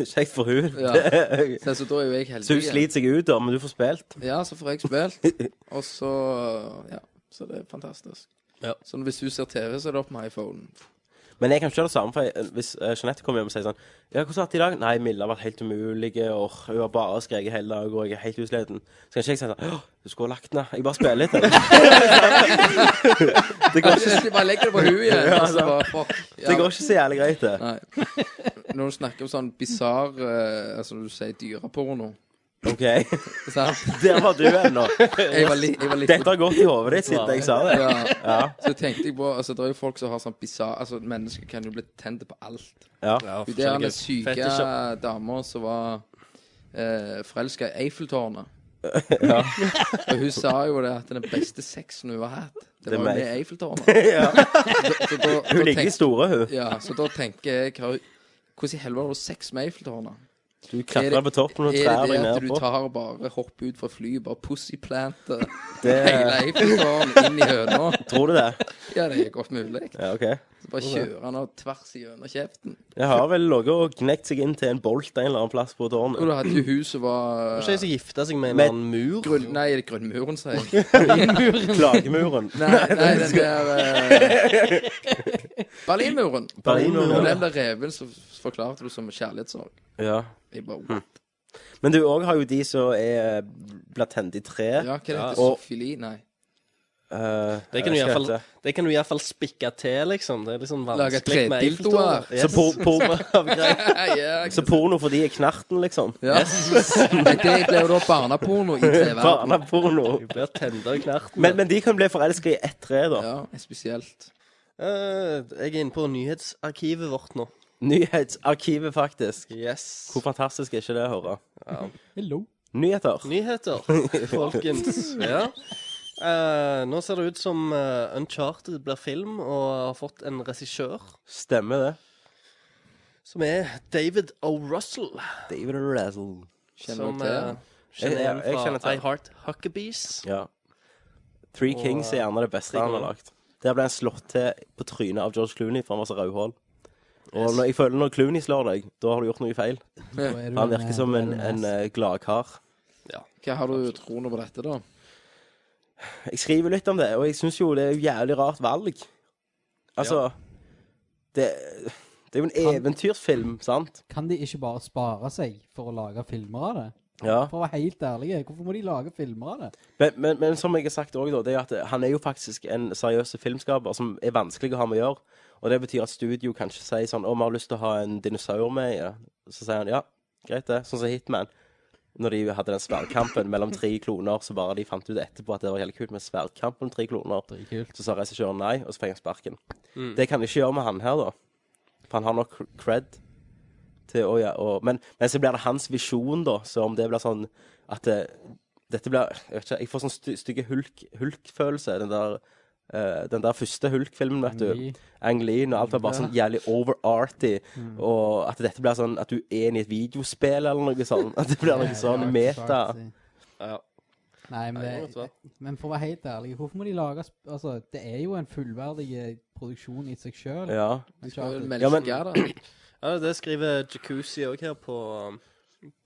Speaker 8: Kjekt for hun.
Speaker 9: Ja.
Speaker 8: Det-
Speaker 9: Så, så da er jo jeg heldig.
Speaker 8: Så hun
Speaker 9: igjen.
Speaker 8: sliter seg ut, da, men du får spilt.
Speaker 9: Ja, så får jeg spilt. Og så Ja, så det er fantastisk.
Speaker 10: Ja.
Speaker 9: Så hvis du ser TV, så er det opp med iPhonen.
Speaker 8: Men jeg kan ikke gjøre det samme, for jeg, hvis eh, Jeanette kommer hjem og sier sånn Ja, hvordan har du hatt det i dag? Nei, Milla har vært helt umulig, og hun har bare skreket hele dag, og jeg er helt utsliten. Så kan ikke jeg si sånn Å, du skulle ha lagt ned. Jeg bare spiller litt. eller?»
Speaker 9: Det går ikke Bare legger det på huet igjen. og så bare, fuck.
Speaker 8: Det
Speaker 9: Ja.
Speaker 8: går ikke så jævlig greit, det.
Speaker 9: Nei. Når du snakker om sånn bisarr eh, Altså, du sier dyreporno.
Speaker 8: OK.
Speaker 9: Sant?
Speaker 8: Der var du ennå.
Speaker 9: Jeg var litt, jeg var litt
Speaker 8: Dette har gått i hodet ditt siden jeg sa det.
Speaker 9: ja. Så tenkte jeg på Altså, det er jo folk som har sånn bisarr Altså, mennesker kan jo bli tente på alt.
Speaker 8: Ja.
Speaker 9: Hun der den syke dama som var eh, forelska i Eiffeltårnet. og hun sa jo det at den beste sexen hun har hatt, det
Speaker 8: Det
Speaker 9: var jo
Speaker 8: med
Speaker 9: med Eiffeltårnet. Så da- da
Speaker 8: Hun ligger i
Speaker 9: tenk-
Speaker 8: store, hun.
Speaker 9: Ja, så da tenker jeg hva- Hvordan i helvete har du sex med Eiffeltårnet?
Speaker 8: Du
Speaker 9: Er
Speaker 8: klatrer
Speaker 9: det-
Speaker 8: på toppen og trær
Speaker 9: Er
Speaker 8: deg
Speaker 9: det det at
Speaker 8: ned
Speaker 9: du
Speaker 8: på.
Speaker 9: tar og bare hopper ut fra flyet, bare pussyplanter hele
Speaker 8: Det,
Speaker 9: Eiffeltårnet inn i høna?
Speaker 8: tror du det?
Speaker 9: Ja, det er godt mulig.
Speaker 8: Ja, OK.
Speaker 9: Så bare kjører han av tvers igjennom kjeften.
Speaker 8: Jeg har vel ligget og knekt seg inn til en bolt en eller annen plass på
Speaker 9: Og
Speaker 8: tårnet.
Speaker 9: da hadde jo hun som var
Speaker 10: Kanskje jeg skal gifte seg med en
Speaker 8: Men-
Speaker 10: annen mur?
Speaker 9: Grunn, nei, er det grunnmuren, sier jeg.
Speaker 8: Klagemuren.
Speaker 9: Nei, nei, den der eh, Berlinmuren.
Speaker 8: Berlinmuren,
Speaker 9: Og
Speaker 8: ja.
Speaker 9: den der reven så forklarte du som kjærlighetssorg.
Speaker 8: Ja.
Speaker 9: Jeg bare
Speaker 8: Hm.
Speaker 9: what?
Speaker 8: Men du òg har jo de som er eh, blant hendt i tre.
Speaker 9: Ja, hva heter det?
Speaker 8: Og-
Speaker 9: Sofili? Nei.
Speaker 8: Eh,
Speaker 10: Det kan du
Speaker 8: hva
Speaker 10: iallfall-
Speaker 8: heter det?
Speaker 10: det kan du iallfall spikke til, liksom. Det er liksom
Speaker 9: Lage
Speaker 10: vanskelig med
Speaker 9: tredildoer.
Speaker 10: Eiffeltårnet.
Speaker 8: Så,
Speaker 10: Yes.
Speaker 8: por por
Speaker 9: ja,
Speaker 8: så porno for de er knerten, liksom?
Speaker 9: ja. Men det ble jo da barneporno i tre verden.
Speaker 8: Barneporno.
Speaker 10: Jeg blir tenda i knerten.
Speaker 8: Men, men de kan bli forelska i ett tre, da.
Speaker 9: Ja, spesielt.
Speaker 10: Eh, jeg er inne på nyhetsarkivet vårt nå.
Speaker 8: Nyhetsarkivet, faktisk.
Speaker 10: Yes.
Speaker 8: Hvor fantastisk er ikke det å høre?
Speaker 1: Hello.
Speaker 8: Nyheter.
Speaker 10: Nyheter, folkens. Ja. Eh, nå ser det ut som eh, Uncharted blir film og har fått en regissør
Speaker 8: Stemmer det.
Speaker 10: som er David O. Russell.
Speaker 8: David Razzle.
Speaker 9: Kjenner
Speaker 10: som
Speaker 9: du til
Speaker 10: eh,
Speaker 9: det?
Speaker 10: kjenner
Speaker 8: Jeg- jeg-
Speaker 10: igjen
Speaker 8: jeg kjenner til
Speaker 10: fra
Speaker 8: han.
Speaker 10: I Heart Huckabees.
Speaker 8: Ja. Three Kings er gjerne det beste han har lagt. Der ble han slått til på trynet av George Clooney, for han var så rødhål. Og når, jeg føler når Clooney slår deg, da har du gjort noe feil.
Speaker 1: Da er du
Speaker 8: Han virker som
Speaker 1: da er
Speaker 8: en,
Speaker 1: du
Speaker 8: en
Speaker 1: ass.
Speaker 8: eh, gladkar.
Speaker 9: Hva har du troende på dette, da?
Speaker 8: Jeg skriver litt om det, og jeg syns jo det er et jævlig rart valg. Altså det, det er jo en eventyrsfilm, sant?
Speaker 1: Kan de ikke bare spare seg for å lage filmer av det?
Speaker 8: Ja.
Speaker 1: For å være helt ærlig, hvorfor må de lage filmer av det?
Speaker 8: Men, men, men som jeg har sagt også, da, det er at han er jo faktisk en seriøs filmskaper som er vanskelig å ha med å gjøre. Og det betyr at studio kanskje sier sånn 'Å, vi har lyst til å ha en dinosaur med i det.' Så sier han 'Ja, greit det', sånn som Hitman. Når de hadde den sverdkampen mellom tre kloner, så bare de fant ut etterpå at det var jævlig kult med sverdkamp om tre kloner.
Speaker 1: Dritkult.
Speaker 8: Så sa regissøren nei, og så fikk han sparken. Det kan de ikke gjøre med han her, da. For han har nok cred til å gjøre og, men, men så blir det hans visjon, da, så om det blir sånn at det, dette blir Jeg vet ikke, jeg får sånn sty, stygge hulk, hulk-følelse. Den der eh, den der første Hulk-filmen, vet
Speaker 1: Ang Lee.
Speaker 8: du. Ang Lee. Når alt var bare sånn jævlig overarty. Og at dette blir sånn at du er inne i et videospill eller noe sånt. At det blir noe sånn meta.
Speaker 10: Ja.
Speaker 1: Nei, men,
Speaker 10: det måtte
Speaker 1: det,
Speaker 10: være.
Speaker 1: men for å være helt ærlig, hvorfor må de lage sp- Altså, det er jo en fullverdig eh, produksjon i seg sjøl.
Speaker 8: Ja.
Speaker 9: Du skal vel
Speaker 8: Ja,
Speaker 9: melke
Speaker 8: men-
Speaker 9: da?
Speaker 10: Ja, det skriver Jacuzzi òg her på, um,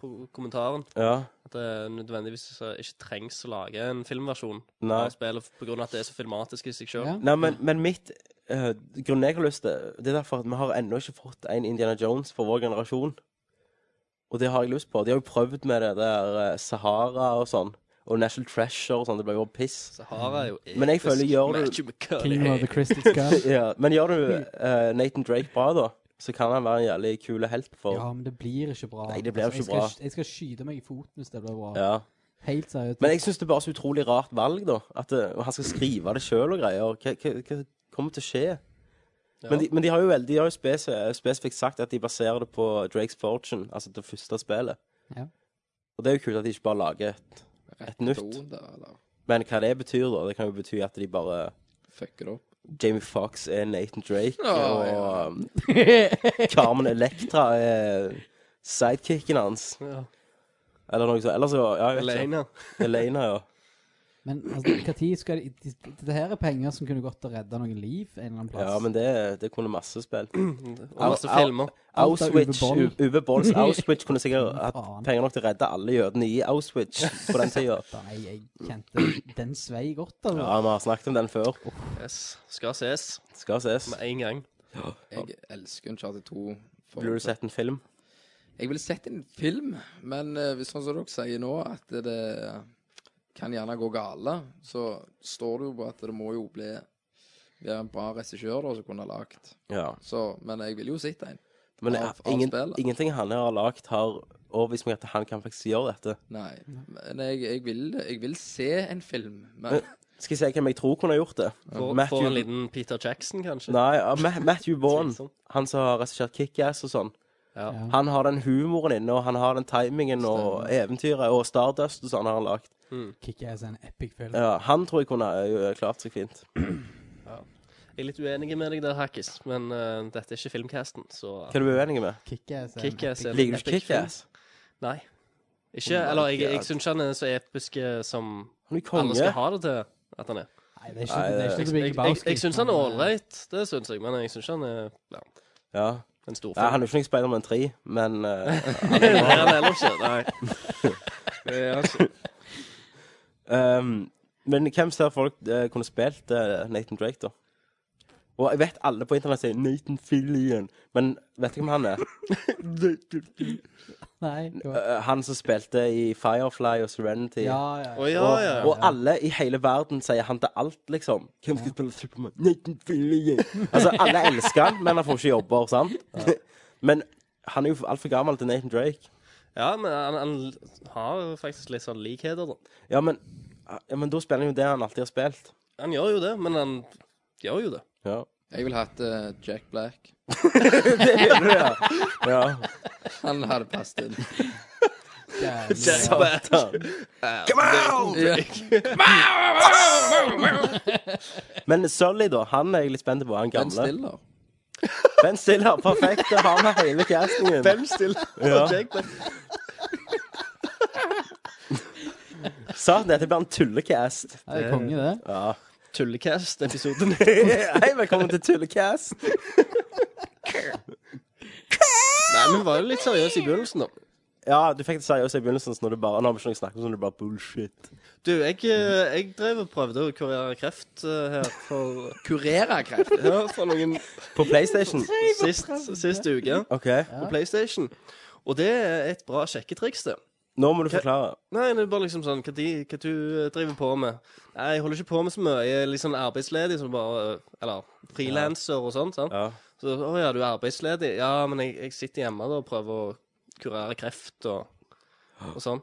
Speaker 10: på kommentaren.
Speaker 8: ja.
Speaker 10: At det nødvendigvis eh, ikke trengs å lage en filmversjon
Speaker 8: Nei.
Speaker 10: av spillet pga. at det er så filmatisk i seg sjøl.
Speaker 1: Ja.
Speaker 8: Nei, men, men mitt eh, Grunnen jeg har lyst til Det er derfor at vi har ennå ikke fått en Indiana Jones for vår generasjon. Og det har jeg lyst på. De har jo prøvd med det der eh, Sahara og sånn. og National Treasure og sånn. Det blir jo piss.
Speaker 10: Sahara er jo
Speaker 8: Men jeg føler
Speaker 10: episk.
Speaker 8: gjør
Speaker 10: Matthew
Speaker 8: du
Speaker 10: McConaughey.
Speaker 1: King of the Crystal Skull.
Speaker 8: ja, Men gjør du eh, Nathan Drake bra, da, så kan han være en jævlig kul helt for
Speaker 1: Ja, men det blir ikke bra. Altså,
Speaker 8: Nei, det blir ikke
Speaker 1: jeg skal,
Speaker 8: bra.
Speaker 1: Jeg skal skyte meg i foten hvis det blir bra.
Speaker 8: Ja.
Speaker 1: Helt seriøst.
Speaker 8: Men jeg syns det er bare så utrolig rart valg, da. At eh, han skal skrive det sjøl og greier. Hva, hva, hva kommer til å skje? Men, de, men de har jo, veldig- de har jo spes spesifikt sagt at de baserer det på Drakes Fortune, altså det første spillet.
Speaker 1: Ja.
Speaker 8: Og det er jo kult at de ikke bare lager et Et nytt.
Speaker 9: Don Der, eller
Speaker 8: Men hva det betyr, da? Det kan jo bety at de bare
Speaker 9: fucker det opp.
Speaker 8: Jamie Fox er Nathan Drake,
Speaker 9: Ja,
Speaker 8: og
Speaker 9: ja.
Speaker 8: um, Carmen Electra er sidekicken hans.
Speaker 10: Ja.
Speaker 8: Eller noe sånt. Eller så ja, jeg vet ikke.
Speaker 10: Elena.
Speaker 8: Elena, ja.
Speaker 1: Men altså, hva tid skal de, de, Dette her er penger som kunne gått til å redde noen liv en eller annen plass.
Speaker 8: Ja, men det, det kunne masse spill.
Speaker 10: Og masse filmer.
Speaker 1: Alt av
Speaker 8: Auschwitz,
Speaker 1: Uwe Boll.
Speaker 8: U- Uwe Bolls Auschwitz kunne sikkert hatt
Speaker 1: Faen.
Speaker 8: penger nok til å redde alle jødene i Auschwitz på den tida.
Speaker 1: Nei, jeg kjente den svei godt, altså.
Speaker 8: Ja, vi har snakket om den før.
Speaker 10: Yes. Skal ses
Speaker 8: Skal ses.
Speaker 10: med en gang.
Speaker 9: Jeg elsker Uncharted 2. for-
Speaker 8: Blir du sett en film?
Speaker 9: Jeg ville sett en film, men eh, hvis sånn som dere sier nå, at det kan gjerne gå gale, så står det jo på at det må jo bli være en bra regissør da, som kunne ha lagd.
Speaker 8: Ja.
Speaker 9: Så, men jeg ville jo sett en.
Speaker 8: Men eh,
Speaker 9: Av- av
Speaker 8: ingen,
Speaker 9: spillet.
Speaker 8: ingenting han her har lagd, har overbevist meg at han kan faktisk gjøre dette.
Speaker 9: Nei. Men jeg, jeg, vil, jeg vil se en film, men
Speaker 8: Men Skal jeg si hvem jeg tror kunne gjort det?
Speaker 10: Får, får en
Speaker 8: Matthew,
Speaker 10: liten Peter Jackson, kanskje.
Speaker 8: nei, ja, Ma- Matthew Vaughn,
Speaker 10: Slitsom.
Speaker 8: han som har regissert Kick-Ass og sånn.
Speaker 10: Ja.
Speaker 8: Han har den humoren inne, og han har den timingen og eventyret, og Stardust og sånn har han lagd.
Speaker 1: Kick-Ass er en epic film.
Speaker 8: Ja, han tror jeg kunne eh, klart seg fint.
Speaker 10: Jeg er litt uenig med deg der, Hackis, men eh, dette er ikke filmcasten, så
Speaker 8: Hva er du uenig med?
Speaker 1: Kick-Ass er en
Speaker 10: Kick-Ass
Speaker 1: epic
Speaker 10: er-
Speaker 8: Liker du
Speaker 10: Epic
Speaker 8: ikke Kickass?
Speaker 10: Nei. Ikke Eller jeg, jeg syns han er så episk eh, som
Speaker 8: Han er jo
Speaker 10: alle
Speaker 8: konge.
Speaker 10: skal ha det til at han er.
Speaker 1: Nei, det er ikke,
Speaker 8: Nei,
Speaker 1: det er ikke The
Speaker 8: det-
Speaker 10: Jeg,
Speaker 1: Big
Speaker 10: jeg, jeg,
Speaker 1: Lebowski,
Speaker 10: syns han er
Speaker 1: men, eh,
Speaker 10: ålreit, det syns jeg, men jeg syns ikke han er ja,
Speaker 8: Ja.
Speaker 10: en stor
Speaker 8: ja,
Speaker 10: film.
Speaker 8: han er jo ikke noen Spiderman 3, men eh,
Speaker 10: Det er han heller ikke. Nei. altså-
Speaker 8: um, Men hvem ser folk eh, kunne spilt eh, Nathan Drake, da? Og jeg vet alle på internett sier Nathan Fillion, men vet du hvem han er?
Speaker 1: Nei. det var-
Speaker 8: Eh, han som spilte i Firefly og Serenity.
Speaker 1: Ja, ja.
Speaker 10: Å ja,
Speaker 8: Og,
Speaker 10: ja.
Speaker 8: og alle i hele verden sier han til alt, liksom. Hvem skal spille Superman? Nathan Fillion. altså, alle elsker han, men han får ikke jobber, sant? men han er jo altfor gammel til Nathan Drake.
Speaker 10: ja, men han, han har jo faktisk litt sånn likheter, da.
Speaker 8: Ja, men, ja, men da spiller han jo det han alltid har spilt.
Speaker 10: Han gjør jo det, men han gjør jo det.
Speaker 8: Ja.
Speaker 9: jeg ville hatt eh, Jack Black.
Speaker 8: ja.
Speaker 9: Han hadde passet inn. Ja.
Speaker 8: Men Sully, da. Han er jeg litt spent på. Han
Speaker 9: Ben
Speaker 8: gamle.
Speaker 9: Stiller.
Speaker 8: Ben Stiller. Perfekt. Det har vi hele castingen. Ja. Satan, dette blir en tullecast.
Speaker 1: Ja, det er konge, det.
Speaker 8: Ja.
Speaker 10: Tullecast, episode 9.
Speaker 8: Hei, velkommen til Tullecast.
Speaker 10: Nei, men var jo litt seriøs i begynnelsen, da.
Speaker 8: Ja, du fikk det seriøst i begynnelsen, så når du bare Nå har vi ikke noe å snakke om, så når du bare bullshit.
Speaker 10: Du, jeg, eh, jeg drev og prøvde å kurere kreft eh, her for,
Speaker 9: Kurere kreft.
Speaker 10: ja, for noen
Speaker 8: På PlayStation?
Speaker 10: sist, sist uke
Speaker 8: OK.
Speaker 10: på PlayStation. Og det er et bra sjekketriks, det.
Speaker 8: Nå må du forklare.
Speaker 10: Nei, det er bare liksom sånn Hva, de, hva du eh, driver på med? Nei, jeg holder ikke på med så mye. Jeg er litt sånn arbeidsledig, som bare eh, Eller frilanser og sånt. sant?
Speaker 8: Ja.
Speaker 10: Så å ja, du er arbeidsledig? Ja, men jeg, jeg sitter hjemme da og prøver å kurere kreft og, og sånn.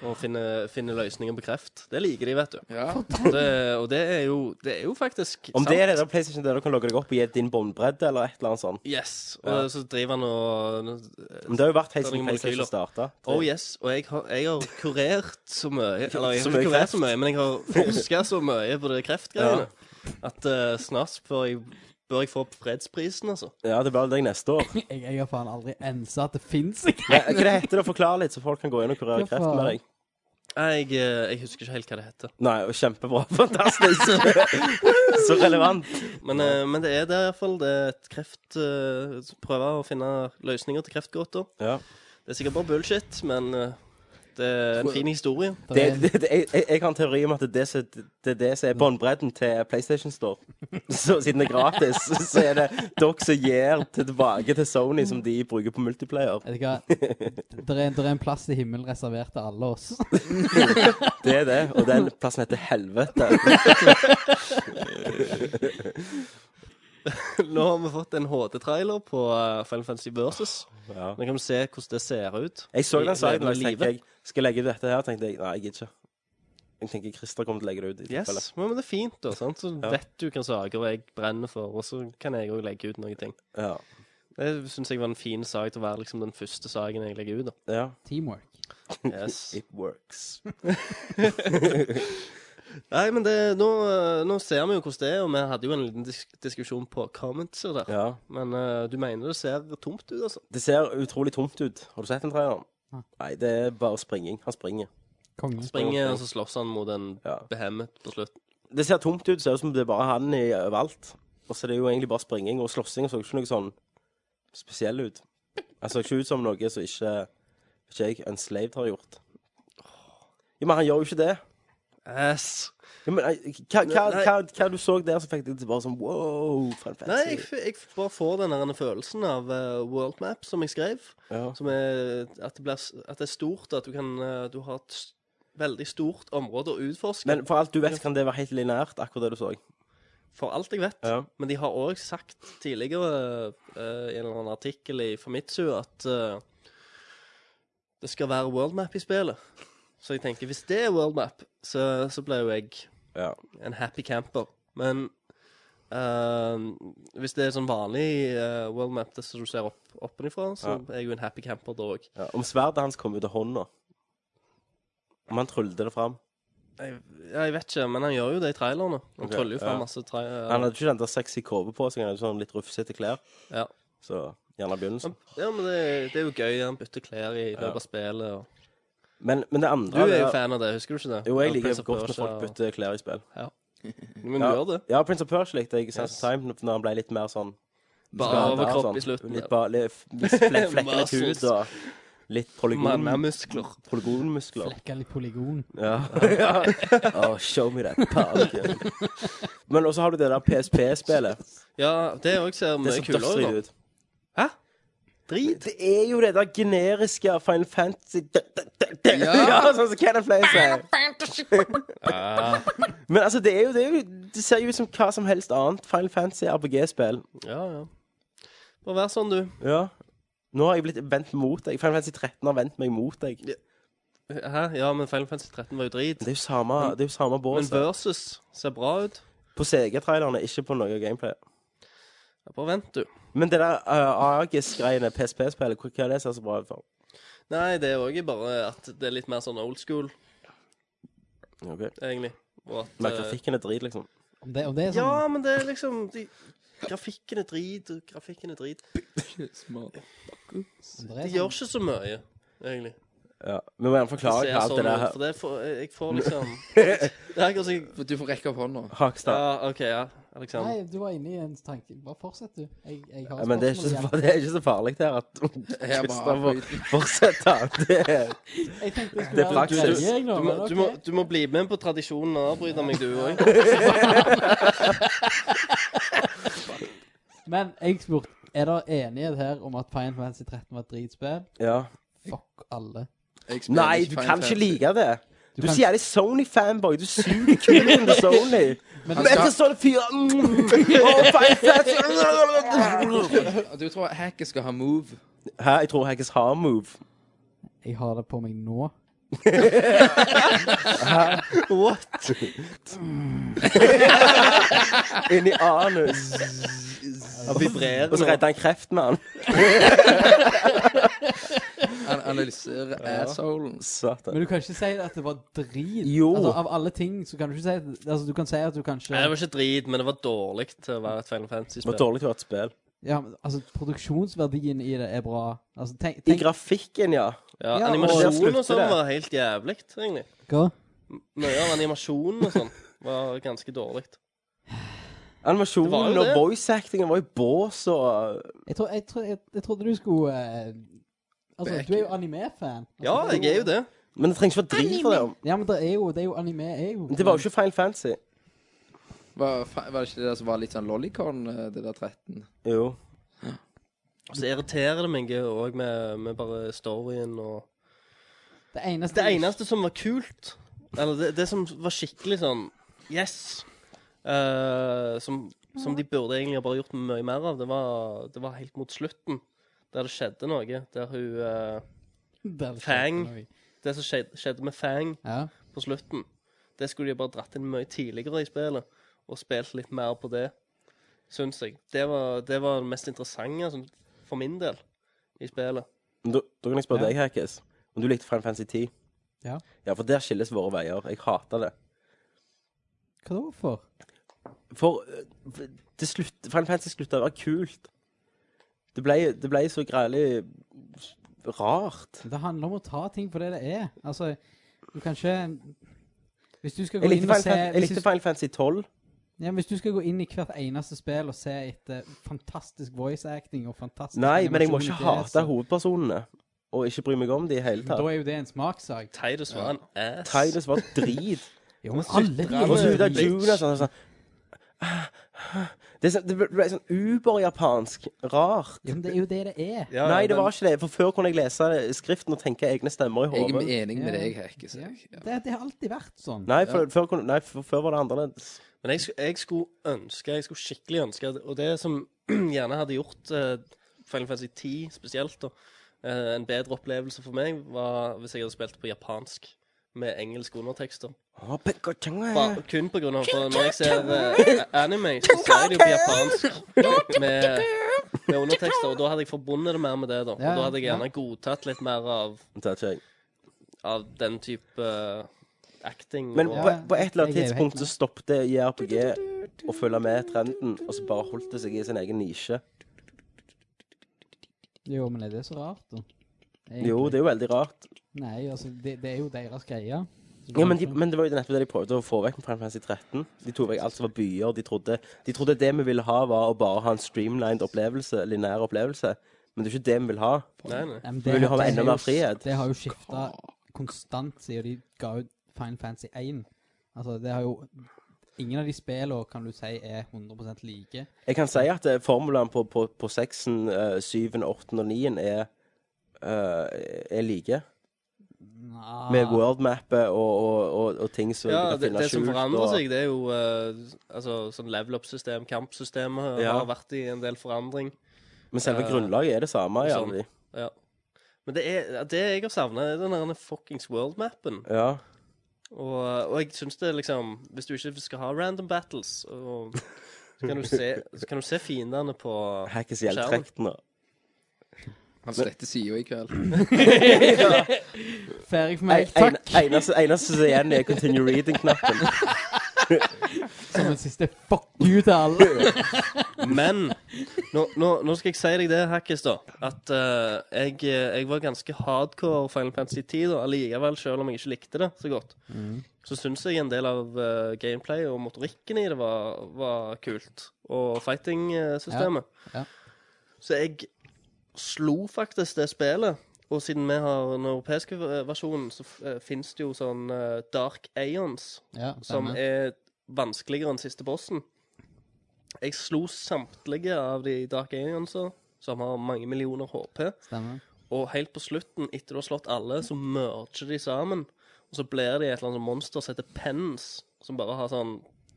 Speaker 10: Og finne, finne løsninger på kreft. Det liker de, vet du.
Speaker 9: Ja.
Speaker 10: Det, og det er jo, det er jo faktisk
Speaker 8: Om det er det der PlayStation der du kan logge deg opp og gi din båndbredde, eller et eller annet sånt.
Speaker 10: Yes. Og så driver han og
Speaker 8: Men det har jo vært helt
Speaker 10: Det er
Speaker 8: siden
Speaker 10: noen molekyler.
Speaker 8: PlayStation starta.
Speaker 10: Oh yes, og jeg har, jeg har kurert så mye Eller jeg
Speaker 8: Så
Speaker 10: har
Speaker 8: mye
Speaker 10: ikke kurert
Speaker 8: kreft.
Speaker 10: så mye, men jeg har forska så mye på det kreftgreiene at eh, snart bør jeg, bør jeg få fredsprisen, altså.
Speaker 8: Ja, det blir vel deg neste år.
Speaker 1: Jeg, jeg har faen aldri ensa at det fins ikke.
Speaker 8: Nei, Hva det heter det? Forklar litt, så folk kan gå inn og kurere
Speaker 1: Hva
Speaker 8: kreft med
Speaker 1: faen?
Speaker 8: deg.
Speaker 10: Jeg, eh, jeg husker ikke helt hva det heter.
Speaker 8: Nei, og kjempebra. Fantastisk. så relevant.
Speaker 10: Men, eh, men det er det iallfall. Det er et kreft eh, Prøve å finne løsninger til kreftgåter.
Speaker 8: Ja.
Speaker 10: Det er sikkert bare bullshit, men eh, Det er en fin historie.
Speaker 8: Det, det, det, jeg, jeg- jeg har en teori om at det er det som- det er, det som er båndbredden til PlayStation Store. Så siden det er gratis, så er det dere som gir til- tilbake til Sony som de bruker på multiplayer.
Speaker 1: Vet du hva? Det er, der er en plass i himmelen reservert til alle oss.
Speaker 8: Det er det, og den plassen heter Helvete.
Speaker 10: Nå har vi fått en HD-trailer på eh, Final Fantasy Versus.
Speaker 8: Ja.
Speaker 10: Nå kan vi se hvordan det ser ut.
Speaker 8: Jeg så
Speaker 10: i
Speaker 8: den saken, og
Speaker 10: levende
Speaker 8: så tenkte jeg skal jeg legge ut dette her, tenkte jeg nei, jeg gidder ikke. Jeg tenker Christer kommer til å legge det ut. i tilfelle.
Speaker 10: Yes, men det er fint, da. sant? Så
Speaker 8: Ja.
Speaker 10: vet du hvilke saker jeg brenner for, og så kan jeg òg legge ut noen ting.
Speaker 8: Ja.
Speaker 10: Det syns jeg var en fin sak til å være liksom den første saken jeg legger ut. da.
Speaker 8: ja.
Speaker 1: Teamwork.
Speaker 10: Yes.
Speaker 8: It works.
Speaker 10: Nei, men det, nå, eh, nå ser vi jo hvordan det er, og vi hadde jo en liten disk diskusjon på comments og der.
Speaker 8: Ja.
Speaker 10: Men eh, du mener det ser tomt ut, altså?
Speaker 8: Det ser utrolig tomt ut. Har du sett den traileren? Nei, det er bare springing. Han springer.
Speaker 1: Konge.
Speaker 10: Springer, eh, og så slåss han mot en
Speaker 8: Ja.
Speaker 10: behemet på slutten.
Speaker 8: Det ser tomt ut. Ser ut som det er bare han i overalt. Og så er det jo egentlig bare springing og slåssing. og Så ikke noe sånn spesiell ut. Han så ikke ut som noe som ikke, ikke jeg, Unslaved, har gjort. Jo, men han gjør jo ikke det.
Speaker 10: Yes.
Speaker 8: Jo, men, eh, hva, hva,
Speaker 10: Nei.
Speaker 8: hva, hva du så der, så fikk deg til bare sånn wow, Final
Speaker 10: Nei, jeg,
Speaker 8: Fantasy.
Speaker 10: f- jeg f- bare får den der følelsen av eh, world map som jeg skrev.
Speaker 8: Ja.
Speaker 10: Som er at det, blir, s- at det er stort, at du kan eh, Du har et s- veldig stort område å utforske.
Speaker 8: Men for alt du vet, kan det være helt lineært, akkurat det du så.
Speaker 10: for alt jeg vet.
Speaker 8: Ja.
Speaker 10: Men de har òg sagt tidligere eh, i en eller annen artikkel i Famitsu at eh, det skal være world map i spillet. Så jeg tenker, hvis det er world map, så, så blir jo jeg
Speaker 8: Ja.
Speaker 10: en happy camper. Men eh, hvis det er sånn vanlig eh, world map, det som du ser opp, oppenifra, så er jeg jo en happy camper da òg.
Speaker 8: Ja. Om sverdet hans kom ut av hånda. Om han tryllet det fram.
Speaker 10: Jeg, jeg vet ikke, men han gjør jo det i trailerne. Han
Speaker 8: Ok,
Speaker 10: tryller jo fram
Speaker 8: ja.
Speaker 10: masse tra
Speaker 8: Han hadde ikke den der sexy kåpe på seg, han hadde sånn litt rufsete klær.
Speaker 10: Ja.
Speaker 8: Så gjerne begynnelsen.
Speaker 10: Ja, men det, det er jo gøy. Han bytter klær i løpet av spillet. Og...
Speaker 8: Men, men det
Speaker 10: Du
Speaker 8: andre
Speaker 10: er
Speaker 8: det
Speaker 10: jo fan av det, husker du ikke det?
Speaker 8: Jo, jeg
Speaker 10: Ja,
Speaker 8: liker
Speaker 10: Prince
Speaker 8: det
Speaker 10: of
Speaker 8: godt når
Speaker 10: Persia
Speaker 8: folk
Speaker 10: og-
Speaker 8: bytter klær i spill.
Speaker 10: Men du
Speaker 8: Ja,
Speaker 10: gjør det.
Speaker 8: ja Prince of Persia likte jeg i Sense
Speaker 10: Yes.
Speaker 8: of Time, når han ble litt mer sånn
Speaker 10: Bare
Speaker 8: skadet og
Speaker 10: overkropp
Speaker 8: sånn.
Speaker 10: i slutten.
Speaker 8: Litt, bare, litt, litt fle flekker litt
Speaker 10: Muscles.
Speaker 8: hud og litt polygon,
Speaker 10: Mannemuskler.
Speaker 8: polygonmuskler.
Speaker 1: Flekka litt polygon.
Speaker 8: Ja. oh, show me that punk. Men også har du det der PSP-spillet.
Speaker 10: Ja, det òg ser
Speaker 8: Det
Speaker 10: mye
Speaker 8: ser
Speaker 10: kulere
Speaker 8: dødsdritt
Speaker 10: ut.
Speaker 8: ut.
Speaker 10: Hæ? Drit?
Speaker 8: Det er jo det der generiske Final Fantasy d- d- d- d-
Speaker 9: Ja.
Speaker 8: Ja, sånn som Kenneth Flay sier. Men altså, det er jo det, er jo, det ser jo ut som hva som helst annet Final Fantasy RPG-spill.
Speaker 10: Ja, ja. Bare vær sånn, du.
Speaker 8: Ja. Nå har jeg blitt vendt mot deg. Final Fantasy 13 har vendt meg mot deg.
Speaker 10: Ja. Hæ? Ja, men Final Fantasy 13 var jo drit.
Speaker 8: Det er jo samme, det er jo samme
Speaker 10: Men
Speaker 8: bås.
Speaker 10: Versus ser bra ut.
Speaker 8: På CG-trailerne, ikke på noe gameplay.
Speaker 10: Ja, Bare vent, du.
Speaker 8: Men det der uh, Argus-greiene, PSP-spillet, hva hva er det som ser så bra ut for?
Speaker 10: Nei, det er òg bare at det er litt mer sånn old school,
Speaker 8: Okay.
Speaker 10: egentlig. Og at
Speaker 8: Men
Speaker 10: eh,
Speaker 8: grafikken er drit, liksom.
Speaker 1: Om det, om det er sånn
Speaker 10: Ja, men det er liksom de, Grafikken er drit, og grafikken er drit.
Speaker 9: Smart.
Speaker 1: om det
Speaker 10: De
Speaker 1: er
Speaker 10: gjør
Speaker 1: sånn,
Speaker 10: ikke så mye, egentlig.
Speaker 8: Ja. Vi må gjerne
Speaker 10: Det
Speaker 8: forklare
Speaker 10: ser
Speaker 8: hva alt
Speaker 10: sånn
Speaker 8: det der
Speaker 10: ut, for det får, jeg får liksom Det er akkurat som jeg
Speaker 9: Du får rekke opp hånda.
Speaker 8: Hakstad.
Speaker 10: Ja, OK, ja. Alexander.
Speaker 1: Nei, du var inne i en tanke. Bare fortsett, du. Jeg, jeg har
Speaker 8: Ja, men det er, ikke så,
Speaker 1: spørsmål igjen.
Speaker 8: far- det er ikke så farlig det her at
Speaker 9: Jeg
Speaker 8: Kristian
Speaker 9: bare
Speaker 8: får fortsette. Det er,
Speaker 1: Jeg tenkte det skulle
Speaker 8: det er
Speaker 1: være en
Speaker 8: praksis.
Speaker 1: greie, jeg nå,
Speaker 10: Du må,
Speaker 1: men
Speaker 10: du, må,
Speaker 1: ok.
Speaker 10: du må bli med på tradisjonen og avbryte meg, du òg.
Speaker 1: Men jeg spurte Er det enighet her om at Final Fantasy 13 var et dritspill?
Speaker 8: Ja.
Speaker 1: Fuck alle.
Speaker 9: Jeg spiller
Speaker 8: Nei, du
Speaker 9: Final
Speaker 8: kan ikke
Speaker 9: Fantasy.
Speaker 8: like det. Du
Speaker 1: kan-
Speaker 8: sier jævlig Sony-fanboy. Du suger kulen til Sony. Men
Speaker 9: skal-
Speaker 8: etter sånne fyrer mm, oh, Final Fantasy.
Speaker 9: Du tror hacket skal ha move.
Speaker 8: Hæ, jeg tror Haggis har move.
Speaker 1: Jeg har det på meg nå.
Speaker 8: What? Inni anus.
Speaker 10: Han vibrerer
Speaker 8: Og så redder han kreft med han.
Speaker 9: An analysere assholen.
Speaker 8: Satan.
Speaker 1: Men du kan ikke si at det var drit.
Speaker 8: Jo.
Speaker 1: Altså, av alle ting så kan du ikke si Altså, du kan si at du kanskje
Speaker 10: Nei, det var ikke drit, men det var dårlig til å være et Final
Speaker 8: Det var
Speaker 10: Fantasy-spill.
Speaker 8: dårlig til å være et spill.
Speaker 1: Ja, men, altså, produksjonsverdien i det er bra. Altså, tenk,
Speaker 8: I
Speaker 1: tenk
Speaker 8: grafikken, ja.
Speaker 10: Ja,
Speaker 1: Ja, og-
Speaker 10: animasjonen og
Speaker 8: slutter
Speaker 10: sånn
Speaker 8: det.
Speaker 10: var helt jævlig, egentlig.
Speaker 1: Hva?
Speaker 10: Mye av animasjonen og sånn var ganske dårlig. Det var
Speaker 8: Animasjonen
Speaker 10: jo
Speaker 8: og
Speaker 10: det.
Speaker 8: voice-actingen var i bås og
Speaker 1: Jeg, tror, jeg, tror, jeg, jeg trodde du skulle eh, Altså,
Speaker 9: Back.
Speaker 1: du er jo anime-fan. Altså,
Speaker 10: Ja, jeg er jo det.
Speaker 8: Men det trengs ikke være drit for det.
Speaker 1: Ja, men det er jo, det er jo anime er jo
Speaker 8: Men Det var jo ikke Final Fantasy.
Speaker 9: Var, fa- var det ikke det der som var litt sånn lollicon, eh, det der 13?
Speaker 8: Jo.
Speaker 10: Og så irriterer det meg òg med, med bare storyen og
Speaker 1: Det eneste,
Speaker 10: Det eneste som var kult, eller det, det som var skikkelig sånn Yes! eh, som, som de burde egentlig ha bare gjort mye mer av, det var, det var helt mot slutten. Der det skjedde noe. Der hun eh,
Speaker 1: Der skjedde
Speaker 10: Fang.
Speaker 1: noe.
Speaker 10: Det som skjedde, skjedde med Fang
Speaker 1: Ja.
Speaker 10: på slutten, det skulle de bare dratt inn mye tidligere i spillet. Og spilt litt mer på det, syns jeg. Det var det var det mest interessante, sånn, for min del, i spillet.
Speaker 8: Men da, da kan jeg spørre
Speaker 1: Ja.
Speaker 8: deg, Hackes, om du likte Final Fantasy 10.
Speaker 1: Ja.
Speaker 8: Ja, for der skilles våre veier. Jeg hater det.
Speaker 1: Hva da for?
Speaker 8: For eh, det slutt, Final Fantasy slutta å være kult. Det ble, det ble så greielig rart.
Speaker 1: Det handler om å ta ting for det det er. Altså, du kan ikke Hvis du skal gå
Speaker 8: Jeg likte
Speaker 1: inn og
Speaker 8: Final,
Speaker 1: se
Speaker 8: Fan- jeg
Speaker 1: hvis
Speaker 8: likte
Speaker 1: du,
Speaker 8: Final Fantasy 12.
Speaker 1: ja, men Hvis du skal gå inn i hvert eneste spill og se etter fantastisk voice acting og fantastisk
Speaker 8: Nei, men jeg må
Speaker 1: animasjon
Speaker 8: ikke
Speaker 1: i det, så-
Speaker 8: hate hovedpersonene. Og ikke bry meg om de i hele
Speaker 1: Da
Speaker 8: tatt.
Speaker 1: er jo det en smakssak.
Speaker 10: Tidus var en ass.
Speaker 8: Tidus var drit.
Speaker 1: Jo, men alle de
Speaker 8: Og så
Speaker 1: er
Speaker 8: ut av Juna sånn, sånn Ah, det, er sånn- det ble sånn uberjapansk. Rart.
Speaker 1: Ja, men det er jo det det er.
Speaker 10: Ja,
Speaker 8: Nei,
Speaker 10: ja,
Speaker 8: det
Speaker 10: men-
Speaker 8: var ikke det. For før kunne jeg lese skriften og tenke egne stemmer i
Speaker 9: Jeg
Speaker 8: hodet.
Speaker 9: er enig med
Speaker 1: Ja.
Speaker 9: deg, Hekkes.
Speaker 1: Ja.
Speaker 9: jeg. Ja.
Speaker 1: Det, det har alltid vært sånn.
Speaker 8: Nei, for, før, kunne, nei for, før var det annerledes.
Speaker 10: Men jeg, sk- jeg skulle ønske, jeg skulle skikkelig ønske, og det som gjerne hadde gjort eh, Final Fantasy 10 spesielt, da, eh, en bedre opplevelse for meg, var hvis jeg hadde spilt på japansk med engelske undertekster.
Speaker 8: Å,
Speaker 1: eh.
Speaker 8: Pekka-tjenga.
Speaker 10: Bare, kun på grunn av for når jeg ser eh, anime, så ser jeg det jo på japansk med, med undertekster, og da hadde jeg forbundet det mer med det, da. Og
Speaker 1: Ja,
Speaker 10: da hadde jeg
Speaker 1: ja.
Speaker 10: gjerne godtatt litt mer av,
Speaker 8: Det er ikke jeg.
Speaker 10: av den type eh, acting.
Speaker 8: Men
Speaker 10: og,
Speaker 8: på, på et eller annet
Speaker 1: Jeg er jo helt
Speaker 8: tidspunkt så
Speaker 1: med.
Speaker 8: stoppet JRPG å følge med trenden, og så bare holdt det seg i sin egen nisje.
Speaker 1: Jo, men er det så rart, da? Egentlig.
Speaker 8: Jo, det er jo veldig rart.
Speaker 1: Nei, altså, det, det er jo deres greie.
Speaker 8: Ja, men, de, men det var jo nettopp det de prøvde å få vekk med Final Fantasy 13. De tok vekk alt som var byer. De trodde, de trodde det vi ville ha, var å bare ha en streamlined opplevelse, lineær opplevelse. Men det er ikke det vi vil ha.
Speaker 10: nei, nei.
Speaker 1: Ja, men
Speaker 8: vil jo
Speaker 1: har-
Speaker 8: ha enda
Speaker 1: er
Speaker 8: mer
Speaker 1: jo-
Speaker 8: frihet.
Speaker 1: Det har jo skifta konstant siden de ga ut Final Fantasy 1. Altså, det har jo Ingen av de spillene kan du si er 100 like.
Speaker 8: Jeg kan si at eh, formulaen på, på, på 6, 7, 8 og 9 er, eh, er like.
Speaker 1: Nja,
Speaker 8: Med worldmappet og, og, og, og ting som
Speaker 10: Ah. Ja,
Speaker 8: du kan
Speaker 10: det,
Speaker 8: finne
Speaker 10: det som
Speaker 8: skjult,
Speaker 10: forandrer
Speaker 8: og-
Speaker 10: seg, det er jo eh, altså, sånn level up-system, kampsystemet
Speaker 8: Ja.
Speaker 10: har vært i en del forandring.
Speaker 8: Men selve
Speaker 10: Eh,
Speaker 8: grunnlaget er det samme. i
Speaker 10: sånn.
Speaker 8: alle de.
Speaker 10: Ja. Men det, er, det jeg har savna, er den der fuckings world-mappen.
Speaker 8: Ja.
Speaker 10: Og, og jeg syns det liksom Hvis du ikke skal ha random battles, og, så, kan du se, så kan du se fiendene på
Speaker 8: Hackes hjeltrektene.
Speaker 9: Han sletter sida i kveld.
Speaker 1: Ferdig for meg. Takk!
Speaker 8: Eneste eneste som er igjen, er continue reading-knappen.
Speaker 1: Som en siste fuck you til alle.
Speaker 10: Men nå, nå, nå skal jeg si deg det, Hackis, da. At eh, jeg, eh, jeg var ganske hardcore Final Fantasy 10 da, allikevel, selv om jeg ikke likte det så godt.
Speaker 1: Mm.
Speaker 10: Så syns jeg en del av eh, gameplay og motorikken i det var, var kult. Og fighting-systemet.
Speaker 1: Ja, ja.
Speaker 10: Så jeg slo faktisk det spillet. Og siden vi har den europeiske eh, versjonen, så uh, fins det jo sånn eh, Dark Aeons
Speaker 1: Ja,
Speaker 10: som
Speaker 1: stemmer.
Speaker 10: er vanskeligere enn siste bossen. Jeg slo samtlige av de Dark Aliensa, som har mange millioner HP.
Speaker 1: stemmer.
Speaker 10: Og helt på slutten, etter du har slått alle, så merger de sammen. Og så blir de et eller annet sånt monster som heter Pens, som bare har sånn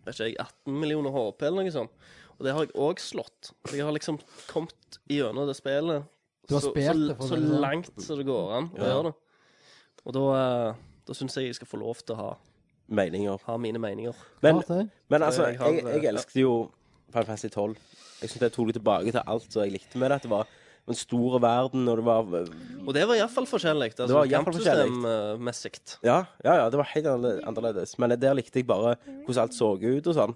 Speaker 10: vet ikke jeg, 18 millioner HP eller noe sånt. Og det har jeg òg slått. Så Jeg har liksom kommet gjennom det spillet
Speaker 1: Du har
Speaker 10: så,
Speaker 1: spilt
Speaker 10: så,
Speaker 1: det, for å
Speaker 10: så
Speaker 1: si det sånn.
Speaker 10: langt som det går an å gjøre det. Og da, eh, da syns jeg jeg skal få lov til å ha,
Speaker 8: Meninger.
Speaker 10: ha mine meninger.
Speaker 8: Men,
Speaker 1: Klart det.
Speaker 8: men altså,
Speaker 10: Jeg har-
Speaker 8: jeg, jeg elsket jo Final Fantasy 12. Jeg syns det tok det tilbake til alt som jeg likte med det. At det var en stor verden, og det var
Speaker 10: Og det var iallfall forskjellig.
Speaker 8: Det
Speaker 10: Altså, eh,
Speaker 8: var i hvert fall
Speaker 10: Kampsystemmessig.
Speaker 8: Ja, ja, ja det var helt annerle- annerledes. Men der likte jeg bare hvordan alt så ut og sånn.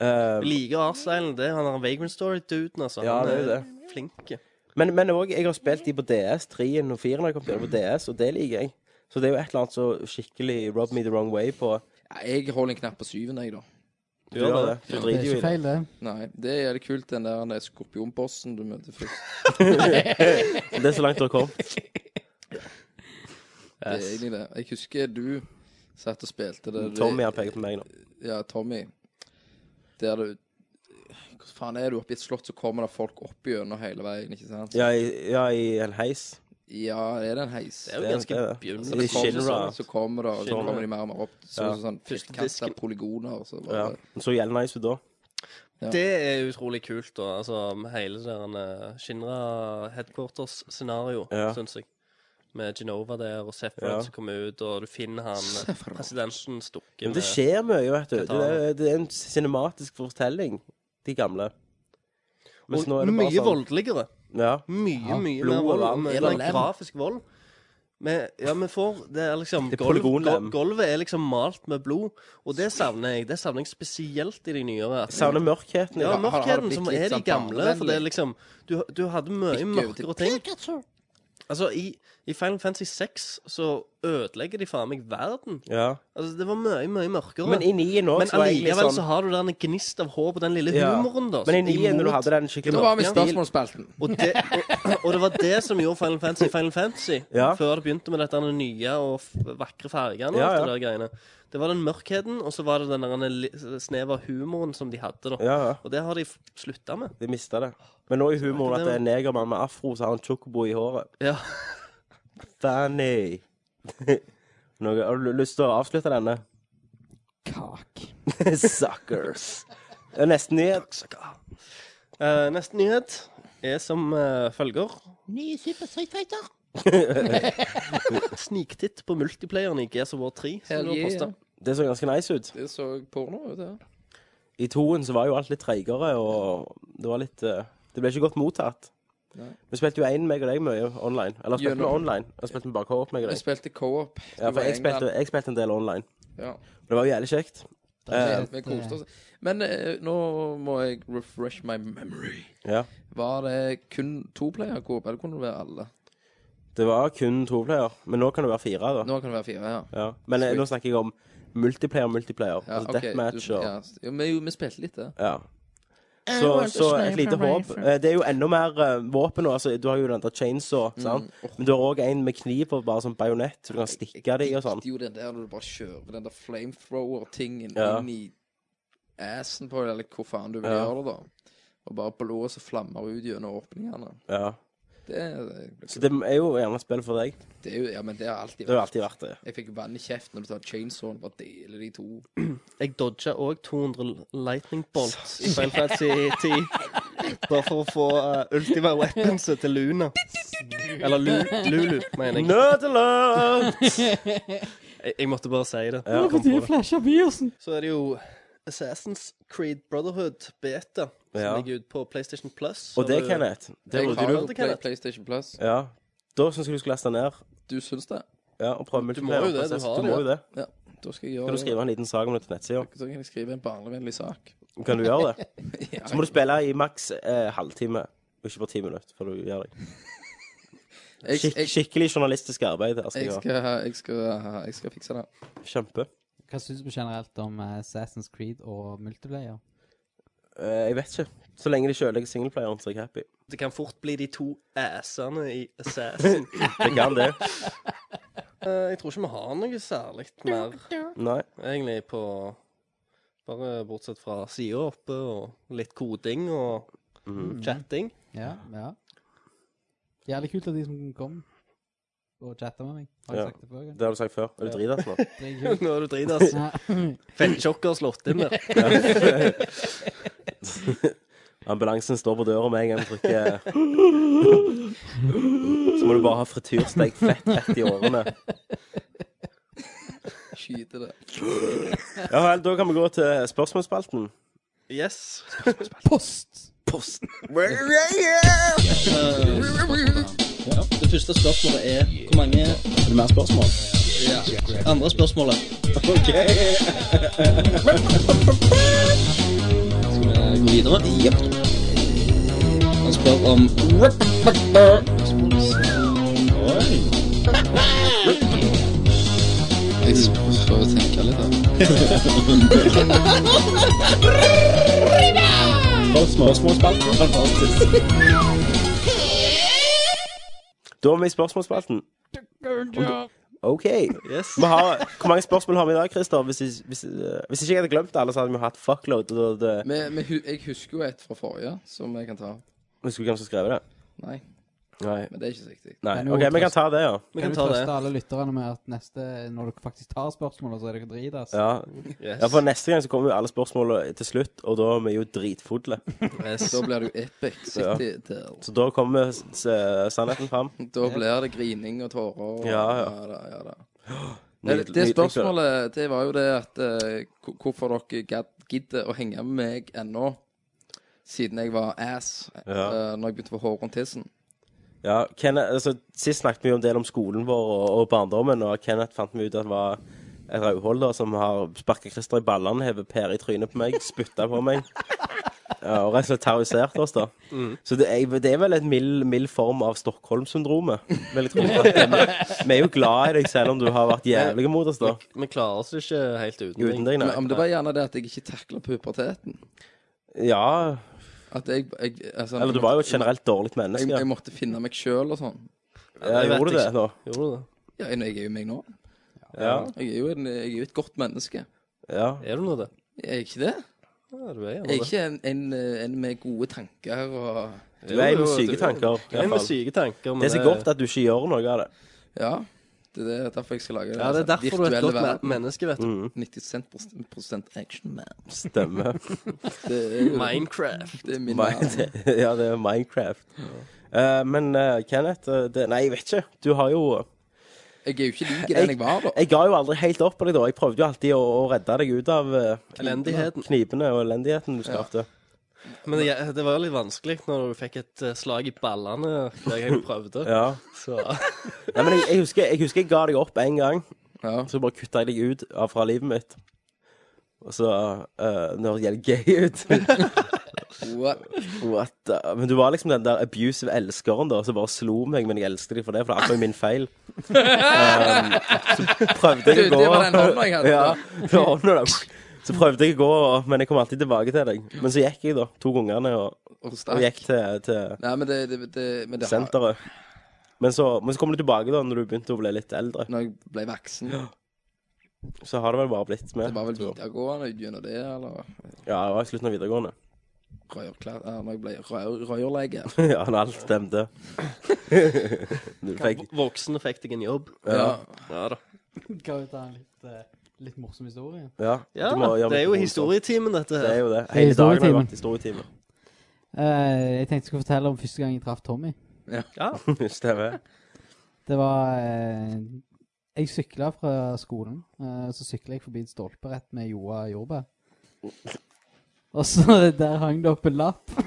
Speaker 8: Eh,
Speaker 10: Jeg liker Arstylen. Det er han der Vagrant Story-duden, altså.
Speaker 8: Ja,
Speaker 10: han
Speaker 8: det er jo
Speaker 10: flink.
Speaker 8: men men òg, jeg har spilt de på DS, 3 og 4 når jeg kom til det på DS, og det liker jeg. Så det er jo et eller annet så skikkelig rub me the wrong way på
Speaker 9: Ja, Jeg holder en knapp på syven, jeg, da.
Speaker 8: Du gjør det. Du
Speaker 1: Det er
Speaker 8: driter jo
Speaker 1: ikke
Speaker 8: i det.
Speaker 1: feil, det.
Speaker 9: Nei, det er jævlig kult, den der den skorpionbossen du møter først.
Speaker 8: Det er så langt du har kommet.
Speaker 9: Det er
Speaker 10: Yes.
Speaker 9: egentlig det. Jeg husker du satt og spilte det.
Speaker 8: Mm, Tommy har pekt på meg nå.
Speaker 9: Ja, Tommy. Der du Hvordan faen er du oppe i et slott, så kommer det folk opp gjennom hele veien, ikke sant?
Speaker 8: Ja, i, ja, i en heis.
Speaker 9: Ja, er det en heis?
Speaker 8: Det er jo Det er- ganske det er det. begynnelig.
Speaker 9: Så det
Speaker 8: I
Speaker 9: kommer
Speaker 8: Shinra.
Speaker 9: sånn, så kommer det, og så
Speaker 8: Shinra.
Speaker 9: kommer de mer og mer opp. Så,
Speaker 8: Ja.
Speaker 9: Sånn
Speaker 10: Første
Speaker 9: firkanta
Speaker 10: disken.
Speaker 9: polygoner, og så
Speaker 8: Ja.
Speaker 9: bare
Speaker 8: Den så jævlig nice ut da.
Speaker 9: Ja.
Speaker 10: Det er utrolig kult, da. Altså med hele der eh, Shinra headquarters-scenario,
Speaker 8: Ja.
Speaker 10: synes syns jeg. Med Genova der, og Sephiroth
Speaker 8: Ja.
Speaker 10: som kommer ut, og du finner han eh,
Speaker 9: Sephiroth.
Speaker 10: presidenten stukke
Speaker 8: Men det skjer mye, vet du. Det er,
Speaker 10: Katana.
Speaker 8: det er en cinematisk fortelling, de gamle. Mens nå er
Speaker 10: Og
Speaker 8: det bare
Speaker 10: mye
Speaker 8: sånn-
Speaker 10: voldeligere.
Speaker 8: Ja.
Speaker 10: Mye, mye
Speaker 8: Blod
Speaker 10: mer
Speaker 8: og
Speaker 10: vold.
Speaker 8: vann.
Speaker 10: Mye
Speaker 8: Er det
Speaker 10: mer
Speaker 8: lem?
Speaker 10: grafisk vold. Men, ja, vi får Det er liksom
Speaker 8: Det er
Speaker 10: gulv-
Speaker 8: polygonlem.
Speaker 10: gul- Gulvet er liksom malt med blod, og det savner jeg. Det savner jeg spesielt i de nyere. at-
Speaker 8: Jeg savner mørkheten. i
Speaker 10: Ja,
Speaker 8: det.
Speaker 9: har- har det
Speaker 10: mørkheten
Speaker 9: blitt
Speaker 10: som
Speaker 9: litt
Speaker 10: er de
Speaker 9: sånn
Speaker 10: gamle. For det er
Speaker 9: barnevennlig?
Speaker 10: liksom Du, du hadde mye
Speaker 9: Ikke over til
Speaker 10: mørkere ting. Altså, i, i Final Fantasy 6 så ødelegger de faen meg verden.
Speaker 8: ja.
Speaker 10: Altså, det var mye, mye mørkere.
Speaker 8: Men i nien òg,
Speaker 10: Men
Speaker 8: så var jeg egentlig
Speaker 10: allikevel
Speaker 8: sånn
Speaker 10: så har du den gnist av håp og den lille
Speaker 8: Ja.
Speaker 10: humoren, da.
Speaker 8: Men i
Speaker 10: som
Speaker 8: nien, når du
Speaker 10: imot-
Speaker 8: hadde den skikkelig
Speaker 9: Da var vi i
Speaker 8: mørke stil-
Speaker 9: spørsmålsspalten.
Speaker 10: og det, og, og det var det som gjorde Final Fantasy Final Fantasy.
Speaker 8: Ja.
Speaker 10: Før det begynte med dette nye og f- vakre fargene. og
Speaker 8: Ja, ja.
Speaker 10: alt Det der greiene Det var den mørkheten, og så var det den der li- snev av humoren som de hadde. da
Speaker 8: Ja, ja.
Speaker 10: Og det har de slutta med.
Speaker 8: De mista det. Men nå er humoren at det er en negermann med afro som har en chocobo i håret.
Speaker 10: Ja.
Speaker 8: Fanny. Noe, har du lyst til å avslutte denne?
Speaker 1: Kak.
Speaker 8: Suckers. Det er nesten nyhet.
Speaker 10: Eh, neste nyhet er som eh, følger.
Speaker 1: Nye Super Street Fighter.
Speaker 10: Sniktitt på multiplayeren i Gears of War 3.
Speaker 9: Hell
Speaker 10: Som du har
Speaker 9: yeah.
Speaker 10: postet.
Speaker 8: Det så ganske nice ut.
Speaker 9: Det så porno ut, det.
Speaker 8: I toen så var jo alt litt treigere, og det var litt eh, Det ble ikke godt mottatt.
Speaker 9: Nei.
Speaker 8: Vi spilte jo én meg og deg mye online. Eller spilte vi
Speaker 9: Gjennom-
Speaker 8: online? Eller spilte vi bare co-op meg og
Speaker 9: Jeg
Speaker 8: deg?
Speaker 9: spilte co-op.
Speaker 8: Ja, for jeg spilte, jeg spilte en del online.
Speaker 9: Ja.
Speaker 8: Det var jo jævlig kjekt. Eh,
Speaker 9: Vi koste oss. Men eh, nå må jeg refresh my memory.
Speaker 8: ja.
Speaker 9: Var det kun to player coop, eller kunne det være alle?
Speaker 8: Det var kun toplayer, men nå kan det være fire. da
Speaker 9: Nå kan det være fire, ja.
Speaker 8: ja. Men eh,
Speaker 9: Sweet.
Speaker 8: nå snakker jeg om multiplayer, multiplayer. altså
Speaker 9: ok,
Speaker 8: deathmatch
Speaker 9: du-
Speaker 8: og
Speaker 9: ja. Jo, men jo, vi spilte litt, det.
Speaker 8: Ja. Så, så et lite håp. Eh, Det er jo enda mer eh, våpen. nå, Altså, du har jo den der chainsaw,
Speaker 9: Mm.
Speaker 8: sant? men du har òg en med kniv og bare sånn bajonett, så du kan stikke det i og sånn.
Speaker 9: Det er jo den der når du bare kjører den der flamethrower-tingen
Speaker 8: Ja.
Speaker 9: inn i assen på det, eller hvor faen du vil
Speaker 8: Ja.
Speaker 9: gjøre det, da. Og bare blåser flammer ut gjennom åpningene.
Speaker 8: Ja.
Speaker 9: Det, er-
Speaker 8: Så det er jo gjerne et spill for deg.
Speaker 9: det er jo Ja, men det har alltid
Speaker 8: Det har jo
Speaker 9: vært
Speaker 8: alltid vært det.
Speaker 9: Jeg fikk vann i kjeften når du tar chainsawen og bare deler de to.
Speaker 10: Jeg dodga òg 200 lightning bolts i Final Fantasy 10. Bare for å få eh, ultima weaponset til Luna. Eller Lu Lulu, mener jeg.
Speaker 8: Nødeløp!
Speaker 10: jeg. Jeg måtte bare si det.
Speaker 1: Nå får tide å flashe Biersen.
Speaker 10: Så er det jo Assassin's Creed Brotherhood Beta, som
Speaker 8: Ja.
Speaker 10: ligger ute på PlayStation Plus.
Speaker 8: Og det,
Speaker 10: Har du-
Speaker 8: Kenneth det
Speaker 9: Jeg
Speaker 8: burde
Speaker 9: har
Speaker 8: du
Speaker 9: jo
Speaker 10: Det kan
Speaker 9: Play,
Speaker 10: jeg.
Speaker 9: PlayStation Plus.
Speaker 8: Ja. Da syns jeg du skal laste ned
Speaker 9: Du syns det?
Speaker 8: ja, og prøve multiplayer.
Speaker 10: må jo det, du
Speaker 8: Prinsesse.
Speaker 10: har
Speaker 8: du
Speaker 10: det,
Speaker 8: må
Speaker 10: ja.
Speaker 8: jo det.
Speaker 9: Ja. Da skal jeg
Speaker 8: Kan
Speaker 9: gjøre
Speaker 8: du skrive en liten sak om det til nettsida?
Speaker 9: Så kan jeg skrive en barnevennlig sak.
Speaker 8: Kan du gjøre det?
Speaker 9: Ja,
Speaker 8: Så må du spille i maks eh, halvtime, og ikke bare ti minutter, for du gjør deg.
Speaker 9: jeg,
Speaker 8: Skik
Speaker 9: jeg,
Speaker 8: skikkelig journalistisk arbeid. her skal
Speaker 9: jeg,
Speaker 8: jeg gjøre.
Speaker 9: skal, jeg, skal, jeg skal fikse det.
Speaker 8: Kjempe.
Speaker 1: Hva syns du generelt om eh, Assassin's Creed og multiplayer?
Speaker 8: Eh, jeg vet ikke. Så lenge de kjøler singelplayeren, så er jeg happy.
Speaker 10: Det kan fort bli de to assene i Assassin.
Speaker 8: Det kan det.
Speaker 10: Eh, jeg tror ikke vi har noe særlig mer,
Speaker 8: Nei.
Speaker 10: egentlig, på Bare bortsett fra sida oppe, og litt koding og
Speaker 8: Mhm.
Speaker 10: chatting.
Speaker 1: Ja, ja. Jævlig kult av de som kom og chatta med meg. Har jeg
Speaker 8: Ja.
Speaker 1: sagt det før?
Speaker 8: Det har du sagt før. Er du drita nå?
Speaker 1: Dritkult.
Speaker 10: Nå er du drit, ass.
Speaker 1: Ja.
Speaker 10: Fettsjokker slått inn der.
Speaker 8: Ambulansen står på døra med en gang du trykker Så må du bare ha frityrstekt fett rett i årene.
Speaker 9: Skyte det.
Speaker 8: Ja vel, da kan vi gå til spørsmålsspalten.
Speaker 10: Yes.
Speaker 1: Post!
Speaker 8: Post.
Speaker 10: Det første spørsmålet er hvor mange Er det mer spørsmål? Ja. Andre spørsmålet. OK. Skal vi gå videre? Jepp. Han spør om
Speaker 9: Jeg prøver å tenke litt, da.
Speaker 8: Da er vi i spørsmålsspalten. Om du, OK.
Speaker 10: Yes.
Speaker 8: Vi har, hvor mange spørsmål har vi i dag, Christer? Hvis, hvis, hvis, eh, hvis ikke jeg hadde glemt alle, så hadde vi hatt fuckload. Og det,
Speaker 9: Men- men hu- jeg husker jo et fra forrige som jeg kan ta.
Speaker 8: husker du hvem som skrev det?
Speaker 9: Nei,
Speaker 8: Nei.
Speaker 9: men det er ikke så viktig.
Speaker 8: Nei.
Speaker 1: Men jo,
Speaker 8: OK, vi kan ta det, ja.
Speaker 1: Kan
Speaker 10: Vi kan
Speaker 1: du
Speaker 10: ta
Speaker 1: trøste
Speaker 10: det.
Speaker 1: alle lytterne med at neste, når dere faktisk tar spørsmålet, så er dere drit, altså?
Speaker 8: ja.
Speaker 10: Yes.
Speaker 8: Ja, For neste gang så kommer jo alle spørsmålene til slutt, og da er vi jo dritfulle.
Speaker 10: yes.
Speaker 9: Da blir det jo epic
Speaker 8: Ja.
Speaker 9: city der.
Speaker 8: Så da kommer s- s- sannheten fram.
Speaker 9: Da blir det grining og tårer. Og,
Speaker 8: Ja, ja.
Speaker 9: da, ja da.
Speaker 8: Nydelig-
Speaker 9: det, det
Speaker 8: nydelig kveld.
Speaker 9: spørsmålet det var jo det at eh, hvor- hvorfor dere gadd- gidder å henge med meg ennå, siden jeg var ass eh,
Speaker 8: Ja.
Speaker 9: når jeg begynte å få hår rundt tissen.
Speaker 8: Ja, Kenneth, altså, Sist snakket vi jo en del om skolen vår og, og barndommen, og Kenneth fant vi ut at det var et rødhold da, som har sparka Christer i ballene, hevet pære i trynet på meg, spytta på meg. Ja, og rett og slett terrorisert oss, da.
Speaker 10: Mm.
Speaker 8: Så det er, det er vel en mild, mild form av Stockholm-syndromet. vil jeg tro. Vi er jo glad i deg, selv om du har vært jævlig mot oss, da.
Speaker 10: Vi klarer oss ikke helt uten,
Speaker 8: Uten deg,
Speaker 9: Men, men det
Speaker 8: nei.
Speaker 9: var gjerne det at jeg ikke takla puberteten.
Speaker 8: Ja,
Speaker 9: At jeg, jeg altså,
Speaker 8: eller du var jo et generelt dårlig
Speaker 9: jeg,
Speaker 8: menneske.
Speaker 9: jeg
Speaker 8: Ja,
Speaker 9: måtte finne meg sjøl og sånn.
Speaker 8: Ja,
Speaker 10: Jeg vet
Speaker 8: gjorde du det
Speaker 10: ikke.
Speaker 8: nå?
Speaker 10: Gjorde du det?
Speaker 9: Ja, jeg jeg er jo meg nå.
Speaker 8: Ja.
Speaker 9: Jeg er jo, en, jeg er jo et godt menneske.
Speaker 8: ja.
Speaker 10: Er du nå det?
Speaker 9: Er jeg ikke det?
Speaker 10: Ja, du er
Speaker 9: Jeg er
Speaker 10: gjerne det.
Speaker 9: ikke en, en, eh, en med gode tanker og
Speaker 8: Du er
Speaker 10: Jo,
Speaker 8: med
Speaker 10: jo,
Speaker 8: syke
Speaker 10: du-
Speaker 8: tanker. i
Speaker 10: Jeg er
Speaker 8: hvert
Speaker 10: med
Speaker 8: fall.
Speaker 10: syke tanker, men eh,
Speaker 8: Det er så godt at du ikke gjør noe av det.
Speaker 9: Ja. Det er det- derfor jeg skal lage det.
Speaker 10: Ja, det er derfor du er et
Speaker 9: virtuelle
Speaker 10: godt me-
Speaker 9: verden.
Speaker 10: menneske, vet du.
Speaker 8: Mhm.
Speaker 9: 90 prosent- prosent action man.
Speaker 8: Stemmer.
Speaker 9: Det er jo
Speaker 10: Minecraft.
Speaker 9: det er min verden.
Speaker 8: Mine- ja, det er Minecraft. Eh, men eh, Kenneth eh, det, Nei, jeg vet ikke. Du har jo
Speaker 9: Jeg er jo ikke lik den jeg var, da.
Speaker 8: Jeg ga jo aldri helt opp på deg, da. Jeg prøvde jo alltid å, å redde deg ut av eh,
Speaker 10: Elendigheten.
Speaker 8: knipene og elendigheten du skapte.
Speaker 10: Men det, det var jo litt vanskelig når du fikk et eh, slag i ballene hver gang du prøvde.
Speaker 8: Ja.
Speaker 10: Så
Speaker 8: Nei, men jeg, jeg, husker, jeg husker jeg ga deg opp én gang,
Speaker 9: Ja.
Speaker 8: så bare kutta jeg deg ut av, fra livet mitt. Og så eh, Når det gjelder gay ut
Speaker 9: What?
Speaker 8: What the? Men du var liksom den der abusive elskeren da som bare slo meg, men jeg elsket deg for det, for det er akkurat min feil. Um, så prøvde jeg
Speaker 9: Du,
Speaker 8: å gå
Speaker 9: det var den hånda jeg hadde,
Speaker 8: Ja,
Speaker 9: da.
Speaker 8: det var hånda, da. Så prøvde jeg å gå, og- men jeg kom alltid tilbake til deg. Men så gikk jeg, da. Tok ungene og,
Speaker 9: Og
Speaker 8: og
Speaker 9: stakk.
Speaker 8: gikk til, til
Speaker 9: Nei, men det, det, det, men det har,
Speaker 8: senteret. Men så, men så kom du tilbake da når du begynte å bli litt eldre.
Speaker 9: Når jeg ble voksen
Speaker 8: Så har det vel bare blitt med.
Speaker 9: Det var vel videregående gjennom det, eller
Speaker 8: Ja, det var i slutten av videregående.
Speaker 9: rørklær ja, Når jeg ble rør, rørlege.
Speaker 8: ja, når alt stemte. du fikk
Speaker 10: voksne fikk deg en jobb.
Speaker 9: Ja.
Speaker 10: Ja da.
Speaker 1: Kan vi ta en litt, eh, litt morsom historie?
Speaker 8: Ja,
Speaker 10: Ja,
Speaker 8: du må gjøre
Speaker 10: det er jo
Speaker 8: noe sånt.
Speaker 10: historietimen, dette
Speaker 8: Det er
Speaker 10: her.
Speaker 8: jo det. Hele dagen har
Speaker 1: historietimen.
Speaker 8: det vært historietime.
Speaker 1: Eh, jeg tenkte jeg skulle fortelle om første gang jeg traff Tommy.
Speaker 10: Ja.
Speaker 8: Stemmer.
Speaker 1: Det var eh, Jeg sykla fra skolen. Eh, så sykla jeg forbi et stolperett med Joa jordbær. Og så der hang det opp en lapp på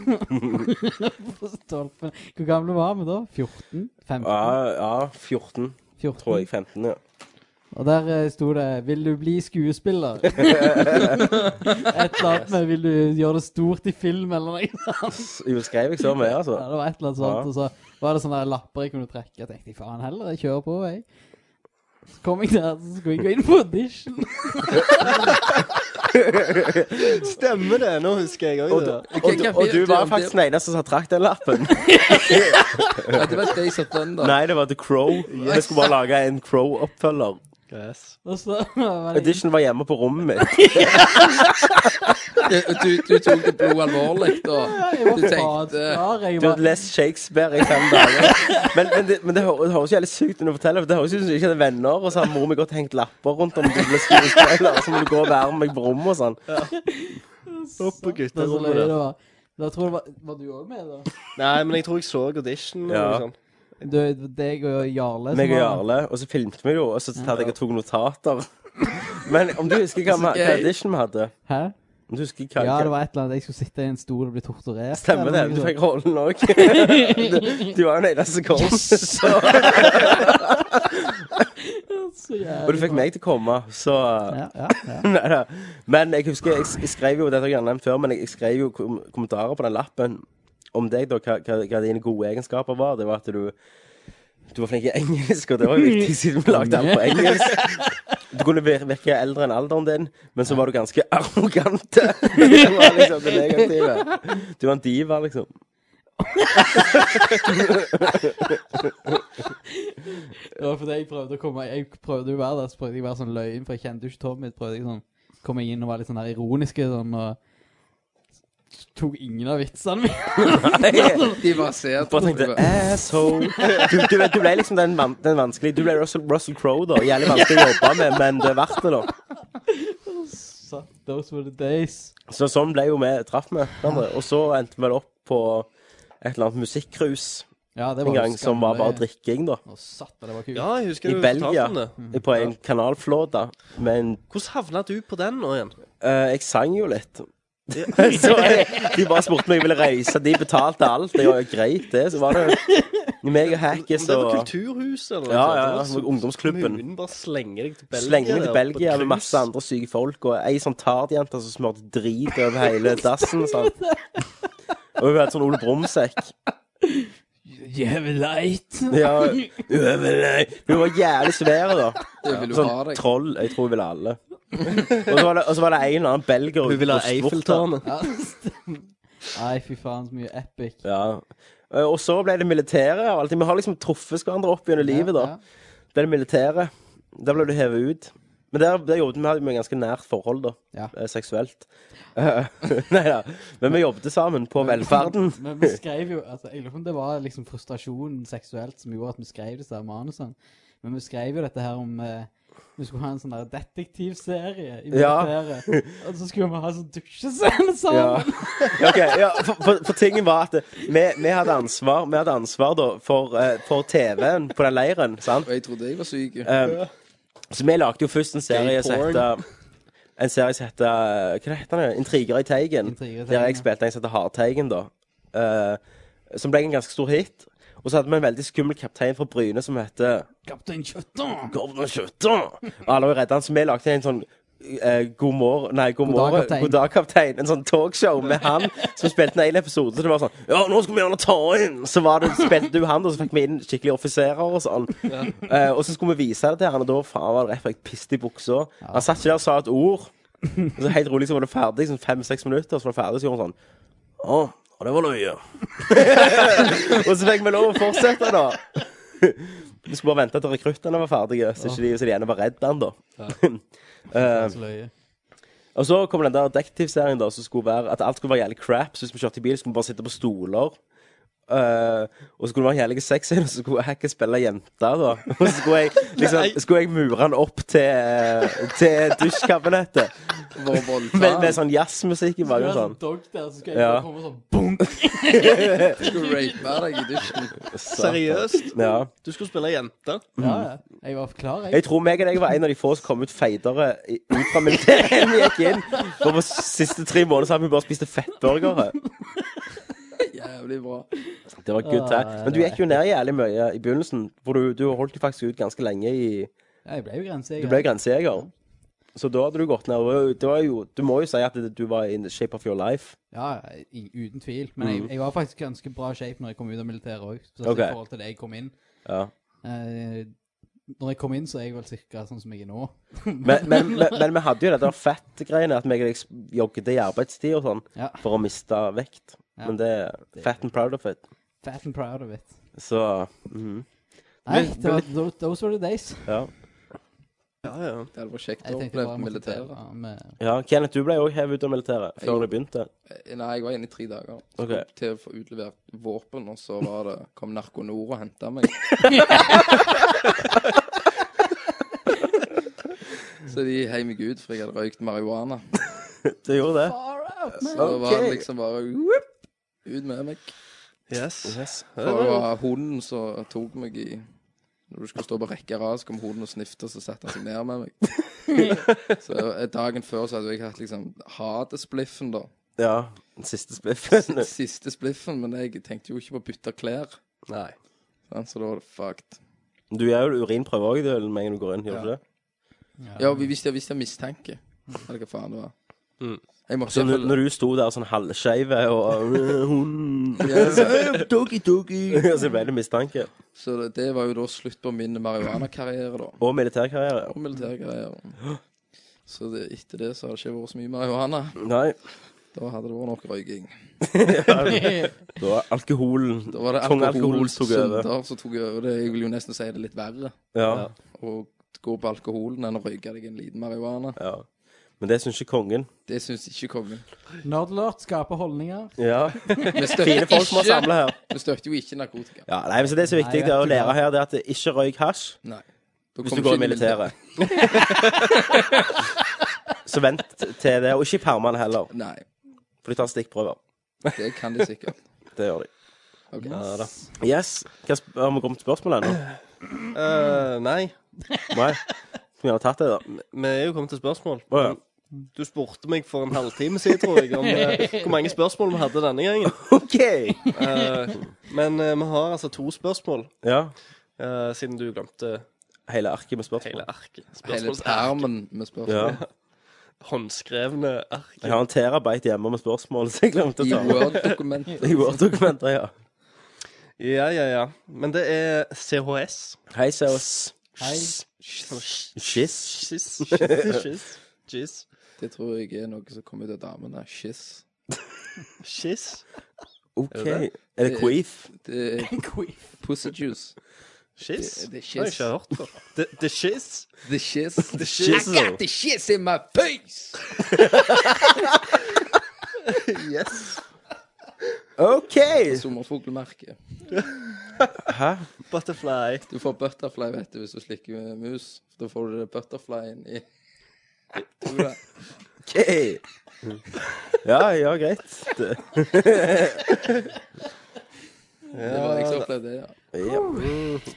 Speaker 1: stolpen. Hvor gamle var vi da? 14? 15?
Speaker 8: Ja, ja, 14,
Speaker 1: 14.
Speaker 8: tror jeg. 15, ja.
Speaker 1: Og der eh, sto det 'Vil du bli skuespiller?' Et eller annet med 'Vil du gjøre det stort i film?' eller noe.
Speaker 8: Jo, skrev jeg så mye, altså.
Speaker 1: Ja, det var et eller annet
Speaker 8: Ja.
Speaker 1: sånt. Og så var det sånne der lapper jeg kunne trekke. Jeg tenkte faen heller, jeg kjører på, jeg. Så kom jeg der, så skulle jeg gå inn på audition.
Speaker 10: Stemmer det. Nå husker jeg
Speaker 8: Og,
Speaker 10: òg
Speaker 8: du-
Speaker 10: det.
Speaker 8: og, du- og du var faktisk
Speaker 9: nei.
Speaker 8: den eneste som trakk den lappen.
Speaker 9: Det var Days of Thunder.
Speaker 8: Nei, det var The Crow. Vi skulle bare lage en Crow-oppfølger.
Speaker 10: Yes.
Speaker 1: Og så var det
Speaker 8: Audition var hjemme på rommet mitt.
Speaker 9: Du, du, du tok det blod alvorlig, da.
Speaker 1: Jeg var
Speaker 9: Du tenkte
Speaker 1: fader, jeg
Speaker 8: eh, Du hadde
Speaker 1: var
Speaker 8: lest Shakespeare i fem dager. Men, men, det, men det, hø- det høres jo helt sykt ut å fortelle, for det høres ut som du ikke hadde venner, og så har mor mi gått og hengt lapper rundt om du ble skuespiller, og så må du gå og være med meg på rommet og sånn.
Speaker 10: Opp på
Speaker 1: Det var så
Speaker 10: gutterommet
Speaker 1: løye
Speaker 10: der.
Speaker 1: det var. Da tror jeg det var, var du òg med, da?
Speaker 10: Nei, men jeg tror jeg så audition. og
Speaker 8: Ja.
Speaker 10: sånn.
Speaker 1: Du, deg og Jarle. som
Speaker 8: Meg og
Speaker 1: var-
Speaker 8: Jarle, og så filmte vi jo, og så tatt jeg og tok notater. Men om du husker hva hva
Speaker 9: gøy.
Speaker 8: audition vi hadde?
Speaker 1: Hæ?
Speaker 8: Om du husker hva
Speaker 1: Ja, det var et eller annet. Jeg skulle sitte i en stol og bli torturert.
Speaker 8: Stemmer det.
Speaker 1: eller noe
Speaker 8: Du
Speaker 1: sånt.
Speaker 8: fikk rollen òg. Du, du var jo den eneste som kom. Så,
Speaker 1: Så jævlig
Speaker 8: og du fikk
Speaker 1: bra.
Speaker 8: meg til å komme, så
Speaker 1: Ja, ja, ja.
Speaker 8: Nei da. Men jeg husker jeg, jeg skrev jo dette har jeg nevnt før, men jeg, jeg skrev jo kom kommentarer på den lappen om deg, da, hva, hva, hva dine gode egenskaper var. Det var at du du var flink i engelsk, og det var jo viktig siden vi lagde den på engelsk. Du kunne vir- virke eldre enn alderen din, men så var du ganske arrogant. Det var liksom det negative. Du var en diva, liksom.
Speaker 1: Det var fordi jeg prøvde å komme Jeg prøvde jo å være der, så prøvde jeg å være sånn løyen, for jeg kjente jo ikke Tommy. Så prøvde jeg sånn Kom jeg inn og var litt sånn der ironiske sånn og Tok ingen av vitsene mine.
Speaker 9: De bare ser
Speaker 8: Bare tenkte asshole. Du, du, ble- du ble liksom den, van, den vanskelige Du ble Russell, Russell Crowe, da. Jævlig vanskelig å jobbe med, men det er verdt det, da.
Speaker 1: Så, Those were the days.
Speaker 8: Så sånn ble jo vi traff med hverandre. Og så endte vi vel opp på et eller annet musikkrus
Speaker 1: Ja, det
Speaker 8: en
Speaker 1: var
Speaker 8: gang som var bare drikking, da.
Speaker 1: Og satt, det var kult.
Speaker 10: Ja, jeg
Speaker 8: I
Speaker 10: husker du fortalte
Speaker 8: Belgia.
Speaker 10: om det.
Speaker 8: På en kanalflåte. Men
Speaker 10: Hvordan havna du på den nå igjen?
Speaker 8: eh, jeg sang jo litt. så jeg, de bare spurte om jeg ville reise. De betalte alt. Det var jo greit, det. Så var det meg og
Speaker 10: Om
Speaker 8: Hackis
Speaker 10: det
Speaker 8: og
Speaker 10: var Kulturhuset eller noe
Speaker 8: Ja,
Speaker 10: sånt,
Speaker 8: ja,
Speaker 10: det var
Speaker 8: ja,
Speaker 10: så-
Speaker 8: ungdomsklubben.
Speaker 10: Kommunen bare slenger deg til Belgia.
Speaker 8: Slenger meg
Speaker 10: der,
Speaker 8: til
Speaker 10: på
Speaker 8: Belgia med
Speaker 10: cruise.
Speaker 8: masse andre syke folk, og ei sånn tardjente som smørte drit over hele dassen. Sånn. Og hun hadde sånn Ole Brumsekk.
Speaker 1: Jævlig leit.
Speaker 8: Ja, hun eh, var jævlig svær, da.
Speaker 9: Du vil jo ha
Speaker 8: Sånn
Speaker 9: deg.
Speaker 8: troll. Jeg tror hun ville ha alle. Og så var det, og så var det en eller annen belger
Speaker 10: Hun ville ha
Speaker 8: på skjorta.
Speaker 10: Eiffeltårnet.
Speaker 1: Ja, stemmer. Nei, fy faen, så mye epic.
Speaker 8: Ja. Eh, Og så ble det militæret og allting. Vi har liksom truffet hverandre opp gjennom livet, da.
Speaker 1: Ja,
Speaker 8: Det er det militære. Der ble du hevet ut. Men der, der jobbet vi hadde vi et ganske nært forhold, da.
Speaker 1: Ja.
Speaker 8: Eh, Seksuelt. Eh, Nei da. Men vi jobbet sammen på velferden.
Speaker 1: Men vi skrev jo altså, Jeg lurer på om det var liksom frustrasjonen seksuelt som gjorde at vi skrev disse her manusene. Men vi skrev jo dette her om eh, vi skulle ha en sånn der detektivserie i
Speaker 8: Ja.
Speaker 1: militæret. Og så skulle vi ha en sånn dusjescene
Speaker 8: Ja.
Speaker 1: sammen.
Speaker 8: Ok, ja, for, for, for tingen var at eh, vi, vi hadde ansvar, vi hadde ansvar da, for, eh, for TV-en på den leiren. sant?
Speaker 9: Og jeg trodde jeg var syk.
Speaker 8: Eh, så vi lagde jo først en serie som
Speaker 10: porn.
Speaker 8: heter En serie som heter eh, Hva heter den? Intriger i Teigen.
Speaker 1: Intriger i Teigen,
Speaker 8: der jeg
Speaker 1: ja.
Speaker 8: spilte en som heter Hardteigen, da. Eh, som ble en ganske stor hit. Og så hadde vi en veldig skummel kaptein fra Bryne som heter
Speaker 1: Kaptein Kjøtta!
Speaker 8: Governor Kjøtta. Ah, Alle var redde han, så vi lagde en sånn eh, god morgen Nei, god
Speaker 1: God dag,
Speaker 8: morgen.
Speaker 1: kaptein.
Speaker 8: God dag, kaptein. En sånn talkshow med han som spilte en egen episode. Så det var sånn Ja, nå skal vi gjerne ta inn! Så var det, spilte du han, og så fikk vi inn skikkelige offiserer og sånn. Eh, og så skulle vi vise det til han, og da faen var det rett før jeg piste i buksa. Han satt ikke der og sa et ord. Og så helt rolig så var det ferdig, sånn fem-seks minutter, så var det ferdig, så gjorde han sånn Å, og det var løye. og så fikk vi lov å fortsette, da. Vi skulle bare vente til rekruttene var ferdige, så ikke de, så de ene var redd han, da. Eh,
Speaker 1: Så løye.
Speaker 8: og så kom den der detektivserien da, som skulle være at alt skulle være jævlig crap. Så hvis vi kjørte i bil, skulle vi bare sitte på stoler. Eh, og så skulle det være en jævlig sexscene, og så skulle Hacker spille jente, da. Og så skulle jeg, liksom, skulle jeg mure han opp til, til dusjkabinettet
Speaker 9: Vår voldtakt.
Speaker 8: med, med sånn jazzmusikk i
Speaker 1: Skulle ha
Speaker 8: bakgrunnen. Sånn.
Speaker 1: sånn dog der, så skulle jeg
Speaker 8: Ja.
Speaker 1: bare komme sånn boom!
Speaker 9: Skulle rape deg i dusjen.
Speaker 10: Seriøst?
Speaker 8: Ja.
Speaker 10: Du skulle spille jente?
Speaker 1: Ja, ja. Jeg var klar, jeg.
Speaker 8: Jeg tror meg og deg var en av de få som kom ut feidere i- ut fra militæret enn vi gikk inn. For på siste tre måneder så hadde vi bare spist fettburgere.
Speaker 9: Jævlig bra.
Speaker 8: Det var good time. Men du gikk jo ned jævlig mye i begynnelsen. For du, du holdt jo faktisk ut ganske lenge i
Speaker 1: Ja, jeg ble jo
Speaker 8: Du ble
Speaker 1: grensejeger.
Speaker 8: grensejeger. Så da hadde du gått ned. Og det var jo, du må jo si at det- du var in the shape of your life.
Speaker 1: Ja, ja, i- uten tvil. Men jeg, jeg var faktisk ganske bra shape når jeg kom ut av militæret òg.
Speaker 8: Mm. Ok.
Speaker 1: I forhold til det jeg kom inn.
Speaker 8: Ja.
Speaker 1: Eh, når jeg kom inn, så er jeg vel cirka sånn som jeg er nå.
Speaker 8: Men, men, men, men vi hadde jo det der fett-greiene, at meg og deg jogget i arbeidstid og sånn
Speaker 1: Ja.
Speaker 8: for å miste vekt. Men det er fat and proud of it.
Speaker 1: Fat and proud of it.
Speaker 8: Så mhm,
Speaker 1: Nei,
Speaker 8: Men-
Speaker 1: det var, tho- those were the days.
Speaker 8: ja.
Speaker 10: Ja, ja.
Speaker 9: Det hadde vært kjekt å
Speaker 1: Jeg tenkte
Speaker 9: oppleve
Speaker 1: bare
Speaker 9: militæret.
Speaker 1: militæret.
Speaker 8: ja. Kenneth, du ble jo hevet ut av militæret før
Speaker 9: Jeg-
Speaker 8: du begynte.
Speaker 9: Eh, Nei, jeg var inne i tre dager. Så
Speaker 8: Ok.
Speaker 9: Til å få utlevert våpen, og så var det, kom Narkonor og henta meg. så de heiv meg ut fordi jeg hadde røykt marihuana.
Speaker 8: Du gjorde det?
Speaker 9: Så var det
Speaker 8: Ok.
Speaker 9: liksom bare whoop, ut med meg.
Speaker 10: Yes.
Speaker 8: Yes.
Speaker 9: For det var hunden som tok meg i Når du skulle stå på rekke og rad, så kom hunden og snifta, så satte han seg ned med meg. så eh, dagen før så hadde jeg hatt liksom hatespliffen, da.
Speaker 8: Ja. Den siste spiffen.
Speaker 9: Siste spliffen, men jeg tenkte jo ikke på å bytte klær.
Speaker 10: Nei.
Speaker 9: sant, Så da var det fucked.
Speaker 8: Du gjør jo urinprøve òg, du, med en gang du går inn, gjør du ikke det?
Speaker 9: Ja, vi- hvis jeg, hvis jeg mistenker Eller hva faen det var. Jeg måtte
Speaker 8: Så
Speaker 9: i
Speaker 8: når,
Speaker 9: hvert fall-
Speaker 8: når du sto der sånn halvskeiv og hun
Speaker 9: Ja, så-
Speaker 8: Så ble det mistanke.
Speaker 9: Så det, det var jo da slutt på min marihuanakarriere, da.
Speaker 8: Og militærkarriere.
Speaker 9: Og militærgreier. Så det, etter det så har det ikke vært så mye marihuana.
Speaker 8: Nei.
Speaker 9: Da hadde det vært nok røyking.
Speaker 8: da var alkoholen
Speaker 9: Da var det
Speaker 8: Tung alkohol tok over.
Speaker 9: alkoholsynder som tok over. Det, jeg vil jo nesten si det litt verre.
Speaker 8: Ja.
Speaker 9: Å gå på alkoholen enn å røyke deg en liten marihuana.
Speaker 8: ja. Men det syns ikke kongen.
Speaker 9: Det syns ikke kongen.
Speaker 1: Nerdlert skaper holdninger.
Speaker 8: Ja.
Speaker 9: Vi
Speaker 8: Fine
Speaker 9: støtter
Speaker 8: folk som har
Speaker 9: ikke,
Speaker 8: samla her.
Speaker 9: vi støtter jo ikke narkotika.
Speaker 8: Ja, nei, men så Det som er viktig
Speaker 1: Nei,
Speaker 8: det er å
Speaker 1: vet du
Speaker 8: lære
Speaker 1: hva.
Speaker 8: her, det er at det ikke røyk hasj
Speaker 9: Nei. Da
Speaker 8: hvis
Speaker 9: kommer
Speaker 8: du går i
Speaker 9: ikke
Speaker 8: militæret. så vent til det. Og ikke i permene heller,
Speaker 9: Nei,
Speaker 8: for de tar stikkprøver.
Speaker 9: det kan de sikkert.
Speaker 8: Det gjør de.
Speaker 9: Ok.
Speaker 8: Yes. Hva sp- Har vi kommet til spørsmålet ennå?
Speaker 10: Eh, nei,
Speaker 8: Nei? Skulle gjerne tatt det, da.
Speaker 10: vi er jo kommet til spørsmål.
Speaker 8: Å, ja.
Speaker 10: Du spurte meg for en halvtime siden, tror jeg, om eh, hvor mange spørsmål vi hadde denne gangen.
Speaker 8: OK!
Speaker 10: Eh, men eh, vi har altså to spørsmål,
Speaker 8: Ja.
Speaker 10: eh, siden du glemte
Speaker 8: Hele arket med spørsmål.
Speaker 10: hele arket.
Speaker 9: Hele
Speaker 10: Spørsmålsark.
Speaker 9: permen
Speaker 8: Ja.
Speaker 9: med spørsmål.
Speaker 10: Håndskrevne ark.
Speaker 8: Jeg har en terabyte hjemme med spørsmål, så jeg glemte å
Speaker 9: I
Speaker 8: ta med.
Speaker 9: Word-dokumentet.
Speaker 8: I Word-dokumenter, ja.
Speaker 10: Ja, ja, ja. Men det er CHS.
Speaker 8: Hei, Seos.
Speaker 1: Hei.
Speaker 8: Skiss.
Speaker 10: Skiss. Skiss. Skiss.
Speaker 9: Det tror jeg er noe som kommer ut av damene. Skiss.
Speaker 10: Skiss.
Speaker 8: OK.
Speaker 10: Er Eh, det
Speaker 8: Er det queef?
Speaker 9: Det er pussy juice.
Speaker 10: Skiss?
Speaker 9: Det- det er
Speaker 10: har jeg ikke hørt før. Det, det er skiss?
Speaker 9: The shiz.
Speaker 10: The shiz.
Speaker 9: I got the shiz in my face!
Speaker 10: Yes.
Speaker 8: OK!
Speaker 9: Sommerfuglmerke.
Speaker 8: Hæ?
Speaker 10: Butterfly.
Speaker 9: Du får butterfly, vet du, hvis du slikker med mus. Da får du det butterflyen i Tror du det?
Speaker 8: OK! Ja, ja, greit. Det-
Speaker 9: Det var jeg som opplevde det, ja.
Speaker 8: Ja.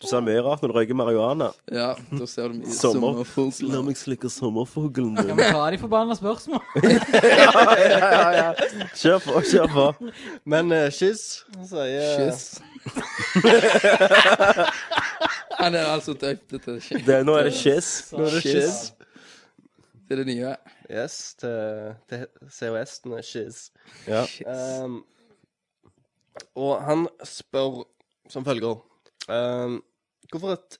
Speaker 8: Du sa mye rart når du røyker marihuana.
Speaker 9: Ja, da ser du mye
Speaker 8: Sommer. La
Speaker 9: sommerfugler.
Speaker 8: meg slikke sommerfuglen
Speaker 1: Kan
Speaker 8: din.
Speaker 1: vi ta de forbanna spørsmål?
Speaker 8: Kjør på, kjør på.
Speaker 10: Men eh, skiss sier
Speaker 9: Shiz. Han er altså døpt til shiz.
Speaker 8: Det, nå er det skiss.
Speaker 10: Nå er det skiss.
Speaker 9: Det er det nye.
Speaker 10: Yes, til, til COS-en er skiss.
Speaker 8: Ja.
Speaker 10: Um, og han spør som følger um, Hvorfor et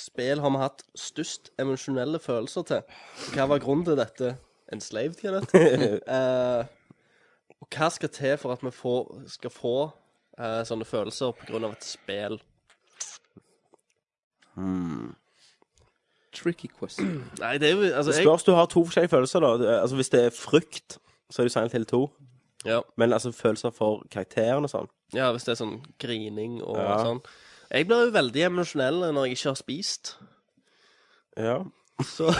Speaker 10: spill har vi hatt størst emosjonelle følelser til? Hva var grunnen til dette? Enslaved, Kenneth? Eh, og hva skal til for at vi får, skal få eh, sånne følelser på grunn av et spill?
Speaker 9: Tricky question.
Speaker 10: Nei, det er jo Altså,
Speaker 8: Det
Speaker 10: jeg
Speaker 8: spørs du har to forskjellige følelser, da. Det- Altså, hvis det er frykt, så er det Silent Hill 2.
Speaker 10: ja.
Speaker 8: Men altså følelser for karakteren og sånn.
Speaker 10: ja, hvis det er sånn grining og
Speaker 8: Ja.
Speaker 10: sånn. Jeg blir jo veldig emosjonell når jeg ikke har spist.
Speaker 8: Ja.
Speaker 10: Så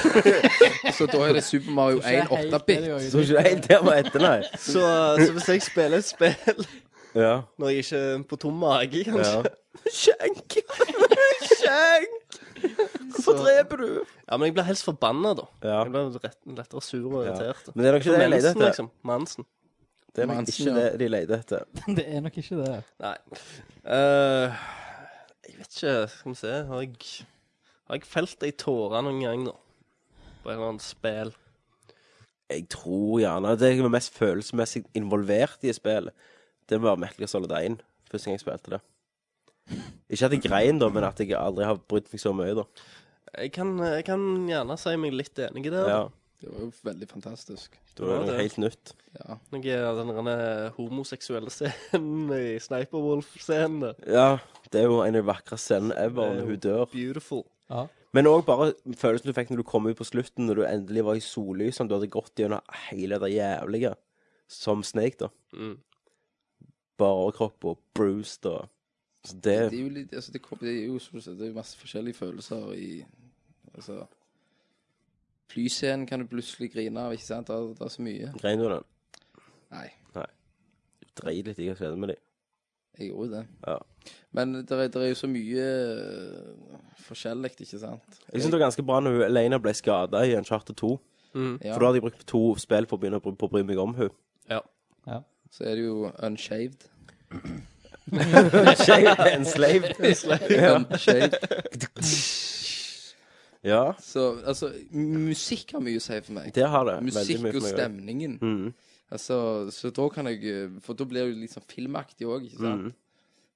Speaker 9: Så da er det Super Mario 1 8-bit.
Speaker 8: Så er ikke det helt der vi er etter, nei.
Speaker 10: Så, så hvis jeg spiller et spill
Speaker 8: Ja.
Speaker 10: når jeg ikke er på tom mage,
Speaker 8: ja.
Speaker 10: kanskje
Speaker 8: Skjenk! Skjenk! Hvorfor dreper du?
Speaker 10: Ja, men jeg blir helst forbanna, da.
Speaker 8: Ja.
Speaker 10: Jeg blir rett, lettere sur og irritert.
Speaker 8: Men det er nok ikke det jeg leter
Speaker 10: Mensen,
Speaker 8: etter.
Speaker 10: liksom. Mansen.
Speaker 8: Det er nok
Speaker 9: Mansen,
Speaker 8: ikke
Speaker 9: ja.
Speaker 8: det de leter etter.
Speaker 1: Det er nok ikke det.
Speaker 10: Nei. Eh, jeg vet ikke. Skal vi se Har jeg, har jeg felt ei tåre noen gang, da? På et eller annet spill?
Speaker 8: Jeg tror gjerne Det jeg var mest følelsesmessig involvert i spillet, det var Metal Gear Solid 1. Første gang jeg spilte det. Ikke at jeg grein, da, men at jeg aldri har brydd meg så mye, da.
Speaker 10: Jeg kan, jeg kan gjerne si meg litt enig i det.
Speaker 8: Ja,
Speaker 10: Ja.
Speaker 9: Det var jo veldig fantastisk.
Speaker 8: det var
Speaker 10: Ja, det-
Speaker 8: noe helt nytt.
Speaker 9: Ja.
Speaker 10: Noe av den derne homoseksuelle scenen i Sniperwolf-scenen. der.
Speaker 8: Ja, det er jo en av de vakreste scenene ever når hun dør.
Speaker 10: Beautiful.
Speaker 8: Men òg bare følelsen du fikk når du kom ut på slutten, når du endelig var i sollysene. Du hadde gått gjennom hele det jævlige som Snake, da.
Speaker 10: Mm.
Speaker 8: Bare overkropp og bruised og Så det
Speaker 9: Det er jo litt, altså det, kom- det er jo som du sier, det er jo masse forskjellige følelser i Altså Flyscenen kan du plutselig grine av, ikke sant? Det er, det er så mye.
Speaker 8: Grein du den?
Speaker 9: Nei,
Speaker 8: Drit litt i hva som skjedde med dem.
Speaker 9: jeg gjorde jo det.
Speaker 8: Ja.
Speaker 9: Men det er, det er jo så mye øh, forskjellig, ikke sant?
Speaker 8: Jeg syns det var ganske bra når hun Elena ble skada i Uncharted 2.
Speaker 9: Ja,
Speaker 8: For da hadde jeg brukt to spill på å begynne å bry, på å bry meg om hun
Speaker 9: så er det jo unshaved.
Speaker 8: En slave.
Speaker 9: Unshaved.
Speaker 8: Ja,
Speaker 9: Så altså, musikk har mye å si for meg.
Speaker 8: det har det.
Speaker 9: Musikk og
Speaker 8: for meg.
Speaker 9: stemningen.
Speaker 8: Mhm.
Speaker 9: Altså, så da kan jeg eh, For da blir det jo litt sånn filmaktig òg, ikke sant?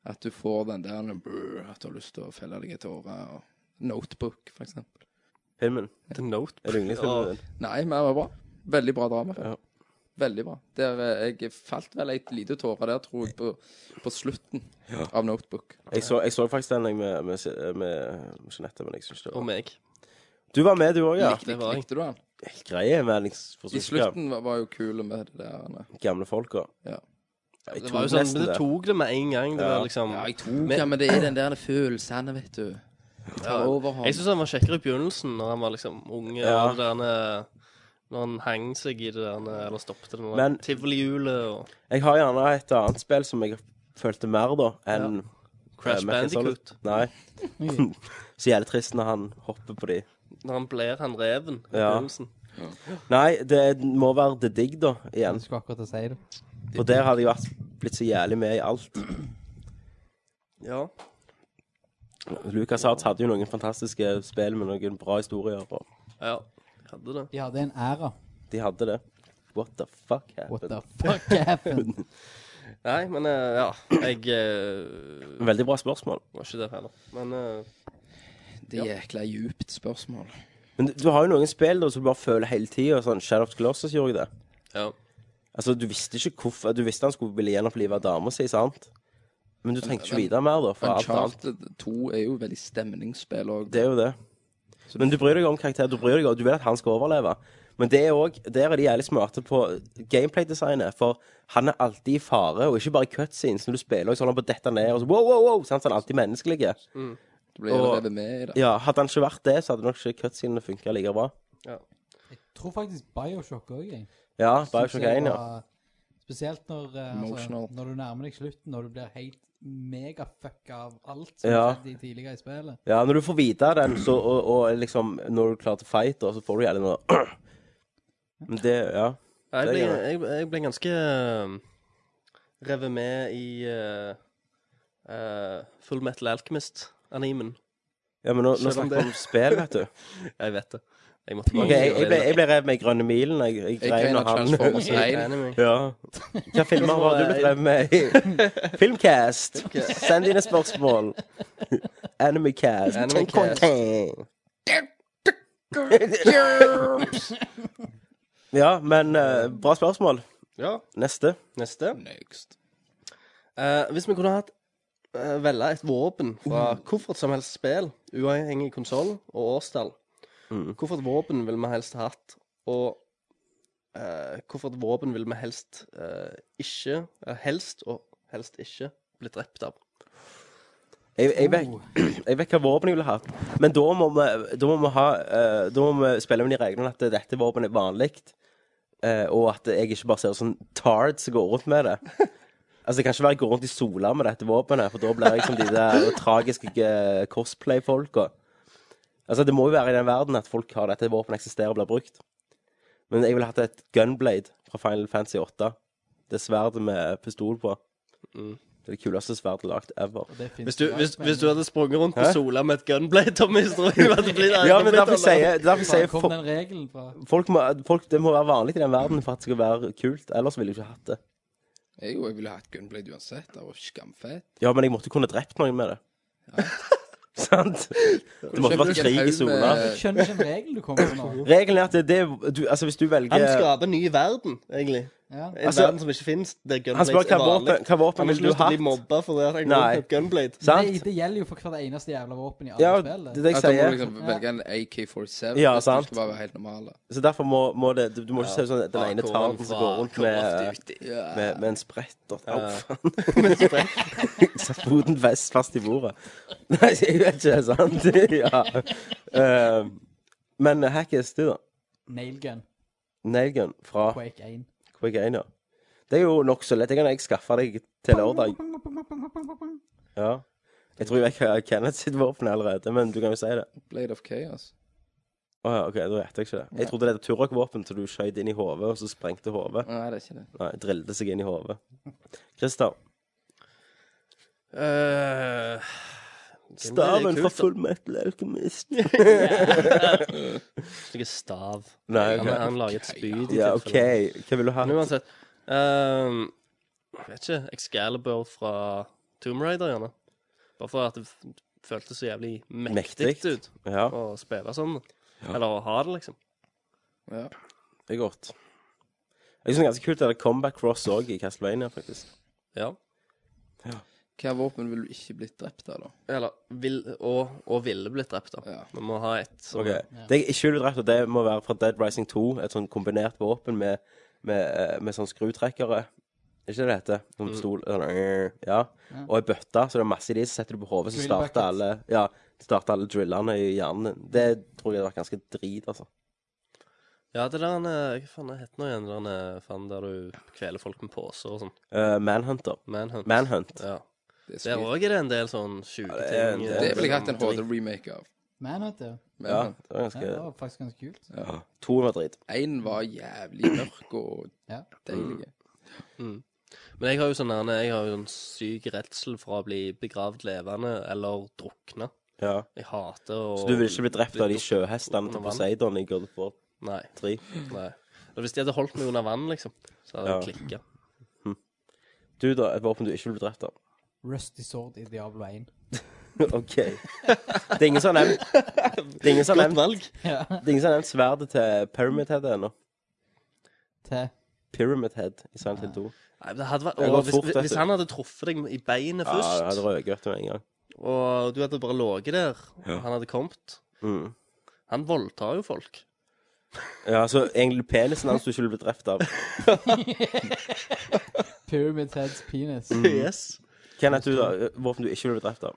Speaker 9: At du får den der brr, At du har lyst til å felle deg i tårer. og Notebook, for eksempel.
Speaker 8: Filmen.
Speaker 10: The Note.
Speaker 8: Er det yndlingsfilmen din?
Speaker 9: Nei, men det var bra. Veldig bra drama. Veldig bra. Der, eh, jeg falt vel et lite tåre der, tror jeg, på, på slutten av Notebook.
Speaker 8: Jeg så, jeg så faktisk den jeg med, med, med Jeanette, men jeg syns det var
Speaker 10: Og meg.
Speaker 8: Du var med, du òg, ja.
Speaker 9: likte,
Speaker 10: det var jeg.
Speaker 9: likte du den?
Speaker 8: Greie med liksom,
Speaker 9: I slutten var, var jo kul med det der. Anne.
Speaker 8: gamle folka.
Speaker 9: Ja.
Speaker 8: Jeg
Speaker 10: Det
Speaker 8: tok
Speaker 10: var jo sånn,
Speaker 8: nesten
Speaker 10: men du
Speaker 8: det.
Speaker 10: tok det med en gang. Det var liksom
Speaker 9: Ja, jeg tok ja, men det er den der følelsen, vet du. Jeg tar overhånd.
Speaker 10: Jeg syns han var kjekkere i begynnelsen, når han var liksom unge.
Speaker 8: Ja.
Speaker 10: Og det derne, når han hang seg i det derne, eller stoppet det der
Speaker 8: Men-
Speaker 10: tivolihjulet og
Speaker 8: Jeg har gjerne et annet spill som jeg følte mer, da, enn
Speaker 10: Crash
Speaker 8: eh, Metal Solid.
Speaker 10: Bandicoot.
Speaker 8: Nei. Så jævlig trist når han hopper på de.
Speaker 10: Når han blir han reven i
Speaker 8: Ja.
Speaker 10: begynnelsen.
Speaker 8: Nei, det må være The Dig, da, igjen.
Speaker 1: Jeg skulle akkurat til å si det.
Speaker 8: For der hadde jeg vært, blitt så jævlig med i alt.
Speaker 10: Ja.
Speaker 8: Lucas Arts hadde jo noen fantastiske spill med noen bra historier, og
Speaker 10: ja. Hadde det.
Speaker 1: De hadde en æra.
Speaker 8: de hadde det. What the fuck
Speaker 1: What
Speaker 8: happened?
Speaker 1: the fuck happened?
Speaker 10: Nei, men eh, ja. Jeg eh,
Speaker 8: Veldig bra spørsmål.
Speaker 10: var ikke der heller. Men eh,
Speaker 9: Det er jækla djupt spørsmål.
Speaker 8: Men du har jo noen spill da, som du bare føler hele tida. Sånn, Shadow of the Colossus gjorde jeg det.
Speaker 10: ja.
Speaker 8: Altså, Du visste ikke hvorfor Du visste han skulle ville gjenopplive dama si, sant? Men du trengte ikke vite mer, da. For alt annet.
Speaker 9: Uncharted 2 er jo veldig stemningsspill òg.
Speaker 8: Det er jo det. Men du bryr deg om karakter. Du bryr deg om, du vil at han skal overleve. Men det er òg Der er de jævlig smarte på gameplay-designet. For han er alltid i fare, og ikke bare i cutscenes. Når du spiller, og så holder han på å dette ned. Og så wow, wow, wow, sant? Så han er alltid menneskelig.
Speaker 9: Du blir jo
Speaker 8: og-
Speaker 9: revet med i det.
Speaker 8: Ja, hadde han ikke vært det, så hadde nok ikke cutscenene funka like bra.
Speaker 1: Jeg tror faktisk Bioshock òg, jeg.
Speaker 8: Ja,
Speaker 1: Synes
Speaker 8: Bioshock 1, ja.
Speaker 1: var- Spesielt når, eh,
Speaker 9: Emotional.
Speaker 1: altså, når du nærmer deg slutten, når du blir helt megafucka av alt som
Speaker 8: Ja.
Speaker 1: skjedde i tidligere i spillet.
Speaker 8: Ja, når du får vite den, så, og, og liksom når du klarer til fight, da, så får du gjerne noe Men det Ja.
Speaker 10: Jeg
Speaker 8: Det
Speaker 10: ble,
Speaker 8: gjør
Speaker 10: jeg, jeg ble ganske eh, revet med i eh, eh, Full Metal Alchemist-animen.
Speaker 8: ja men nå, nå
Speaker 10: Selv om
Speaker 8: snakker vi om spill, vet du.
Speaker 10: Jeg vet det. Jeg måtte
Speaker 8: Ok, Jeg, jeg, ble, jeg ble revet med i Grønne milen. Jeg, jeg,
Speaker 9: Jeg
Speaker 8: grein
Speaker 9: grein
Speaker 8: av
Speaker 9: av Transformers
Speaker 8: han.
Speaker 9: 1.
Speaker 8: ja. Hva filmer var du blitt revet med i? Filmcast! Send dine spørsmål. Animecast.
Speaker 10: Animecast.
Speaker 8: Ja, men eh, bra spørsmål.
Speaker 10: Ja,
Speaker 8: Neste.
Speaker 10: neste.
Speaker 9: Next.
Speaker 10: Eh, hvis vi kunne hatt uh, velge et våpen fra
Speaker 8: Uh.
Speaker 10: hvorfort som helst spill, uavhengig konsoll og årstall,
Speaker 8: Mm.
Speaker 10: hvorfor et våpen ville vi helst hatt, og eh, hvorfor et våpen ville vi helst eh, ikke eh, Helst og helst ikke bli drept av?
Speaker 8: Jeg, jeg, vet, jeg vet hva våpen jeg ville hatt. Men da må vi, da må vi, ha, eh, da må vi spille med de reglene at dette våpenet er vanlig, eh, og at jeg ikke bare ser sånn tard som går rundt med det. Altså, Det kan ikke være jeg går rundt i sola med dette våpenet, for da blir jeg som de der tragiske eh, cosplay-folka. Altså, Det må jo være i den verden at folk har dette våpenet eksisterer og blir brukt. Men jeg ville hatt et gunblade fra Final Fantasy 8. Det sverdet med pistol på. Det er det kuleste sverdet lagd ever.
Speaker 1: Og det finnes
Speaker 10: Hvis du,
Speaker 1: jo
Speaker 10: hvis,
Speaker 1: alt, men-
Speaker 10: hvis du hadde sprunget rundt på sola med et gunblade, Tommy, så tror jeg du hadde blitt
Speaker 8: Ja, men derfor sier jeg, derfor
Speaker 1: Faen,
Speaker 8: sier jeg
Speaker 1: kom
Speaker 8: folk,
Speaker 1: den regelen fra
Speaker 8: folk, må, folk Det må være vanlig i den verden for at det skal være kult. Ellers ville jeg ikke hatt det.
Speaker 9: Jeg, jo, jeg ville hatt Gunblade uansett. Det var skamfett.
Speaker 8: Ja, men jeg måtte kunne drept noen med det. Sant? Det måtte vært
Speaker 9: Kjempe-
Speaker 8: krig i
Speaker 9: haug
Speaker 8: sola.
Speaker 9: med-
Speaker 1: Jeg skjønner ikke en regel du kommer fra nå.
Speaker 8: Regelen er at det, det du, Altså, hvis du velger
Speaker 10: Han skaper en ny verden, egentlig.
Speaker 1: Ja.
Speaker 10: En
Speaker 8: Altså,
Speaker 10: verden som ikke finnes. Der
Speaker 8: Han spør
Speaker 10: gunblades
Speaker 8: hva
Speaker 10: er vanlig.
Speaker 8: våpen, hva våpen
Speaker 10: Han har
Speaker 8: vil
Speaker 10: ikke
Speaker 8: du
Speaker 10: lyst til å bli
Speaker 8: hatt.
Speaker 10: mobba for det at jeg går
Speaker 8: Nei.
Speaker 10: rundt med et gunblade.
Speaker 1: Det,
Speaker 8: Sant?
Speaker 1: det gjelder jo for hvert eneste jævla våpen i alle
Speaker 8: Ja,
Speaker 1: spill.
Speaker 8: det er det jeg
Speaker 9: At da må du
Speaker 8: sier.
Speaker 9: liksom velge en AK-47
Speaker 8: Ja,
Speaker 9: hvis
Speaker 8: sant.
Speaker 9: du skal bare være helt normal.
Speaker 8: Så derfor må, må det Du, du må ikke se sånn at den ene
Speaker 10: Hardcore
Speaker 8: tarden som
Speaker 10: fra
Speaker 8: går rundt
Speaker 10: Call of
Speaker 8: med
Speaker 10: Duty.
Speaker 8: med, med en sprett og Au,
Speaker 10: Ja.
Speaker 8: faen. Satt foten fest fast i bordet. Nei, jeg vet ikke, sant? ja. Eh, men Hackis, du, da?
Speaker 1: Nailgun.
Speaker 8: Nailgun fra
Speaker 1: Quake 1.
Speaker 8: Quake 1, ja. Det er jo nokså lett. Det kan jeg skaffe deg til lørdag. Ja. Jeg tror jeg vet hva Kenneth sitt våpen er allerede, men du kan jo si det.
Speaker 9: Blade of Chaos.
Speaker 8: Å ja, OK, da vet jeg ikke det. Jeg trodde det var Turok-våpen, så du skjøt inn i hodet, og så sprengte hodet.
Speaker 9: Nei, det er ikke det.
Speaker 8: Nei, drillet seg inn i hodet. Christer.
Speaker 10: Eh,
Speaker 8: Staven
Speaker 10: kult,
Speaker 8: fra
Speaker 10: da.
Speaker 8: Full Metal Alchemist.
Speaker 10: Noe stav.
Speaker 8: Nei,
Speaker 10: Han,
Speaker 8: OK.
Speaker 10: han lager et spyd. i
Speaker 8: Ja,
Speaker 10: tilfelle.
Speaker 8: OK. Hva vil du ha?
Speaker 10: Men uansett ehm, Jeg vet ikke. Excalibur fra Tomb Raider, gjerne. Bare for at det f- føltes så jævlig mektig
Speaker 8: Mektigt.
Speaker 10: ut
Speaker 8: Ja.
Speaker 10: å spille sånn. Eller å ha det, liksom.
Speaker 9: Ja.
Speaker 8: Det er godt. Jeg synes det er ganske kult at det er Comeback Cross òg i Castlevania, faktisk.
Speaker 10: Ja.
Speaker 9: Hva våpen ville du ikke blitt drept av, da?
Speaker 10: Eller vil, og, og ville blitt drept, da.
Speaker 9: Ja.
Speaker 10: Vi må ha et som
Speaker 8: Ok. Det jeg ikke ville drept, og det må være fra Dead Rising 2. Et sånn kombinert våpen med, med, eh, med sånn skrutrekkere. Er Ikke det det heter? Sånn pistol sånn, øh, Ja. Og ei bøtte, så det er masse i de, så setter du på hodet, så
Speaker 1: Drill
Speaker 8: starter
Speaker 1: buckets.
Speaker 8: alle Ja, starter alle drillene i hjernen din. Det tror jeg hadde vært ganske drit, altså.
Speaker 10: Ja, det der eh, Hva faen det heter nå igjen? Den eh, faen der du kveler folk med pose og sånn.
Speaker 8: Eh, Manhunter.
Speaker 10: Manhunt.
Speaker 8: Manhunt.
Speaker 10: Ja.
Speaker 9: Det er,
Speaker 10: Der
Speaker 9: skit.
Speaker 10: òg er det en del sånn sjuke
Speaker 8: Ja, det er en
Speaker 10: ting.
Speaker 8: del.
Speaker 9: det ville jeg hatt en
Speaker 10: Sånn dritt.
Speaker 9: HD-remake av.
Speaker 1: Manhunt, ja.
Speaker 8: Ja, det
Speaker 9: Men
Speaker 8: var
Speaker 1: Ja, Det
Speaker 8: ganske
Speaker 1: var faktisk ganske kult.
Speaker 8: ja. To var drit.
Speaker 9: én var jævlig mørk og
Speaker 1: Ja.
Speaker 9: deilig.
Speaker 10: Men jeg har jo sånn der, jeg har jo en syk redsel for å bli begravd levende eller drukna.
Speaker 8: Ja.
Speaker 10: Jeg hater å
Speaker 8: Så du ville ikke blitt drept av de
Speaker 10: Blitt
Speaker 8: sjøhestene til
Speaker 10: under vann.
Speaker 8: Poseidon i God of War
Speaker 10: Nei.
Speaker 8: 3?
Speaker 10: nei. Og hvis de hadde holdt meg under vann, liksom, så hadde jeg klikka.
Speaker 8: Du, da? Et våpen du ikke ville blitt drept av?
Speaker 1: Rusty Sword i Diablo 1.
Speaker 8: OK. Det er ingen som har nevnt Det er ingen som har nevnt
Speaker 10: valg.
Speaker 8: Det er ingen som har nevnt sverdet til Pyramid Head ennå.
Speaker 1: Til
Speaker 8: Pyramid Head i Silent Hill 2.
Speaker 10: Nei, men det hadde vært,
Speaker 8: Det hadde
Speaker 10: Åh,
Speaker 8: gått
Speaker 10: hvis,
Speaker 8: fort, vet
Speaker 10: hvis
Speaker 8: du.
Speaker 10: han hadde truffet deg i beinet
Speaker 8: Ja, det
Speaker 10: først,
Speaker 8: hadde røket med en gang.
Speaker 10: og du hadde bare ligget der, og han hadde kommet
Speaker 8: Mm.
Speaker 10: Han voldtar jo folk.
Speaker 8: Ja, så egentlig penisen hans du ikke ville blitt drept av.
Speaker 1: Pyramid Heads penis.
Speaker 8: Mhm.
Speaker 10: Yes.
Speaker 8: Hvem er du, da? Våpen du ikke ville blitt drept av?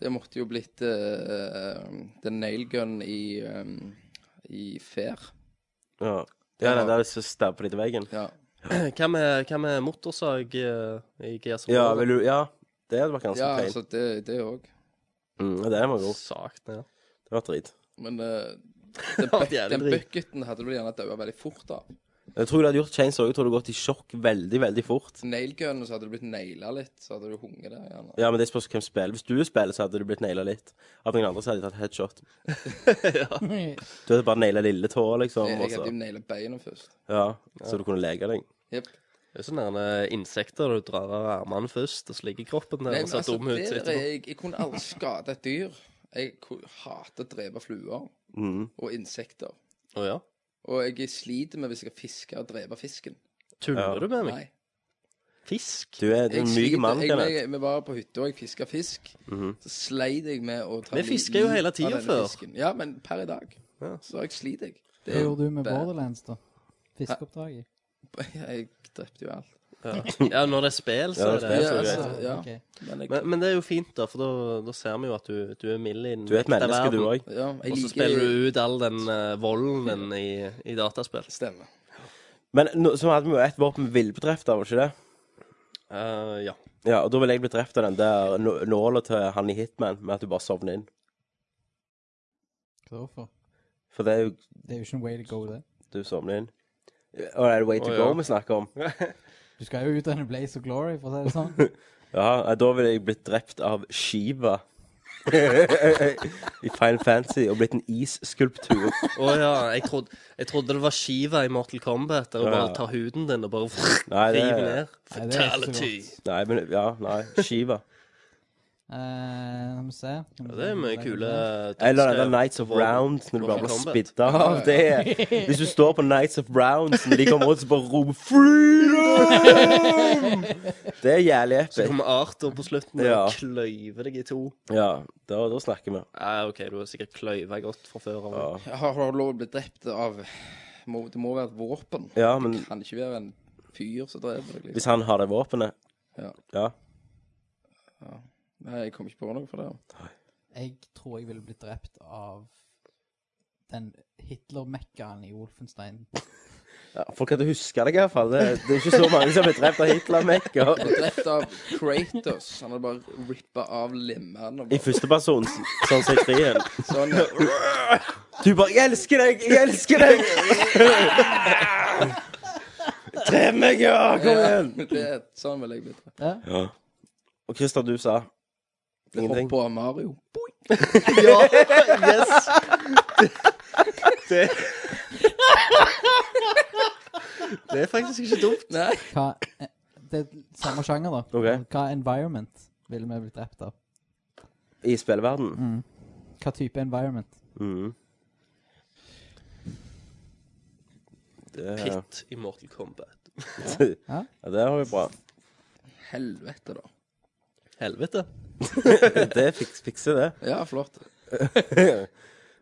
Speaker 9: Det måtte jo blitt eh, The Nail Gun i, um, i Fair.
Speaker 8: Ja. Ja, den der som stabber deg til veggen?
Speaker 9: Ja.
Speaker 10: Hva med, hva med motorsag eh, i Gears of
Speaker 8: Ja,
Speaker 10: War?
Speaker 8: vil du Ja, det hadde vært
Speaker 9: ja,
Speaker 8: ganske feil.
Speaker 9: altså det òg.
Speaker 8: Mm, ja, det var god.
Speaker 10: Sagt ned.
Speaker 8: Det var drit.
Speaker 9: Men eh, den,
Speaker 10: var
Speaker 9: buck-
Speaker 10: jævlig
Speaker 9: den
Speaker 10: drit.
Speaker 9: bucketen hadde du vel gjerne daua veldig fort av.
Speaker 8: Jeg tror du hadde gjort Chains òg. Jeg tror du hadde gått i sjokk veldig, veldig fort.
Speaker 9: Nail Gun, så hadde du blitt naila litt. Så hadde du hunget der gjerne.
Speaker 8: Ja, men det spørs hvem spiller. Hvis du spiller, så hadde du blitt naila litt. Av noen andre så hadde de tatt headshot. Du hadde bare naila lille tå,
Speaker 10: sånn
Speaker 8: liksom.
Speaker 9: Jeg,
Speaker 8: og
Speaker 9: jeg hadde jo
Speaker 8: så-
Speaker 9: naila beina først.
Speaker 8: Ja, så du kunne lege deg.
Speaker 9: Jep.
Speaker 10: Det er sånne der, eh, insekter du drar av armene først, og så ligger kroppen der
Speaker 9: Nei,
Speaker 10: og
Speaker 9: men
Speaker 10: ser
Speaker 9: altså,
Speaker 10: dum ut
Speaker 9: det der er
Speaker 10: etterpå.
Speaker 9: jeg, jeg kunne aldri skade et dyr. Jeg ku- hater å drepe fluer
Speaker 8: Mm.
Speaker 9: og insekter.
Speaker 10: Å ja.
Speaker 9: Og jeg sliter med hvis jeg skal fiske og drepe fisken.
Speaker 10: Tuller
Speaker 8: Ja.
Speaker 10: du med meg?
Speaker 9: Nei.
Speaker 10: Fisk?
Speaker 8: Du er du er
Speaker 9: Jeg
Speaker 8: en myk
Speaker 9: sliter.
Speaker 8: mann,
Speaker 9: jeg,
Speaker 8: Kenneth.
Speaker 9: jeg, vi var på hytta, og jeg fiska fisk. Så sleit jeg med å ta
Speaker 10: Mhm. Vi
Speaker 9: li-
Speaker 10: fisker jo
Speaker 9: liv
Speaker 10: hele
Speaker 9: av
Speaker 10: tida
Speaker 9: denne
Speaker 10: før.
Speaker 9: fisken. Ja, men per i dag.
Speaker 10: Ja.
Speaker 9: Så jeg sliter jeg.
Speaker 1: Hva gjorde du med
Speaker 9: bad.
Speaker 1: Borderlands, da? Fiskeoppdraget?
Speaker 9: Jeg drepte jo alt.
Speaker 10: Ja. ja, når det er spill, så
Speaker 8: Ja,
Speaker 10: er
Speaker 8: når
Speaker 10: det
Speaker 8: det er spill, så er det
Speaker 9: altså, ja.
Speaker 1: Ok.
Speaker 9: Men jeg,
Speaker 10: men, men det er jo fint, da, for da, da ser vi jo at du, du er mild i den
Speaker 8: Du er et menneske, du òg.
Speaker 9: ja, jeg
Speaker 10: Og så
Speaker 9: liker
Speaker 10: spiller du ut all den eh, volden din i, i dataspill.
Speaker 9: Stemmer.
Speaker 8: Men nå, så hadde vi jo ett våpen vi ville blitt drept av, var det ikke det?
Speaker 10: Eh, ja.
Speaker 8: Ja, og da ville jeg blitt drept av den der nå- nåla til han i Hitman, med at du bare sovner inn.
Speaker 1: Hva da for?
Speaker 8: For det er jo
Speaker 1: Det er jo ikke en way to go, det.
Speaker 8: Du sovner inn. Og er det Way to
Speaker 10: Å,
Speaker 8: Go
Speaker 10: ja.
Speaker 8: vi snakker om?
Speaker 1: Du skal jo ut av en blaze of glory, for å si det sånn.
Speaker 8: Ja, eh, da ville jeg blitt drept av Shiva. I Final Fantasy og blitt en isskulptur.
Speaker 10: Å ja, jeg trodde, jeg trodde det var Shiva i Mortal Kombat, der du
Speaker 8: Ja, ja.
Speaker 10: bare tar huden din og bare
Speaker 8: Nei, det
Speaker 10: river
Speaker 8: er
Speaker 1: Nei,
Speaker 10: ned.
Speaker 1: det er ikke så
Speaker 10: Fatality.
Speaker 1: godt.
Speaker 8: Nei, men Ja, nei. Shiva.
Speaker 1: Eh, Skal vi se Skal vi
Speaker 10: Ja, det er
Speaker 1: se.
Speaker 10: mye kule
Speaker 8: Eller den
Speaker 10: dødsgrev.
Speaker 8: der Nights of Rounds, når du bare
Speaker 10: Mortal
Speaker 8: blir
Speaker 10: Kombat.
Speaker 8: spidda av det. Hvis du står på Nights of Rounds, når de kommer rundt, så bare roper 'Freedom!' Det er jævlig
Speaker 10: Så
Speaker 8: epic.
Speaker 10: kommer Arthur på slutten
Speaker 8: Ja.
Speaker 10: og kløyver deg i to.
Speaker 8: Ja, da, da snakker vi.
Speaker 10: Ja, OK, du har sikkert kløyva godt fra før av.
Speaker 8: Ja.
Speaker 9: Jeg har, har lov å bli drept av må, Det må være et våpen.
Speaker 8: Ja, men
Speaker 9: Kan ikke være en fyr som dreper deg.
Speaker 8: hvis
Speaker 9: Liksom.
Speaker 8: han har det våpenet
Speaker 9: Ja.
Speaker 8: Ja.
Speaker 9: Nei, jeg kom ikke på noe for det.
Speaker 1: Jeg tror jeg ville blitt drept av den Hitler-mekkaen i Wolfenstein.
Speaker 8: ja. Folk hadde huska deg iallfall. Det, det er ikke så mange som har blitt drept av Hitler-mekker.
Speaker 9: Drept av Kratos. Han hadde bare rippa av lemmene. og
Speaker 8: I
Speaker 9: bare-
Speaker 8: første person, sånn som i trien.
Speaker 9: Sånn.
Speaker 8: Du bare 'Jeg elsker deg! Jeg elsker deg!' Drep meg, ja! Kom
Speaker 9: Ja,
Speaker 8: igjen!
Speaker 9: det, er- sånn vil jeg bli drept.
Speaker 8: Og Christer, du sa Ingenting.
Speaker 9: Hoppa av Mario.
Speaker 10: Ja, yes! Det, det Det er faktisk ikke dumt.
Speaker 9: Nei.
Speaker 1: Hva eh, Det er samme sjanger, da.
Speaker 8: Ok.
Speaker 1: Hva environment ville vi blitt drept av?
Speaker 8: I spillverden?
Speaker 1: Hva type environment?
Speaker 8: Mm. Det-
Speaker 10: Pitt i Mortal Kombat.
Speaker 8: ja, det var jo bra.
Speaker 9: Helvete, da.
Speaker 10: Helvete.
Speaker 8: det fiks, fikser det.
Speaker 9: Ja, flott.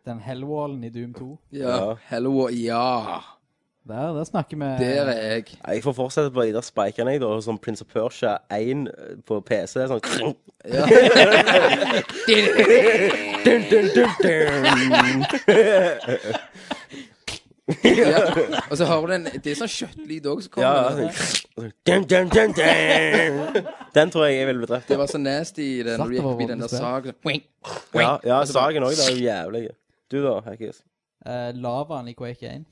Speaker 1: Den hellwallen i Doom 2.
Speaker 9: Ja.
Speaker 8: Ja.
Speaker 9: Hello, ja.
Speaker 1: Der, der snakker vi
Speaker 9: Der er jeg.
Speaker 8: Nei, Jeg får fortsette på de der spikene jeg, da, som Prince of Persia 1 på PC. Sånn krunk. Dun, dun, dun, dun.
Speaker 9: Ja. Og så hører du den Det er sånn kjøttlyd òg som
Speaker 8: Ja,
Speaker 9: kommer.
Speaker 8: sånn dun, dun, dun, dun. Den tror jeg jeg ville blitt drept
Speaker 9: Det
Speaker 8: av.
Speaker 9: var så nasty i den, når du gikk forbi den der sagen. Wink.
Speaker 8: Ja, ja Sagen òg, Altså, det er jo jævlig. Du da, Hackis?
Speaker 1: eh, lavaen i Quake 1.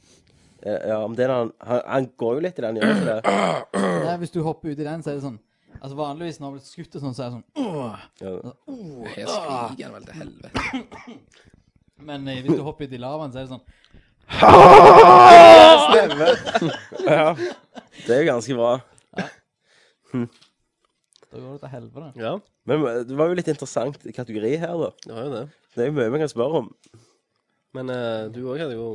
Speaker 8: Eh, Ja, men det er han, han, han går jo litt i den, gjør han ikke det?
Speaker 1: Nei, hvis du hopper uti den, så er det sånn Altså Vanligvis når du blir skutt og sånn, så er det sånn «Åh!»
Speaker 9: Her skriker han vel til helvete.
Speaker 1: Men eh, hvis du hopper uti lavaen, så er det sånn
Speaker 8: Det er jo ganske bra.
Speaker 1: Da går det til helvete.
Speaker 10: Ja,
Speaker 8: Men eh, det var jo litt interessant kategori her, da.
Speaker 10: det var jo det.
Speaker 8: Det er jo mye vi kan spørre om.
Speaker 10: Men eh, du òg hadde jo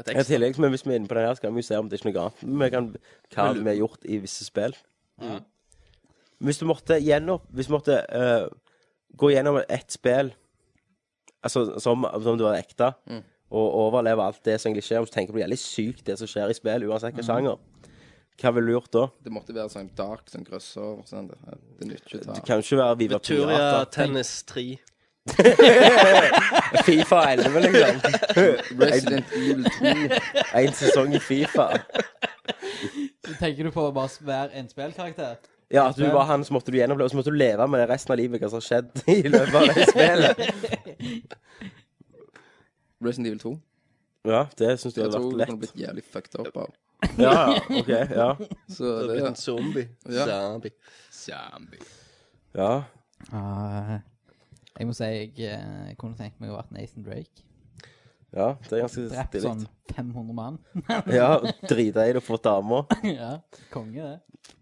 Speaker 10: et
Speaker 8: I
Speaker 10: ekstra.
Speaker 8: tillegg, men hvis vi er inne på den her, så kan vi jo se om det er ikke noe annet vi kan, hva vi har gjort i visse spill. Mm. Hvis du måtte gjennom Hvis du måtte eh, gå gjennom ett spill altså, som, som du er ekte,
Speaker 9: Mm.
Speaker 8: og overleve alt det som egentlig skjer, og så tenker du jævlig sykt det som skjer i spill, uansett
Speaker 9: Mm.
Speaker 8: hvilken sjanger, hva ville du gjort da?
Speaker 9: Det måtte være sånn dark, sånn grøsser. Sånn. Det det nytter ikke å
Speaker 8: Du
Speaker 9: ta
Speaker 8: kan jo ikke være Viva
Speaker 10: Turia
Speaker 8: Pirata.
Speaker 10: Tennis 3.
Speaker 8: Fifa 11, liksom.
Speaker 9: Resident Evil 2.
Speaker 8: En sesong i Fifa.
Speaker 1: Tenker du på å bare være en spillkarakter?
Speaker 8: Ja, at du var han, så måtte du gjennomleve, og så måtte du leve med det resten av livet, hva som har skjedd i løpet av det spillet.
Speaker 9: Resident Evil 2.
Speaker 8: Ja, det syns du
Speaker 9: Jeg
Speaker 8: hadde
Speaker 9: tror
Speaker 8: vært
Speaker 9: du kunne
Speaker 8: lett.
Speaker 9: blitt jævlig fucked up av.
Speaker 8: Ja, ja, ok, ja.
Speaker 9: Så
Speaker 10: Du
Speaker 9: det
Speaker 10: blitt en zombie.
Speaker 9: Ja.
Speaker 10: Zombie.
Speaker 9: Zombie.
Speaker 8: ja.
Speaker 1: Ah, jeg må si jeg eh, kunne tenkt meg å vært Nathan Drake.
Speaker 8: Ja, det er ganske
Speaker 1: Drept sånn
Speaker 8: stilig.
Speaker 1: 500 mann.
Speaker 8: Ja, drite i det og få damer.
Speaker 1: ja, Konge, det.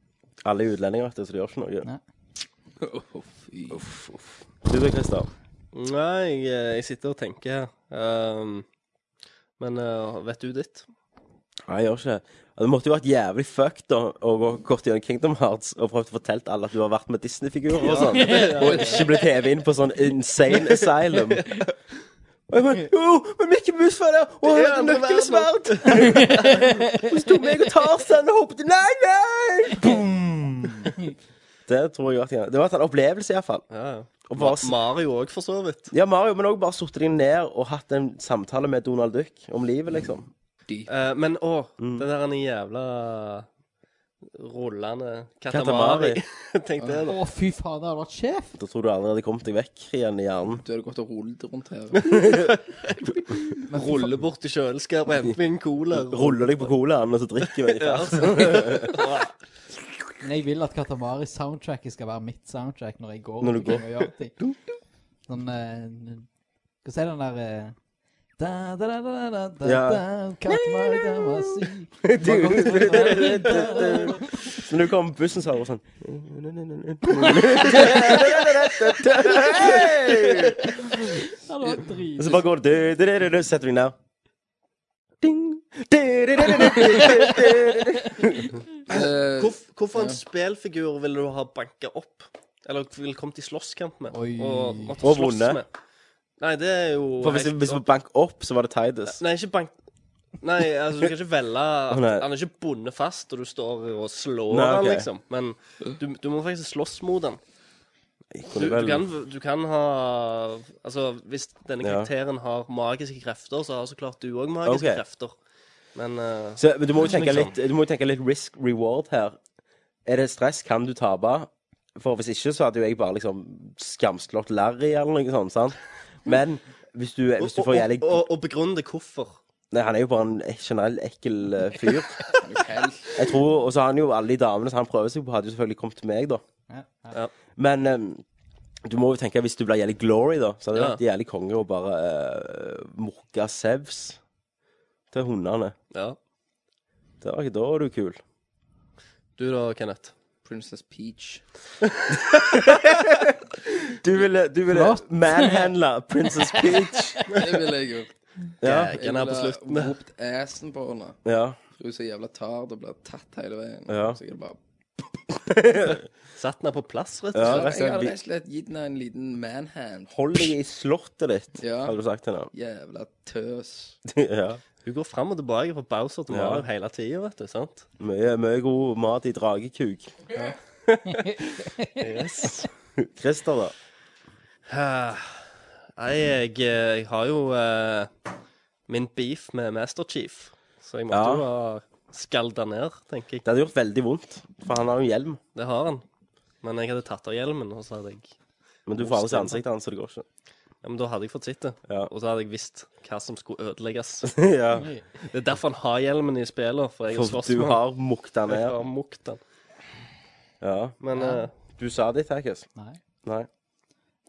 Speaker 8: Alle er utlendinger, vet du, så de gjør ikke noe.
Speaker 1: Nei.
Speaker 9: Å, fy.
Speaker 8: Du da, Christer?
Speaker 10: Nei, jeg, eh, jeg sitter og tenker her. Ehm, men eh, vet du ditt?
Speaker 8: Nei, jeg gjør ikke det. Det måtte jo vært jævlig fucked da, å gå kort gjennom Kingdom Hearts og prøve å fortelle alle at du har vært med Disney-figurer og sånn, og ikke blitt hevet inn på sånn insane asylum. Og jeg bare, jo, men Mikke Mus var der, og han
Speaker 10: Det er
Speaker 8: hadde
Speaker 10: andre
Speaker 8: nøkkelsverd! Og så tok meg og Tarzan og hoppet Nei, nei! Boom! Det tror jeg var Det var en opplevelse, iallfall.
Speaker 10: Ja, ja.
Speaker 8: Og
Speaker 10: Ma
Speaker 8: bare s-
Speaker 10: Mario òg, for så vidt.
Speaker 8: Ja, Mario, men òg bare satt deg ned og hatt en samtale med Donald Duck om livet, liksom.
Speaker 10: Eh, men å, det der er en jævla rullende katamari.
Speaker 8: Katamari.
Speaker 10: Tenk det,
Speaker 1: Å,
Speaker 10: da.
Speaker 1: fy faen, det hadde vært sjef!
Speaker 8: Da tror du aldri hadde kommet deg vekk igjen i hjernen.
Speaker 9: Du hadde gått og rullet rundt her.
Speaker 10: Rulle bort til kjøleskapet, hente meg en cola.
Speaker 8: Ruller deg på colaen, og så drikker vi.
Speaker 10: Ja,
Speaker 8: Ja.
Speaker 10: altså.
Speaker 1: Men jeg vil at Katamari-soundtracket skal være mitt soundtrack når jeg går.
Speaker 8: Når du
Speaker 1: rundt omkring og gjør ting. Sånn eh, Hva sier den der eh, da, da, da, da, da, da,
Speaker 8: Ja.
Speaker 1: da, Katamari, da, hva si?
Speaker 8: Så når du kommer på bussen, så er det bare sånn
Speaker 1: Det hadde vært
Speaker 8: Og
Speaker 1: drit.
Speaker 8: så bare går det du, du, du, du, du, Setter deg ned. Ding. Du, du, du, du, du, du, du, du.
Speaker 9: Eh,
Speaker 10: Hvorf, hvorfor en spillfigur ville du ha banka opp? Eller ville kommet i slåsskamp med?
Speaker 1: Oi.
Speaker 10: Og, måtte
Speaker 8: Og
Speaker 10: slåss
Speaker 8: vunnet.
Speaker 10: med? Nei, det er jo
Speaker 8: For hvis,
Speaker 10: helt-
Speaker 8: hvis vi bank opp, så var det Tides.
Speaker 10: Nei, ikke bank... Nei, altså, du skal ikke velge at
Speaker 8: Å, nei.
Speaker 10: Han er ikke bundet fast, og du står og slår
Speaker 8: Nei, ok.
Speaker 10: han, liksom. Men du, du må faktisk slåss mot han.
Speaker 8: Jeg
Speaker 10: Du,
Speaker 8: kunne
Speaker 10: du,
Speaker 8: vel-
Speaker 10: kan, du kan ha Altså, hvis denne
Speaker 8: Ja.
Speaker 10: karakteren har magiske krefter, så har så klart du òg magiske
Speaker 8: Ok.
Speaker 10: krefter. Men eh,
Speaker 8: Så, men du må jo tenke
Speaker 10: Liksom.
Speaker 8: litt, du må jo tenke litt risk reward her. Er det stress? Kan du tape? For hvis ikke, så hadde jo jeg bare liksom skamslått Larry eller noe sånt. sant? Men hvis du, hvis du
Speaker 10: og,
Speaker 8: får
Speaker 10: og,
Speaker 8: jævlig
Speaker 10: og, og begrunn det hvorfor.
Speaker 8: Nei, han er jo bare en generell ekkel eh, fyr.
Speaker 9: hell.
Speaker 8: Jeg tror, Og så har han jo alle de damene som han prøver seg på, hadde jo selvfølgelig kommet til meg, da.
Speaker 1: Ja,
Speaker 10: Ja.
Speaker 8: Men eh, du må jo tenke, hvis du blir jævlig glory, da, så hadde det
Speaker 10: Ja.
Speaker 8: vært jævlig konge å bare uh, morke sevs til hundene.
Speaker 10: Ja.
Speaker 8: Det var ikke da er du kul.
Speaker 10: Du da, Kenneth.
Speaker 9: Princess Peach.
Speaker 8: Du ville, du ville
Speaker 1: Flott.
Speaker 8: manhandle Princess Peach.
Speaker 9: Det ville jeg gjort.
Speaker 8: Ja,
Speaker 10: Jeg kan her på slutten.
Speaker 9: ropt assen på henne.
Speaker 8: ja.
Speaker 9: Skrur seg jævla tard og blir tatt hele veien.
Speaker 8: Ja.
Speaker 9: Så jeg bare
Speaker 10: Satt den her på plass, rett
Speaker 8: Ja, rett og
Speaker 10: og
Speaker 9: Jeg
Speaker 8: slett.
Speaker 9: har
Speaker 8: vi-
Speaker 9: rett og slett gitt henne en liten manhand.
Speaker 8: Hold deg i slottet ditt,
Speaker 9: Ja.
Speaker 8: hadde du sagt til henne.
Speaker 9: Jævla tøs.
Speaker 8: ja.
Speaker 10: Hun går fram og tilbake fra Bowser til
Speaker 8: Ja.
Speaker 10: Mario hele tida, vet du. sant?
Speaker 8: Mye, mye god mat i dragekuk.
Speaker 10: Yes.
Speaker 8: Christer, da.
Speaker 10: Nei, jeg, jeg har jo eh, min beef med Master Chief, så jeg måtte
Speaker 8: Ja.
Speaker 10: jo ha skalda ned, tenker jeg.
Speaker 8: Det hadde gjort veldig vondt, for han har jo hjelm.
Speaker 10: Det har han. Men jeg hadde tatt av hjelmen, og så hadde jeg
Speaker 8: Men du får aldri se ansiktet hans, så det går ikke.
Speaker 10: Ja, men da hadde jeg fått sitte.
Speaker 8: Ja.
Speaker 10: Og så hadde jeg visst hva som skulle ødelegges.
Speaker 8: ja.
Speaker 10: Det er derfor han har hjelmen i spillet, for jeg har
Speaker 8: For
Speaker 10: slåss
Speaker 8: du
Speaker 10: med han.
Speaker 8: har mukta
Speaker 10: Jeg
Speaker 8: ned.
Speaker 10: har mukt den.
Speaker 8: Ja.
Speaker 10: Men eh,
Speaker 8: Du sa det, Takis.
Speaker 1: Nei.
Speaker 8: Nei.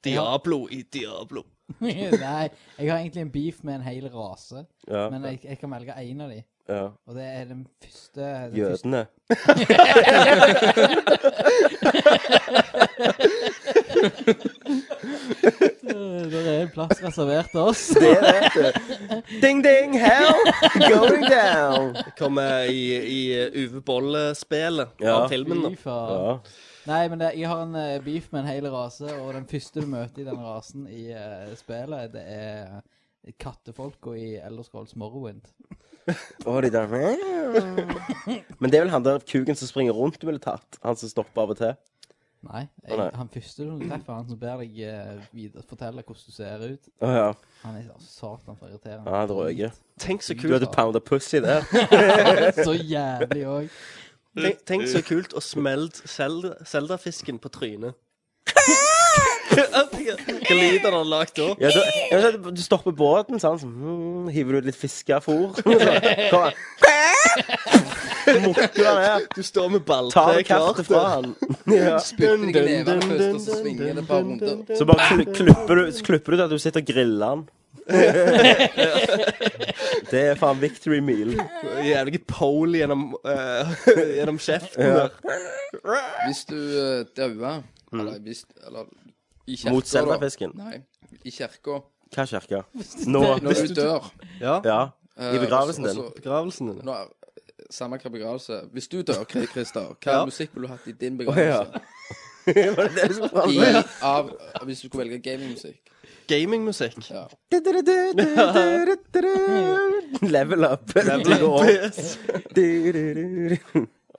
Speaker 10: Diablo i Diablo.
Speaker 1: Nei, jeg har egentlig en beef med en hel rase,
Speaker 8: Ja.
Speaker 1: men jeg, jeg kan velge én av de.
Speaker 8: ja.
Speaker 1: Og det er den første den første-
Speaker 8: Jødene.
Speaker 1: Øh, Der er en plass reservert til oss.
Speaker 8: Det vet du. Ding, ding, hell going down.
Speaker 10: Kommer i, i Uwe Bolle-spelet
Speaker 8: Ja.
Speaker 10: av filmen, da.
Speaker 1: Fy faen.
Speaker 8: Ja.
Speaker 1: Nei, men det, jeg har en eh, beef med en hel rase, og den første du møter i den rasen i eh, spillet, det er kattefolka i Elderscrolls Morrowind.
Speaker 8: Og de der Men det er vel han der kuken som springer rundt du ville tatt? Han som stopper av og til?
Speaker 1: Nei,
Speaker 8: Å, nei.
Speaker 1: jeg, han første du treffer, han som ber deg eh, videre, fortelle hvordan du ser ut,
Speaker 8: Å ja.
Speaker 1: han er så satan for irriterende.
Speaker 8: Ja, det røyker.
Speaker 10: Tenk så
Speaker 8: Du
Speaker 10: kult
Speaker 8: hadde pounda pussy der.
Speaker 1: Så jævlig òg.
Speaker 10: Tenk, tenk så kult å smelde Zelda-fisken på trynet. Hva lyd han har lagd da?
Speaker 8: Ja, da, ja, så du stopper båten, sant? så mm, hiver du ut litt fiskefôr. Så kommer han. Mukker han ned.
Speaker 10: Du står med
Speaker 8: Tar
Speaker 10: balltre klart.
Speaker 8: kartet fra han. Ja.
Speaker 9: Spytter deg i nevene først, og så svinger jeg det et par runder.
Speaker 8: Så bare kl klipper, du, så klipper du til at du sitter og griller han. Det er faen victory meal.
Speaker 10: Jævlig pole gjennom, eh, gjennom kjeften. der.
Speaker 9: Hvis du uh, dauer Eller hvis Eller i kirka,
Speaker 8: Mm. Mot
Speaker 9: da.
Speaker 8: Zelda-fisken?
Speaker 9: Nei. I kirka.
Speaker 8: Hva kirke? Nå.
Speaker 9: Når du dør
Speaker 10: Ja.
Speaker 8: Ja.
Speaker 9: eh,
Speaker 8: I begravelsen
Speaker 9: og
Speaker 8: din.
Speaker 9: så- og så-
Speaker 10: Begravelsen din.
Speaker 9: nå er- Samme hva begravelse Hvis du dør, Kri- Christer, hva
Speaker 10: Ja.
Speaker 9: musikk ville du hatt i din begravelse?
Speaker 8: Var det det du skulle
Speaker 9: I,
Speaker 8: fram til?
Speaker 9: av, hvis du skulle velge gamingmusikk?
Speaker 10: Gamingmusikk.
Speaker 9: Ja.
Speaker 8: Level up. Level up.